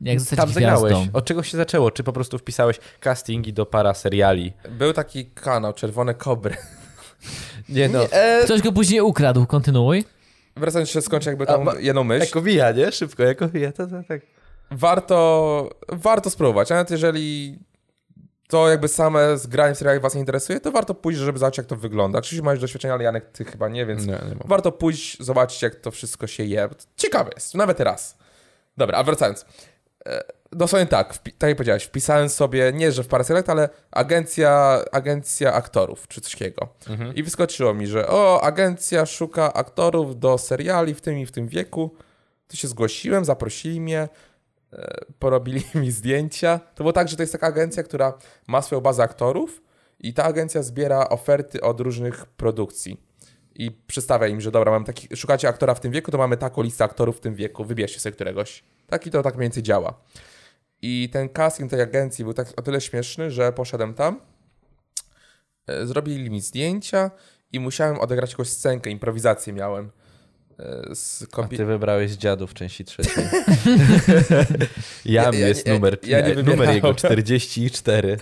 Jak zostać tam zagrałeś? gwiazdą. Od czego się zaczęło? Czy po prostu wpisałeś castingi do para seriali? Był taki kanał, Czerwone Kobry. Nie no, E- Ktoś go później ukradł, kontynuuj. Wracając się skończę jakby tą A, ma- jedną myśl. jako wija, nie? Szybko, jako wija, to, to, tak. warto, warto spróbować. Nawet jeżeli to jakby same zgranie w serialach was nie interesuje, to warto pójść, żeby zobaczyć, jak to wygląda. Krzysiu ma już doświadczenie, ale Janek, ty chyba nie, więc Nie, nie mam. warto pójść, zobaczyć, jak to wszystko się je. Ciekawe jest, nawet raz. Dobra, a wracając. E, Dosłownie tak, wpi- tak jak powiedziałeś, wpisałem sobie, nie że w parę select, ale agencja, agencja aktorów czy coś takiego. I wyskoczyło mi, że o, agencja szuka aktorów do seriali w tym i w tym wieku. To się zgłosiłem, zaprosili mnie, e, porobili mi zdjęcia. To było tak, że to jest taka agencja, która ma swoją bazę aktorów i ta agencja zbiera oferty od różnych produkcji. I przedstawia im, że dobra, mam taki, szukacie aktora w tym wieku, to mamy taką listę aktorów w tym wieku, wybierzcie sobie któregoś. Tak i to tak mniej więcej działa. I ten casting tej agencji był tak o tyle śmieszny, że poszedłem tam, e, zrobili mi zdjęcia i musiałem odegrać jakąś scenkę, improwizację miałem. e, Z A kobi- ty wybrałeś dziadów części trzeciej. Jam Ja- ja jest nie- numer, ja nie numer wybierałem. jego 44.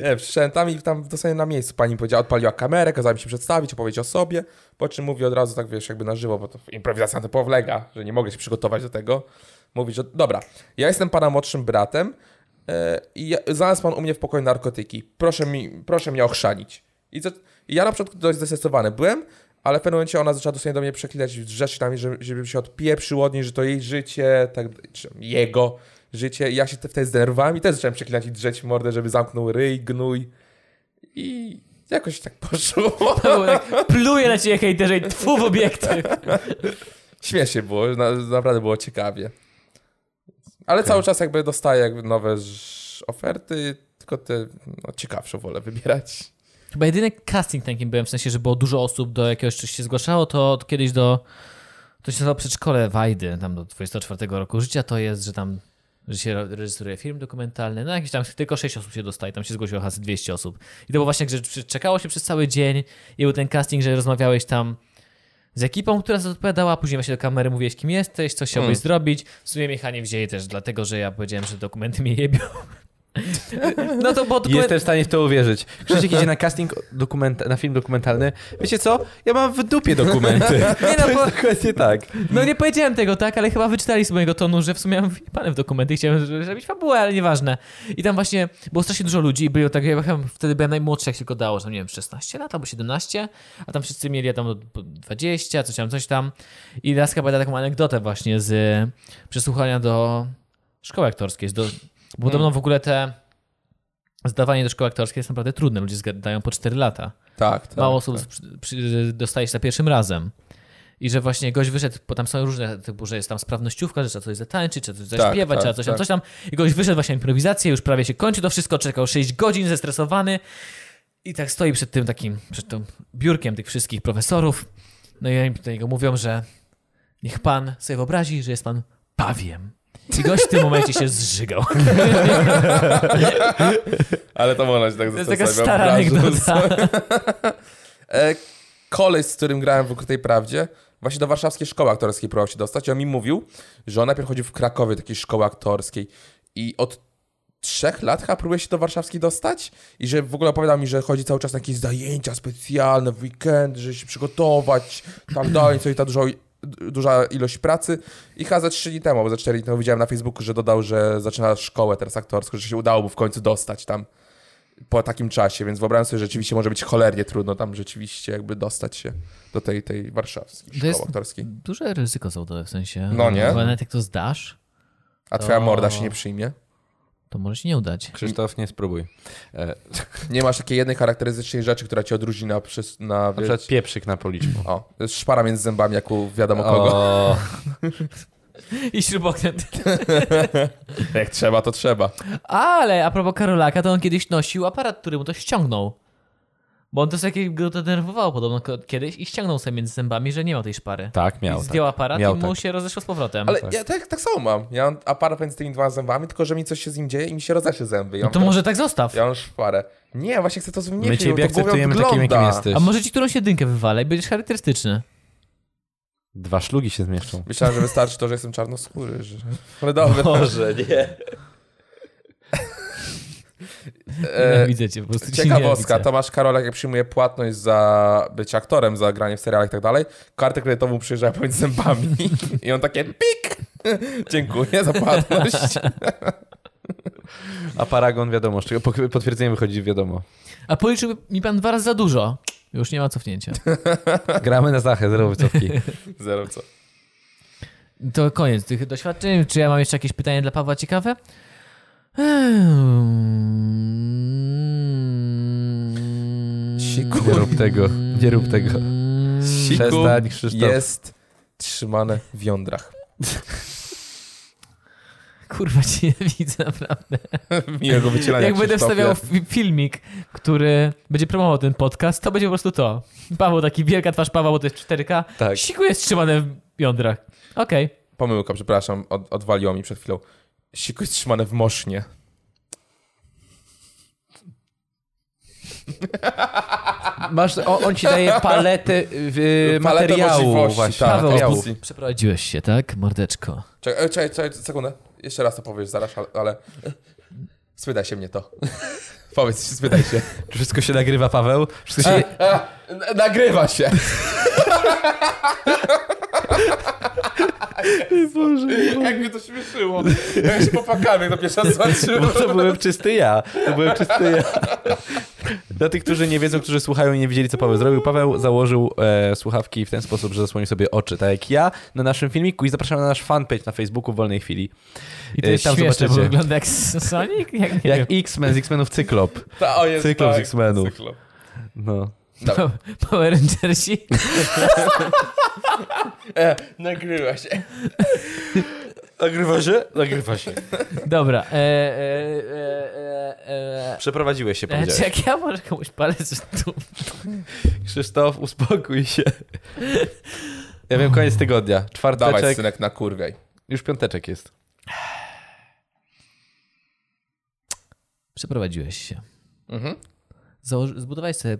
Nie, przyszedłem E, tam i tam dosłownie na miejscu pani powiedziała, odpaliła kamerę, kazała mi się przedstawić, opowiedzieć o sobie, po czym mówi od razu tak, wiesz, jakby na żywo, bo to improwizacja na to powlega, że nie mogę się przygotować do tego. Mówi, że dobra, ja jestem pana młodszym bratem e, i ja, znalazł pan u mnie w pokoju narkotyki, proszę, mi, proszę mnie ochrzanić. I, co, I ja na początku dość zestresowany byłem, ale w pewnym momencie ona zaczęła dosłownie do mnie przeklinać rzeczy na mnie, że- żebym się odpieprzył od niej, że to jej życie, tak, czy jego życie. I ja się te- wtedy zdenerwowałem i też zacząłem przeklinać i drzeć w mordę, żeby zamknął ryj, gnój. I jakoś tak poszło. Paweł tak pluje na ciebie hejterze i tfu w obiektyw. Śmiesznie było, na, naprawdę było ciekawie. Ale cały czas jakby dostaję jakby nowe ż- oferty, tylko te no, ciekawsze wolę wybierać. Chyba jedyny casting takim byłem, w sensie, że było dużo osób do jakiegoś coś się zgłaszało, to od kiedyś do... To się nazywa przedszkole Wajdy, tam do 24 roku życia, to jest, że tam że się re- reżyseruje film dokumentalny, no jakieś tam tylko 6 osób się dostaje, tam się zgłosiło has 200 osób. I to było właśnie, że przy- czekało się przez cały dzień i był ten casting, że rozmawiałeś tam z ekipą, która za to odpowiadała, a później właśnie do kamery mówiłeś, kim jesteś, co chciałbyś Mm. zrobić. W sumie Michanie wzięli też dlatego, że ja powiedziałem, że dokumenty mnie jebią. No to bo dokument... Jestem w stanie w to uwierzyć. Krzysiek idzie na casting dokumenta- na film dokumentalny. Wiecie co? Ja mam w dupie dokumenty. Nie no, To bo... jest dokładnie tak. No nie powiedziałem tego, tak, ale chyba wyczytali z mojego tonu, że w sumie mam wjebane w dokumenty i chciałem ż- zrobić fabułę, ale nieważne. I tam właśnie było strasznie dużo ludzi i było tak, ja chyba wtedy byłem najmłodszy, jak tylko dało, że tam, nie wiem, 16 lat albo 17, a tam wszyscy mieli ja tam po 20, coś tam, coś tam. I Laska opowiada taką anegdotę właśnie z y, przesłuchania do szkoły aktorskiej. z Do, bo podobno w ogóle te zdawanie do szkoły aktorskiej jest naprawdę trudne, ludzie zgadają po 4 lata. Tak, tak. Mało osób przy, przy, dostaje się za pierwszym razem. I że właśnie gość wyszedł, bo tam są różne, typu, że jest tam sprawnościówka, że trzeba coś zatańczyć, czy coś Tak, zaśpiewać, trzeba tak, coś tam, tak. coś tam. I gość wyszedł właśnie na improwizację, już prawie się kończy to wszystko, czekał 6 godzin, zestresowany. I tak stoi przed tym takim, przed tym biurkiem tych wszystkich profesorów. No i oni do niego mówią, że niech pan sobie wyobrazi, że jest pan pawiem. I gość w tym momencie się zżygał. Ale to można się tak To jest zostawiam, taka stara wyobrażę anegdota. sobie. E, Koleś, z którym grałem w Ukrytej Prawdzie, właśnie do warszawskiej szkoły aktorskiej próbował się dostać i on mi mówił, że on najpierw chodzi w Krakowie, do takiej szkoły aktorskiej i od trzech lat chyba próbuje się do warszawskiej dostać i że w ogóle opowiadał mi, że chodzi cały czas na jakieś zajęcia specjalne w weekend, żeby się przygotować, tak dalej, co i ta dużo, duża ilość pracy i chyba za trzy dni temu, bo za cztery dni temu widziałem na Facebooku, że dodał, że zaczyna szkołę teraz aktorską, że się udało mu w końcu dostać tam po takim czasie, więc wyobrażam sobie, że rzeczywiście może być cholernie trudno tam rzeczywiście jakby dostać się do tej, tej warszawskiej To szkoły jest- aktorskiej. Duże ryzyko zawodowe w sensie. No nie. Bo nawet jak to zdasz, A twoja to- morda się nie przyjmie? to może się nie udać. Krzysztof, nie spróbuj. E, Nie masz takiej jednej charakterystycznej rzeczy, która cię odróżni na... Przez, na, na przykład pieprzyk na policzku. O, to jest szpara między zębami, jak u wiadomo kogo. O, no I śrubokręt. Jak trzeba, to trzeba. Ale a propos Karolaka, to on kiedyś nosił aparat, który mu to ściągnął. Bo on to sobie go to denerwowało podobno ko- kiedyś i ściągnął sobie między zębami, że nie miał tej szpary. tak, I miał. Tak. zdjął aparat Miał i mu tak. się rozeszło z powrotem. Ale ja tak, tak samo mam. Ja mam aparat między tymi dwoma zębami, tylko że mi coś się z nim dzieje i mi się rozeszły zęby. Ja No mam, to może tak zostaw. ja mam szparę. Nie, właśnie chcę to zmniejszyć, My bo to ciebie głupio akceptujemy takim, wygląda. jakim jesteś. A może ci którąś jedynkę wywala i będziesz charakterystyczny. Dwa szlugi się zmieszczą. Myślałem, że wystarczy to, że jestem czarnoskóry. Że... No Ale dobra. Boże, nie. E, Widzę cię, po prostu ci Ciekawostka, nie widzę. Tomasz Karolak jak przyjmuje płatność za być aktorem, za granie w serialach i tak dalej, kartę kredytową przyjeżdża pomiędzy zębami i on takie pik! Dziękuję za płatność. A paragon wiadomo, z czego pok- potwierdzenie wychodzi wiadomo. A policzył mi pan dwa razy za dużo. Już nie ma cofnięcia. Gramy na zachę, zero wycofki. Zero co. To koniec tych doświadczeń. Czy ja mam jeszcze jakieś pytanie dla Pawła ciekawe? Ehm. Siku. Nie rób tego, nie rób tego. Siku Przestań, Krzysztof. jest trzymane w jądrach. Kurwa, cię nie widzę naprawdę. Miłego wycielania, Jak będę Krzysztofie. wstawiał fi- filmik, który będzie promował ten podcast, to będzie po prostu to. Paweł, taki wielka twarz Pawła, bo to jest 4K. Tak. Siku jest trzymane w jądrach. Okej. Pomyłka, przepraszam, od, odwaliło mi przed chwilą. Siku jest trzymane w mosznie. Masz, o, on ci daje paletę, y, Paletę materiału możliwości, właśnie. tak, Paweł, materiału. Przeprowadziłeś się, tak, mordeczko? Czekaj, e, czekaj, czekaj, sekundę. Jeszcze raz to powiesz zaraz, ale- ale... Spytaj się mnie to. Powiedz, spytaj się. Czy Wszystko się nagrywa, Paweł? Wszystko się... N- Nagrywa się. Jak mnie to śmieszyło. Ja się popakałem, jak to pierwszy raz zobaczyłem. Bo No to byłem czysty ja. To byłem czysty ja. Dla tych, którzy nie wiedzą, którzy słuchają i nie wiedzieli, co Paweł zrobił, Paweł założył e, słuchawki w ten sposób, że zasłonił sobie oczy, tak jak ja na naszym filmiku i zapraszam na nasz fanpage na Facebooku w wolnej chwili. I to E, jest tam śmieszne, bo zobaczycie. wygląda jak s- Sonic? Jak, nie Jak wiem. X-Men z X-Menów Cyklop. Ta, o jest, Cyklop z tak, X-Menów. cyklop. No. Dobra. Power Rangersi? E, nagrywa się. Nagrywa się? Nagrywa się. Dobra. E, e, e, e, Przeprowadziłeś się, e, e, powiedziałeś. czy jak ja może komuś palec w dół? Krzysztof, uspokój się. Ja wiem, koniec tygodnia. Czwarteczek. Dawaj, synek, na kurwiej. Już piąteczek jest. Przeprowadziłeś się. Założy, zbudowałeś sobie,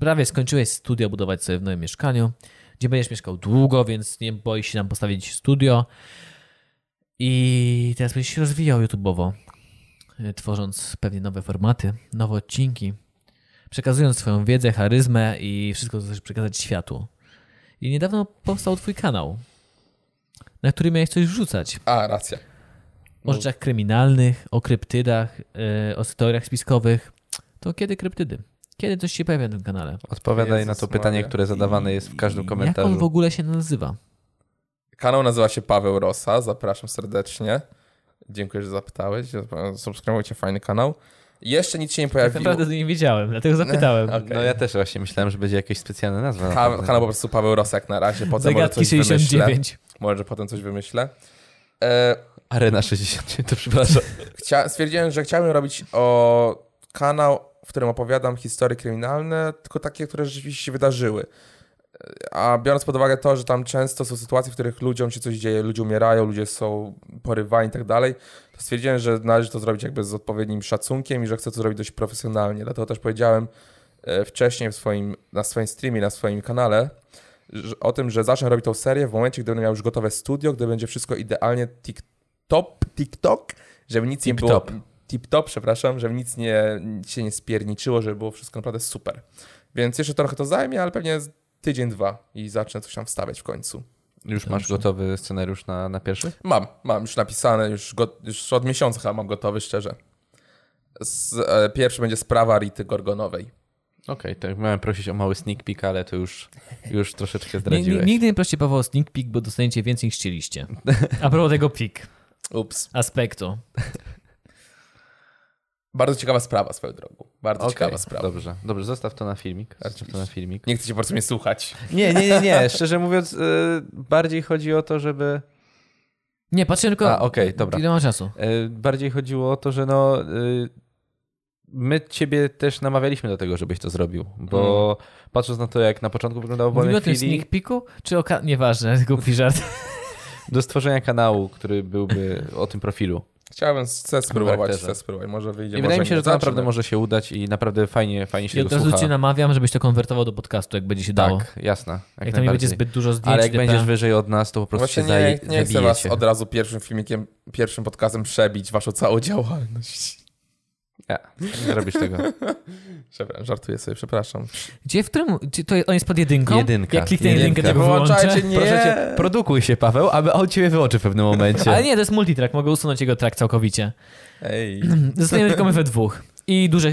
prawie skończyłeś studio budować sobie w nowym mieszkaniu, gdzie będziesz mieszkał długo, więc nie boisz się nam postawić studio. I teraz będziesz się rozwijał YouTube'owo, y, tworząc pewnie nowe formaty, nowe odcinki, przekazując swoją wiedzę, charyzmę i wszystko, co chcesz przekazać światu. I niedawno powstał twój kanał, na który miałeś coś wrzucać A, racja. o No. rzeczach kryminalnych, o kryptydach, yy, o teoriach spiskowych. To kiedy kryptydy? Kiedy coś się pojawia na tym kanale? Odpowiadaj Jezus na to pytanie, Maria. które zadawane jest w każdym Jak on w komentarzu. ogóle się nazywa? Kanał nazywa się Paweł Rosa, zapraszam serdecznie. Dziękuję, że zapytałeś. Subskrybujcie fajny kanał. Jeszcze nic się nie Tak pojawiło. naprawdę nie wiedziałem, dlatego zapytałem. Okej. No ja też właśnie myślałem, że będzie jakaś specjalna nazwa. na Ha, pewno. Hanna po prostu Paweł Rosek na razie, potem może Zagadki coś wymyślę. 69. Może potem coś wymyślę. E, Arena 69, to przepraszam. chcia, stwierdziłem, że chciałbym robić o kanał, w którym opowiadam historie kryminalne, tylko takie, które rzeczywiście się wydarzyły. A biorąc pod uwagę to, że tam często są sytuacje, w których ludziom się coś dzieje, ludzie umierają, ludzie są porywani i tak dalej, to stwierdziłem, że należy to zrobić jakby z odpowiednim szacunkiem i że chcę to zrobić dość profesjonalnie. Dlatego też powiedziałem e, wcześniej w swoim, na swoim streamie, na swoim kanale że, o tym, że zacznę robić tą serię w momencie, gdy będę miał już gotowe studio, gdy będzie wszystko idealnie tip-top, TikTok, żeby nic nie było... Tip-top. Tip-top, przepraszam, żeby nic nie, się nie spierniczyło, żeby było wszystko naprawdę super. Więc jeszcze trochę to zajmie, ale pewnie z tydzień, dwa i zacznę coś tam wstawiać w końcu. Już masz gotowy scenariusz na, na pierwszy? Mam, mam już napisane, już, go, już od miesiąca chyba mam gotowy, szczerze. Z, e, pierwszy będzie sprawa Rity Gorgonowej. Okej, tak miałem prosić o mały sneak peek, ale to już, już troszeczkę Nie, nie, zdradziłeś. nigdy nie proście Paweł o sneak peek, bo dostaniecie więcej niż chcieliście. A propos tego pik, Ups. aspektu. Bardzo ciekawa sprawa swoją drogą. Bardzo Okej, ciekawa sprawa. Dobrze, dobrze, zostaw to na filmik. Zostaw to na filmik. Nie chcecie po prostu mnie słuchać. Nie, nie, nie, nie. Szczerze mówiąc, y, bardziej chodzi o to, żeby. Nie, patrzę tylko... A, okej, dobra. Ile ma czasu? Y, bardziej chodziło o to, że no. y, My ciebie też namawialiśmy do tego, żebyś to zrobił, bo patrząc na to, jak na początku wyglądało w Mówimy wolnej o tym chwili, sneak peeku? Czy o... Ka- Nieważne, głupi żart. do stworzenia kanału, który byłby o tym profilu. Chciałbym chcę spróbować, Charakterze. chcę spróbować. Może wyjdzie. I może wydaje mi się, nie. że to naprawdę Zobaczymy. może się udać i naprawdę fajnie, fajnie się I od tego razu słucha. cię namawiam, żebyś to konwertował do podcastu, jak będzie się dało. Tak, jasne. Jak, Jak tam nie będzie najbardziej. zbyt dużo zdjęć. Ale jak itp. będziesz wyżej od nas, to po prostu Właśnie się zaje... nie, nie chcę was zabijecie. od razu pierwszym filmikiem, pierwszym podcastem przebić waszą całą działalność. Nie, nie robisz tego. Przepraszam, żartuję sobie, przepraszam. Gdzie, w którym... Gdzie to on jest pod jedynką? Jedynka. Jak kliknę Jedynka. jedynkę, to go Wyłączajcie, wyłączę. nie. Proszę cię, produkuj się, Paweł, aby on ciebie wyłączy w pewnym momencie. Ale nie, to jest multitrack, mogę usunąć jego track całkowicie. Ej. Zostaniemy tylko my we dwóch. I duże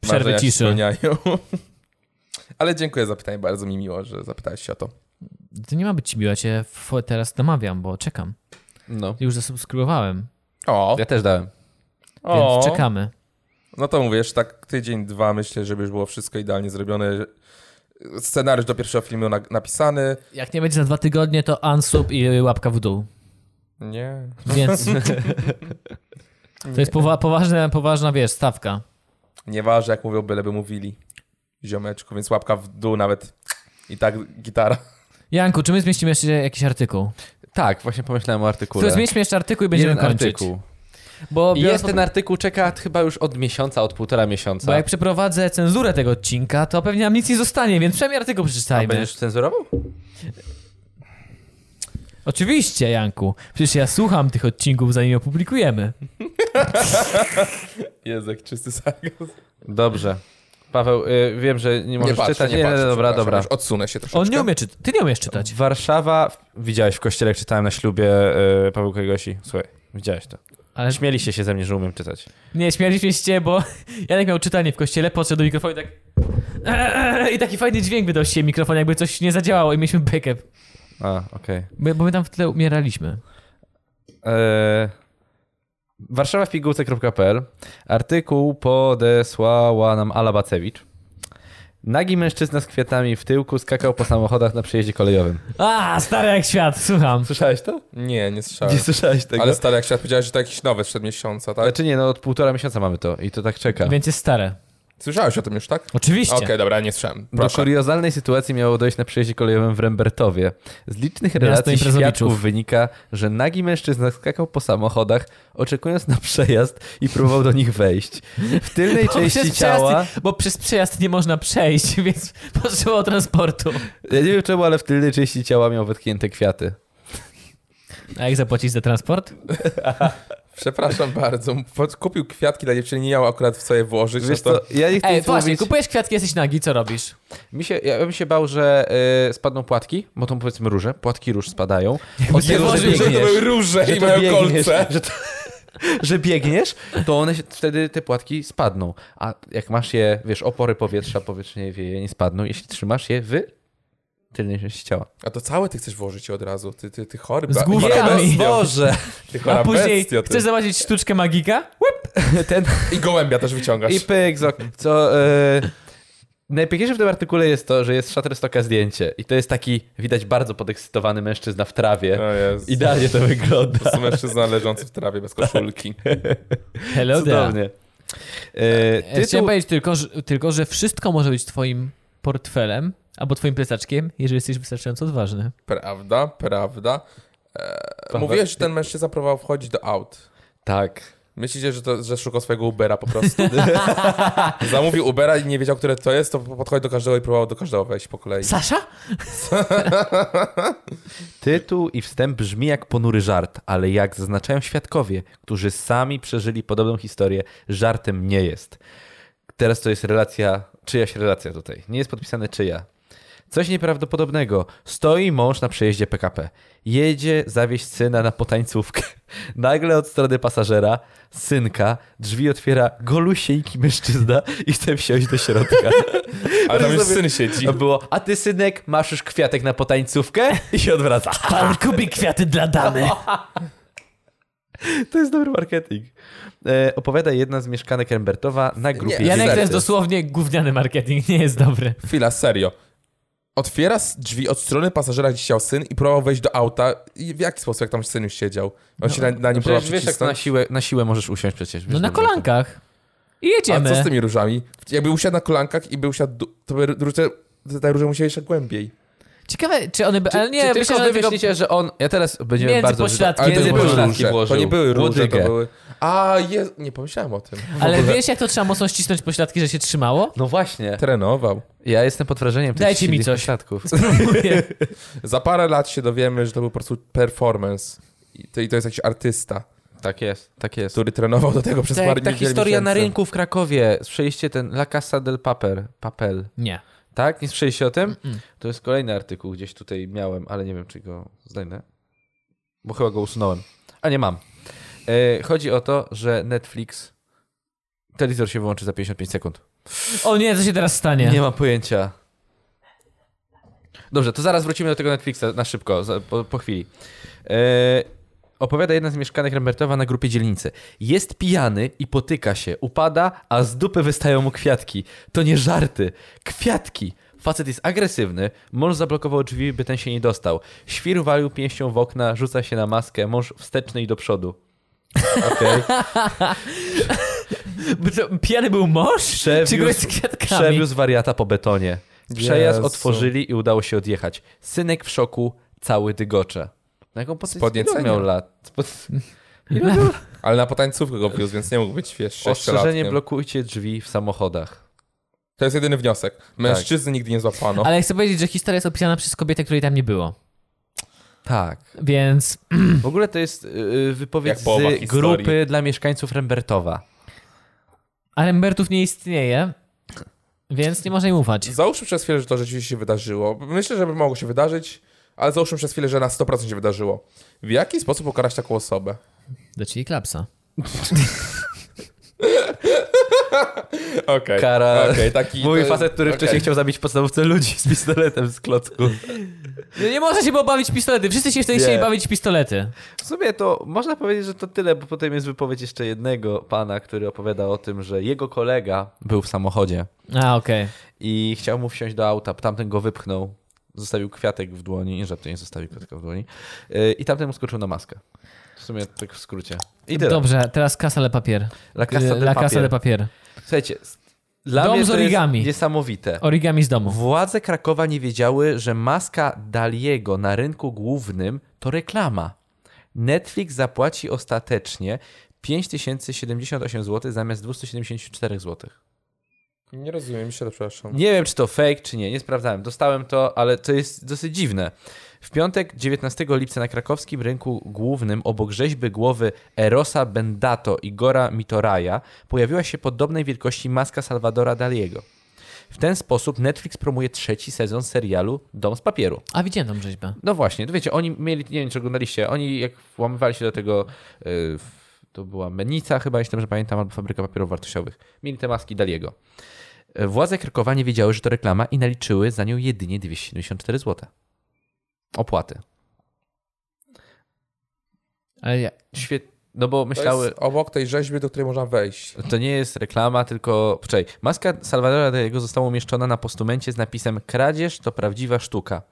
przerwy Marzenia się ciszy. spełniają. Ale dziękuję za pytanie, bardzo mi miło, że zapytałeś się o to. To nie ma być ci miło, ja cię f- teraz namawiam, bo czekam. No. Już zasubskrybowałem, O, Ja też dałem. o. więc czekamy. No to mówię, jeszcze tak tydzień, dwa myślę, żeby już było wszystko idealnie zrobione. Scenariusz do pierwszego filmu na, napisany. Jak nie będzie za dwa tygodnie, to unsub i łapka w dół. Nie. Więc to jest powa- poważna, poważna, wiesz, stawka. Nieważne, jak mówią, byleby mówili. Ziomeczku, więc łapka w dół nawet. I tak gitara. Janku, czy my zmieścimy jeszcze jakiś artykuł? Tak, właśnie pomyślałem o artykule. To zmieścimy jeszcze artykuł i będziemy Jeden kończyć. artykuł. Bo, I biorąc jest pod- ten artykuł, czeka chyba już od miesiąca, od półtora bo miesiąca. jak przeprowadzę cenzurę tego odcinka, to pewnie nam nic nie zostanie, więc przynajmniej artykuł A przeczytajmy. będziesz cenzurował? Oczywiście, Janku. Przecież ja słucham tych odcinków, zanim je opublikujemy. Jezu, jak czysty sarkazm. Dobrze. Paweł, y, wiem, że nie możesz patrzę, czytać. patrzę, dobra, przepraszam, dobra. Już odsunę się troszeczkę. On nie umie czytać. Ty nie umiesz czytać. Znaczy, No. Warszawa, widziałeś w kościele, jak czytałem na ślubie y, Paweł Kogosi. Słuchaj, widziałeś to. Ale Śmieliście się ze mnie, że umiem czytać. Nie, śmialiśmy się, z ciebie, bo Janek miał czytanie w kościele, podszedł do mikrofonu i tak... I taki fajny dźwięk wydał z siebie mikrofon, jakby coś nie zadziałało i mieliśmy backup. A, okej. My, bo my tam w tle umieraliśmy. E, Warszawa w pigułce.pl Artykuł podesłała nam Ala Bacewicz. Nagi mężczyzna z kwiatami w tyłku skakał po samochodach na przejeździe kolejowym. A, stary jak świat, słucham. Słyszałeś to? Nie, nie słyszałem. Nie słyszałeś tego? Ale stary, jak się powiedziałeś, że to jakiś nowy sprzed miesiąca, tak? Znaczy nie, no od półtora miesiąca mamy to i to tak czeka. Więc jest stare. Słyszałeś o tym już, tak? Oczywiście. Okej, dobra, nie słyszałem. Do Proszę. kuriozalnej sytuacji miało dojść na przejeździe kolejowym w Rembertowie. Z licznych relacji imprezowiczów. świadków wynika, że nagi mężczyzna skakał po samochodach, oczekując na przejazd i próbował do nich wejść. W tylnej części przez ciała... Przejazd, bo przez przejazd nie można przejść, więc potrzebował transportu. Ja nie wiem czemu, ale w tylnej części ciała miał wetknięte kwiaty. A jak zapłacić za transport? Przepraszam bardzo. Pod- Kupił kwiatki dla dziewczyny, nie miał akurat w co je włożyć. Wiesz no to... co, ja nie chcę Ej, nic właśnie, mówić. kupujesz kwiatki, jesteś nagi, co robisz? Mi się, ja bym się bał, że y, spadną płatki, bo to powiedzmy róże, płatki róż spadają. Od Nie tego, że włożył, że to biegniesz, były róże że i to mają biegniesz, kolce. że, to, że biegniesz, to one się, wtedy te płatki spadną. A jak masz je, wiesz, opory powietrza, powietrznie wieje, nie spadną, jeśli trzymasz je w tylnej części ciała. A to całe ty chcesz włożyć od razu. Ty, ty, ty chory. Z ba- główkami. chora Kamień. bestio. no, Boże! Ty chora A później bestio, ty. chcesz zobaczyć sztuczkę magika? Łyp! ten I gołębia też wyciągasz. I pyk, zok. Co. E, najpiękniejsze w tym artykule jest to, że jest Shutterstocka zdjęcie. I to jest taki, widać, bardzo podekscytowany mężczyzna w trawie. O Jezu. Idealnie to To wygląda. jest mężczyzna leżący w trawie bez koszulki. Hello there. Cudownie. E, Ja Chciałem tytuł... powiedzieć tylko że, tylko, że wszystko może być twoim portfelem albo twoim plecaczkiem, jeżeli jesteś wystarczająco odważny. Prawda, prawda. E, mówiłeś, że ten mężczyzna próbował wchodzić do aut. Tak. Myślicie, że, to, że szukał swojego Ubera po prostu? Zamówił Ubera i nie wiedział, które to jest, to podchodzi do każdego i próbował do każdego wejść po kolei. Sasza? Tytuł i wstęp brzmi jak ponury żart, ale jak zaznaczają świadkowie, którzy sami przeżyli podobną historię, żartem nie jest. Teraz to jest relacja, czyjaś relacja tutaj. Nie jest podpisane czyja. Coś nieprawdopodobnego. Stoi mąż na przejeździe PKP. Jedzie zawieźć syna na potańcówkę. Nagle od strony pasażera, synka, drzwi otwiera golusieńki mężczyzna i chce wsiąść do środka. Ale tam już Sobie- syn siedzi. To było, a ty synek, masz już kwiatek na potańcówkę? I się odwraca. Pan kupi kwiaty dla damy. To jest dobry marketing. E, opowiada jedna z mieszkanek Rembertowa na grupie. Nie, Janek to Serce. jest dosłownie gówniany marketing, nie jest dobry. Chwila, serio. Otwiera s- drzwi od strony pasażera, gdzie siedział syn i próbował wejść do auta. I w jaki sposób, jak tam syn już siedział? On się na, na nim próbował No, Przecież wiesz, jak to na przycisnąć. siłę, na siłę możesz usiąść przecież. No wiesz na dobrze. kolankach. I A co z jedziemy. tymi różami? Jakby usiadł na kolankach i by usiadł, du- to by róże, te róże musiały jeszcze głębiej. Ciekawe, czy one by... Czy, Ale nie, czy myślę, tylko że wy one tylko... myślicie, że on... Ja teraz będziemy Między bardzo... pośladki Ale to Między nie były były pośladki róże. To nie były róże, to Łodygę. były... A, je... nie pomyślałem o tym. Ale wiesz, jak to trzeba mocno ścisnąć pośladki, że się trzymało? No właśnie. Trenował. Ja jestem pod wrażeniem tych Dajcie mi silnych coś. pośladków. Spróbuję. Za parę lat się dowiemy, że to był po prostu performance. I to, i to jest jakiś artysta, Tak jest, tak jest. który trenował do tego przez parę Tak, ta niedziel, historia na miesięcy. rynku w Krakowie. Słyszeliście ten La Casa del Papel. Papel. Nie. Tak? Nie słyszeliście o tym? To jest kolejny artykuł, gdzieś tutaj miałem, ale nie wiem, czy go znajdę. Bo chyba go usunąłem. A nie mam. E, chodzi o to, że Netflix. Telewizor się wyłączy za 55 sekund. O nie, co się teraz stanie? Nie mam pojęcia. Dobrze, to zaraz wrócimy do tego Netflixa na szybko, za, po, po chwili. E, opowiada jedna z mieszkanek Rembertowa na grupie dzielnicy. Jest pijany i potyka się, upada, a z dupy wystają mu kwiatki. To nie żarty. Kwiatki! Facet jest agresywny, mąż zablokował drzwi, by ten się nie dostał. Świr walił pięścią w okna, rzuca się na maskę, mąż wsteczny i do przodu. Okej. Bo to Pijany był mąż? Czy go Przewiózł- jest z kwiatkami? Przewiózł wariata po betonie. Przejazd Jezu. otworzyli i udało się odjechać. Synek w szoku, cały dygocze. Na jaką pozycję Podniecenia. miał lat? Spod... Ale na potańcówkę go wiózł, więc nie mógł być, wiesz, Ostrzeżenie sześciolatkiem. blokujcie drzwi w samochodach. To jest jedyny wniosek. Mężczyzny nigdy nie złapano. no. Ale chcę powiedzieć, że historia jest opisana przez kobietę, której tam nie było. Tak. Więc W ogóle to jest yy, wypowiedź Jak połowa z historii. grupy dla mieszkańców Rembertowa. Rembertów nie istnieje, więc nie można im ufać. Załóżmy przez chwilę, że to rzeczywiście się wydarzyło. Myślę, że by mogło się wydarzyć, ale załóżmy przez chwilę, że na 100% się wydarzyło. W jaki sposób ukarać taką osobę? Do czyli klapsa. Okej. Kara. Okej, taki... Mój to- facet, który okej. wcześniej chciał zabić w podstawówce ludzi z pistoletem z klocku. No Nie można się było bawić w pistolety. Wszyscy się wtedy chcieli Nie. bawić w pistolety. W sumie to można powiedzieć, że to tyle, bo potem jest wypowiedź jeszcze jednego pana, który opowiada o tym, że jego kolega był w samochodzie. A, okej. i chciał mu wsiąść do auta. Tamten go wypchnął, zostawił kwiatek w dłoni, nie żartuję, nie zostawił kwiatka w dłoni. Yy, I tamten mu skoczył na maskę. W sumie tak w skrócie. I tyle. Dobrze, teraz kasa le papier. La Casa de y, La Casa de Papier. papier. Słuchajcie, s- dla Dom mnie z to origami. jest niesamowite. Origami z domu. Władze Krakowa nie wiedziały, że maska Daliego na rynku głównym to reklama. Netflix zapłaci ostatecznie 5078 zł zamiast 274 zł. Nie rozumiem, się, przepraszam. Nie wiem, czy to fake, czy nie, nie sprawdzałem. Dostałem to, ale to jest dosyć dziwne. W piątek 19 lipca na krakowskim rynku głównym obok rzeźby głowy Erosa Bendato Igora Mitoraja pojawiła się podobnej wielkości maska Salvadora Daliego. W ten sposób Netflix promuje trzeci sezon serialu Dom z papieru. A widziałem tą rzeźbę. No właśnie, to wiecie, oni mieli, nie wiem czy oglądaliście, oni jak włamywali się do tego, y, w- to była Menica chyba, jeśli dobrze pamiętam, albo Fabryka Papierów Wartościowych, mieli te maski Daliego. Y, Władze Krakowa nie wiedziały, że to reklama i naliczyły za nią jedynie 274 zł. Opłaty. Ale ja... Świetnie. No bo To myślały, jest obok tej rzeźby, do której można wejść. to nie jest reklama, tylko... Poczekaj, maska Salvadora Dali'ego została umieszczona na postumencie z napisem Kradzież to prawdziwa sztuka.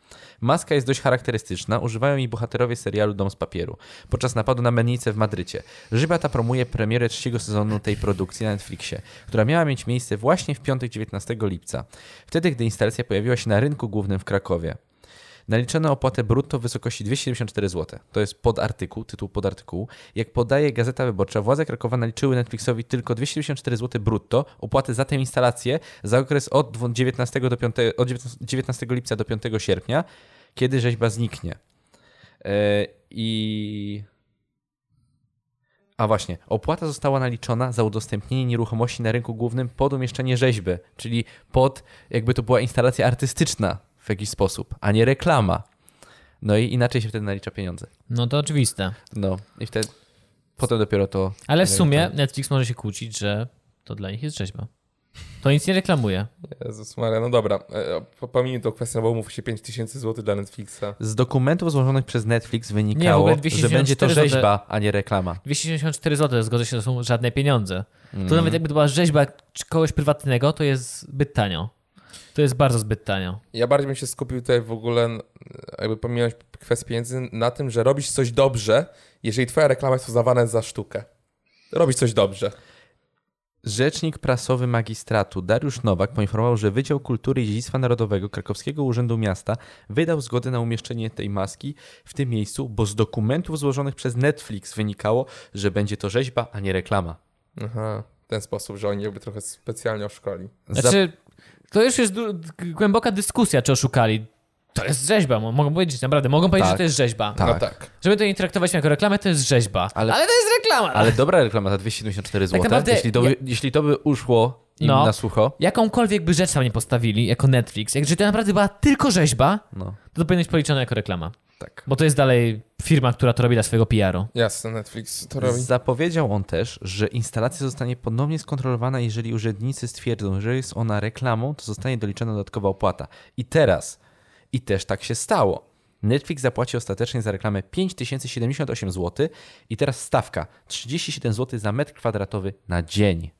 Maska jest dość charakterystyczna, używają jej bohaterowie serialu Dom z papieru, podczas napadu na mennicę w Madrycie. Żyba ta promuje premierę trzeciego sezonu tej produkcji na Netflixie, która miała mieć miejsce właśnie w piątek 19 lipca, wtedy gdy instalacja pojawiła się na rynku głównym w Krakowie. Naliczono opłatę brutto w wysokości 274 zł. To jest podartykuł, tytuł podartykułu. Jak podaje Gazeta Wyborcza, władze Krakowa naliczyły Netflixowi tylko 274 zł brutto opłaty za tę instalację za okres od dwu- 19, do 5, od 19 19 lipca do 5 sierpnia, kiedy rzeźba zniknie. E, I... A właśnie, opłata została naliczona za udostępnienie nieruchomości na rynku głównym pod umieszczenie rzeźby, czyli pod, jakby to była instalacja artystyczna w jakiś sposób, a nie reklama. No i inaczej się wtedy nalicza pieniądze. No to oczywiste. No i wtedy, potem dopiero to. Ale w sumie Netflix może się kłócić, że to dla nich jest rzeźba. To nic nie reklamuje. Jezus Maria, no dobra. E, Pominij tą kwestię, no bo mówi się 5000 zł dla Netflixa. Z dokumentów złożonych przez Netflix Nie, w wynikało, ogóle że 274 będzie to złote. rzeźba, a nie reklama. 274 zł, zgodzę się, to są żadne pieniądze. Mhm. To nawet jakby to była rzeźba czy kogoś prywatnego, to jest zbyt tanio. To jest bardzo zbyt tanio. Ja bardziej bym się skupił tutaj w ogóle, n- jakby pomijając kwestię pieniędzy, na tym, że robisz coś dobrze, jeżeli twoja reklama jest uznawana za sztukę. Robisz coś dobrze. Rzecznik prasowy magistratu Dariusz Nowak poinformował, że Wydział Kultury i Dziedzictwa Narodowego Krakowskiego Urzędu Miasta wydał zgodę na umieszczenie tej maski w tym miejscu, bo z dokumentów złożonych przez Netflix wynikało, że będzie to rzeźba, a nie reklama. Aha. W ten sposób, że oni jakby trochę specjalnie oszukali. Znaczy, to już jest du- g- głęboka dyskusja, czy oszukali. To jest rzeźba, mo- mogą powiedzieć, naprawdę, mogą powiedzieć, Tak. że to jest rzeźba. Tak. No tak. Żeby to nie traktować jako reklamę, to jest rzeźba. Ale- Ale, to jest reklama! no. Ale dobra reklama za 274 zł. Tak naprawdę jeśli, to, by- jeśli to by uszło im No. na sucho, Jakąkolwiek by rzecz tam nie postawili, jako Netflix, jak że to naprawdę była tylko rzeźba, no to, to powinno być policzone jako reklama. tak. Bo to jest dalej firma, która to robi dla swojego PR-u. Jasne, Netflix to robi. Zapowiedział on też, że instalacja zostanie ponownie skontrolowana, jeżeli urzędnicy stwierdzą, że jest ona reklamą, to zostanie doliczona dodatkowa opłata. I teraz, i też tak się stało. Netflix zapłaci ostatecznie za reklamę 5078 zł i teraz stawka 37 zł za metr kwadratowy na dzień.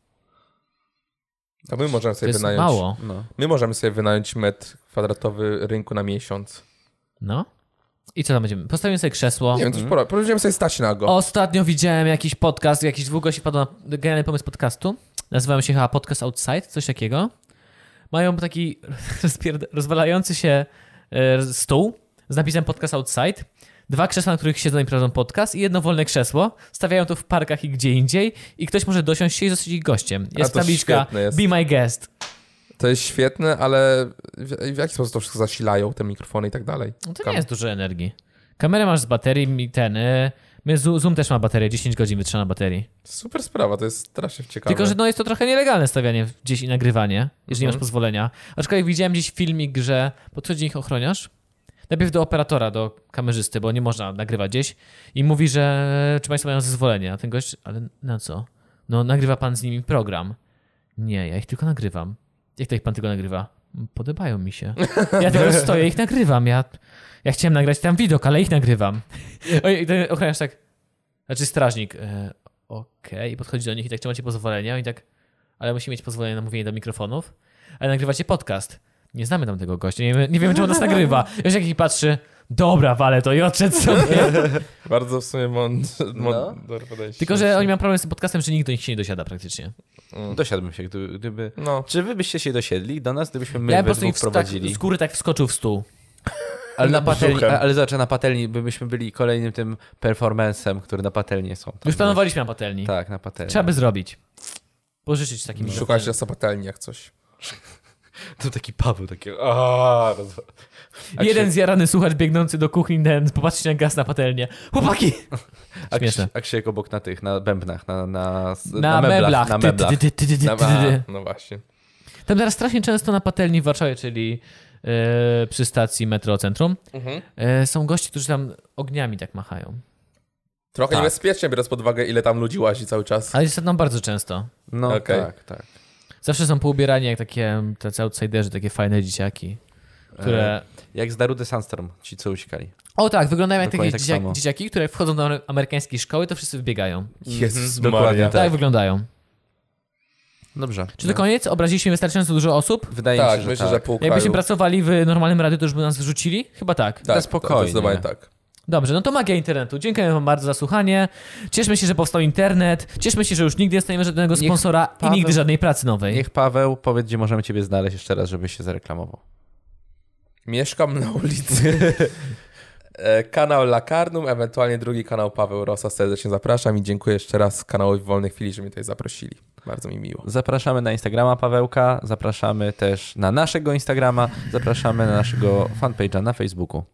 A my możemy To sobie jest wynająć. mało. No. My możemy sobie wynająć metr kwadratowy rynku na miesiąc. No. I co tam będziemy? Postawimy sobie krzesło. Nie wiem, coś pora. Będziemy sobie stać na go. Ostatnio widziałem jakiś podcast, jakiś dwóch gości wpadł na genialny pomysł podcastu. Nazywają się chyba Podcast Outside, coś takiego. Mają taki rozpierd- rozwalający się e, stół z napisem Podcast Outside. Dwa krzesła, na których siedzą i prowadzą podcast i jedno wolne krzesło. Stawiają to w parkach i gdzie indziej i ktoś może dosiąść się i zostać ich gościem. Jest to tabliczka świetne jest. Be My Guest. To jest świetne, ale w, w jaki sposób to wszystko zasilają, te mikrofony i tak dalej. No to Kam- nie jest dużo energii. Kamerę masz z baterii, mi ten... y, My Zo- Zoom też ma baterię, 10 godzin wytrzyma na baterii. Super sprawa, to jest strasznie ciekawe. Tylko, że no jest to trochę nielegalne stawianie gdzieś i nagrywanie, jeżeli nie Mhm. masz pozwolenia. Aczkolwiek widziałem gdzieś filmik, że podchodzi ich ochroniarz, najpierw do operatora, do kamerzysty, bo nie można nagrywać gdzieś i mówi, że czy państwo mają zezwolenie. A ten gość, ale na co? No nagrywa pan z nimi program. Nie, ja ich tylko nagrywam. Jak to ich pan tylko nagrywa? Podobają mi się. Ja teraz stoję, ich nagrywam. Ja, ja chciałem nagrać tam widok, ale ich nagrywam. Oj, i ten ochroniarz tak, znaczy strażnik, e, okej, i podchodzi do nich i tak, czy macie pozwolenia? Oni tak, ale musi mieć pozwolenie na mówienie do mikrofonów, ale nagrywacie podcast. Nie znamy tam tego gościa, nie, wiemy- nie wiem, czy on nas nagrywa. Już jak ich patrzy, dobra, wale to i odszedł sobie. Bardzo w sumie mądre No. podejście. Tylko, że oni mają problem z tym podcastem, że nikt do nich się nie dosiada praktycznie. Mm. Dosiadłbym się, gdyby... gdyby... No. Czy wy byście się dosiedli do nas, gdybyśmy my ja ja bym po prostu ich w- tak, wprowadzili? z góry tak wskoczył w stół. Ale na patelni, brzuchem. ale zobacz, na patelni by- byśmy byli kolejnym tym performancem, który na patelni są. Tam, Już planowaliśmy na patelni. Tak, No. na patelni. Trzeba by zrobić. Pożyczyć takim Szukać zasobatelni jak coś. To taki Paweł, taki... "Aaa", roz- A Jeden zjarany słuchacz biegnący do kuchni, ten popatrzy na gaz na patelnię. Chłopaki! A, Śmieszne. Krzy, a Krzysiek obok na tych, na bębnach, na, na, s- Na, na meblach. Na Ty, meblach. ty, ty, ty, ty, ty, No, ty, ty. no właśnie. Tam teraz strasznie często na patelni w Warszawie, czyli e, przy stacji metro centrum, Mhm. e, są goście, którzy tam ogniami tak machają. Trochę Tak. niebezpiecznie, biorąc pod uwagę, ile tam ludzi łazi cały czas. Ale jest to tam bardzo często. No Okej. tak, tak. Zawsze są poubierani jak takie tacy outsiderzy, takie fajne dzieciaki. które... E, Jak z Darude Sandstorm, ci co usikali. O tak, wyglądają jak takie Dokładnie tak dzieciak, samo. dzieciaki, które wchodzą do amery- amerykańskiej szkoły, to wszyscy wbiegają. Jezus Dokładnie Maria. Tak, wyglądają. Dobrze. Czy to koniec? Obraziliśmy wystarczająco dużo osób? Wydaje Tak, mi się, że myślę, tak. że pół Jakbyśmy kraju. pracowali w normalnym radiu, to już by nas wyrzucili? Chyba tak. Tak, spokojnie. to Zdecydowanie tak. Dobrze, no to magia internetu. Dziękujemy wam bardzo za słuchanie. Cieszmy się, że powstał internet. Cieszmy się, że już nigdy nie dostaniemy żadnego Niech sponsora Paweł- i nigdy żadnej pracy nowej. Niech Paweł powie, gdzie możemy ciebie znaleźć jeszcze raz, żebyś się zareklamował. Mieszkam na ulicy. E, Kanał Lakarnum, ewentualnie drugi kanał Paweł Rosa. Serdecznie zapraszam i dziękuję jeszcze raz kanałowi Wolnych Chwili, że mnie tutaj zaprosili. Bardzo mi miło. Zapraszamy na Instagrama Pawełka, zapraszamy też na naszego Instagrama, zapraszamy na naszego fanpage'a na Facebooku.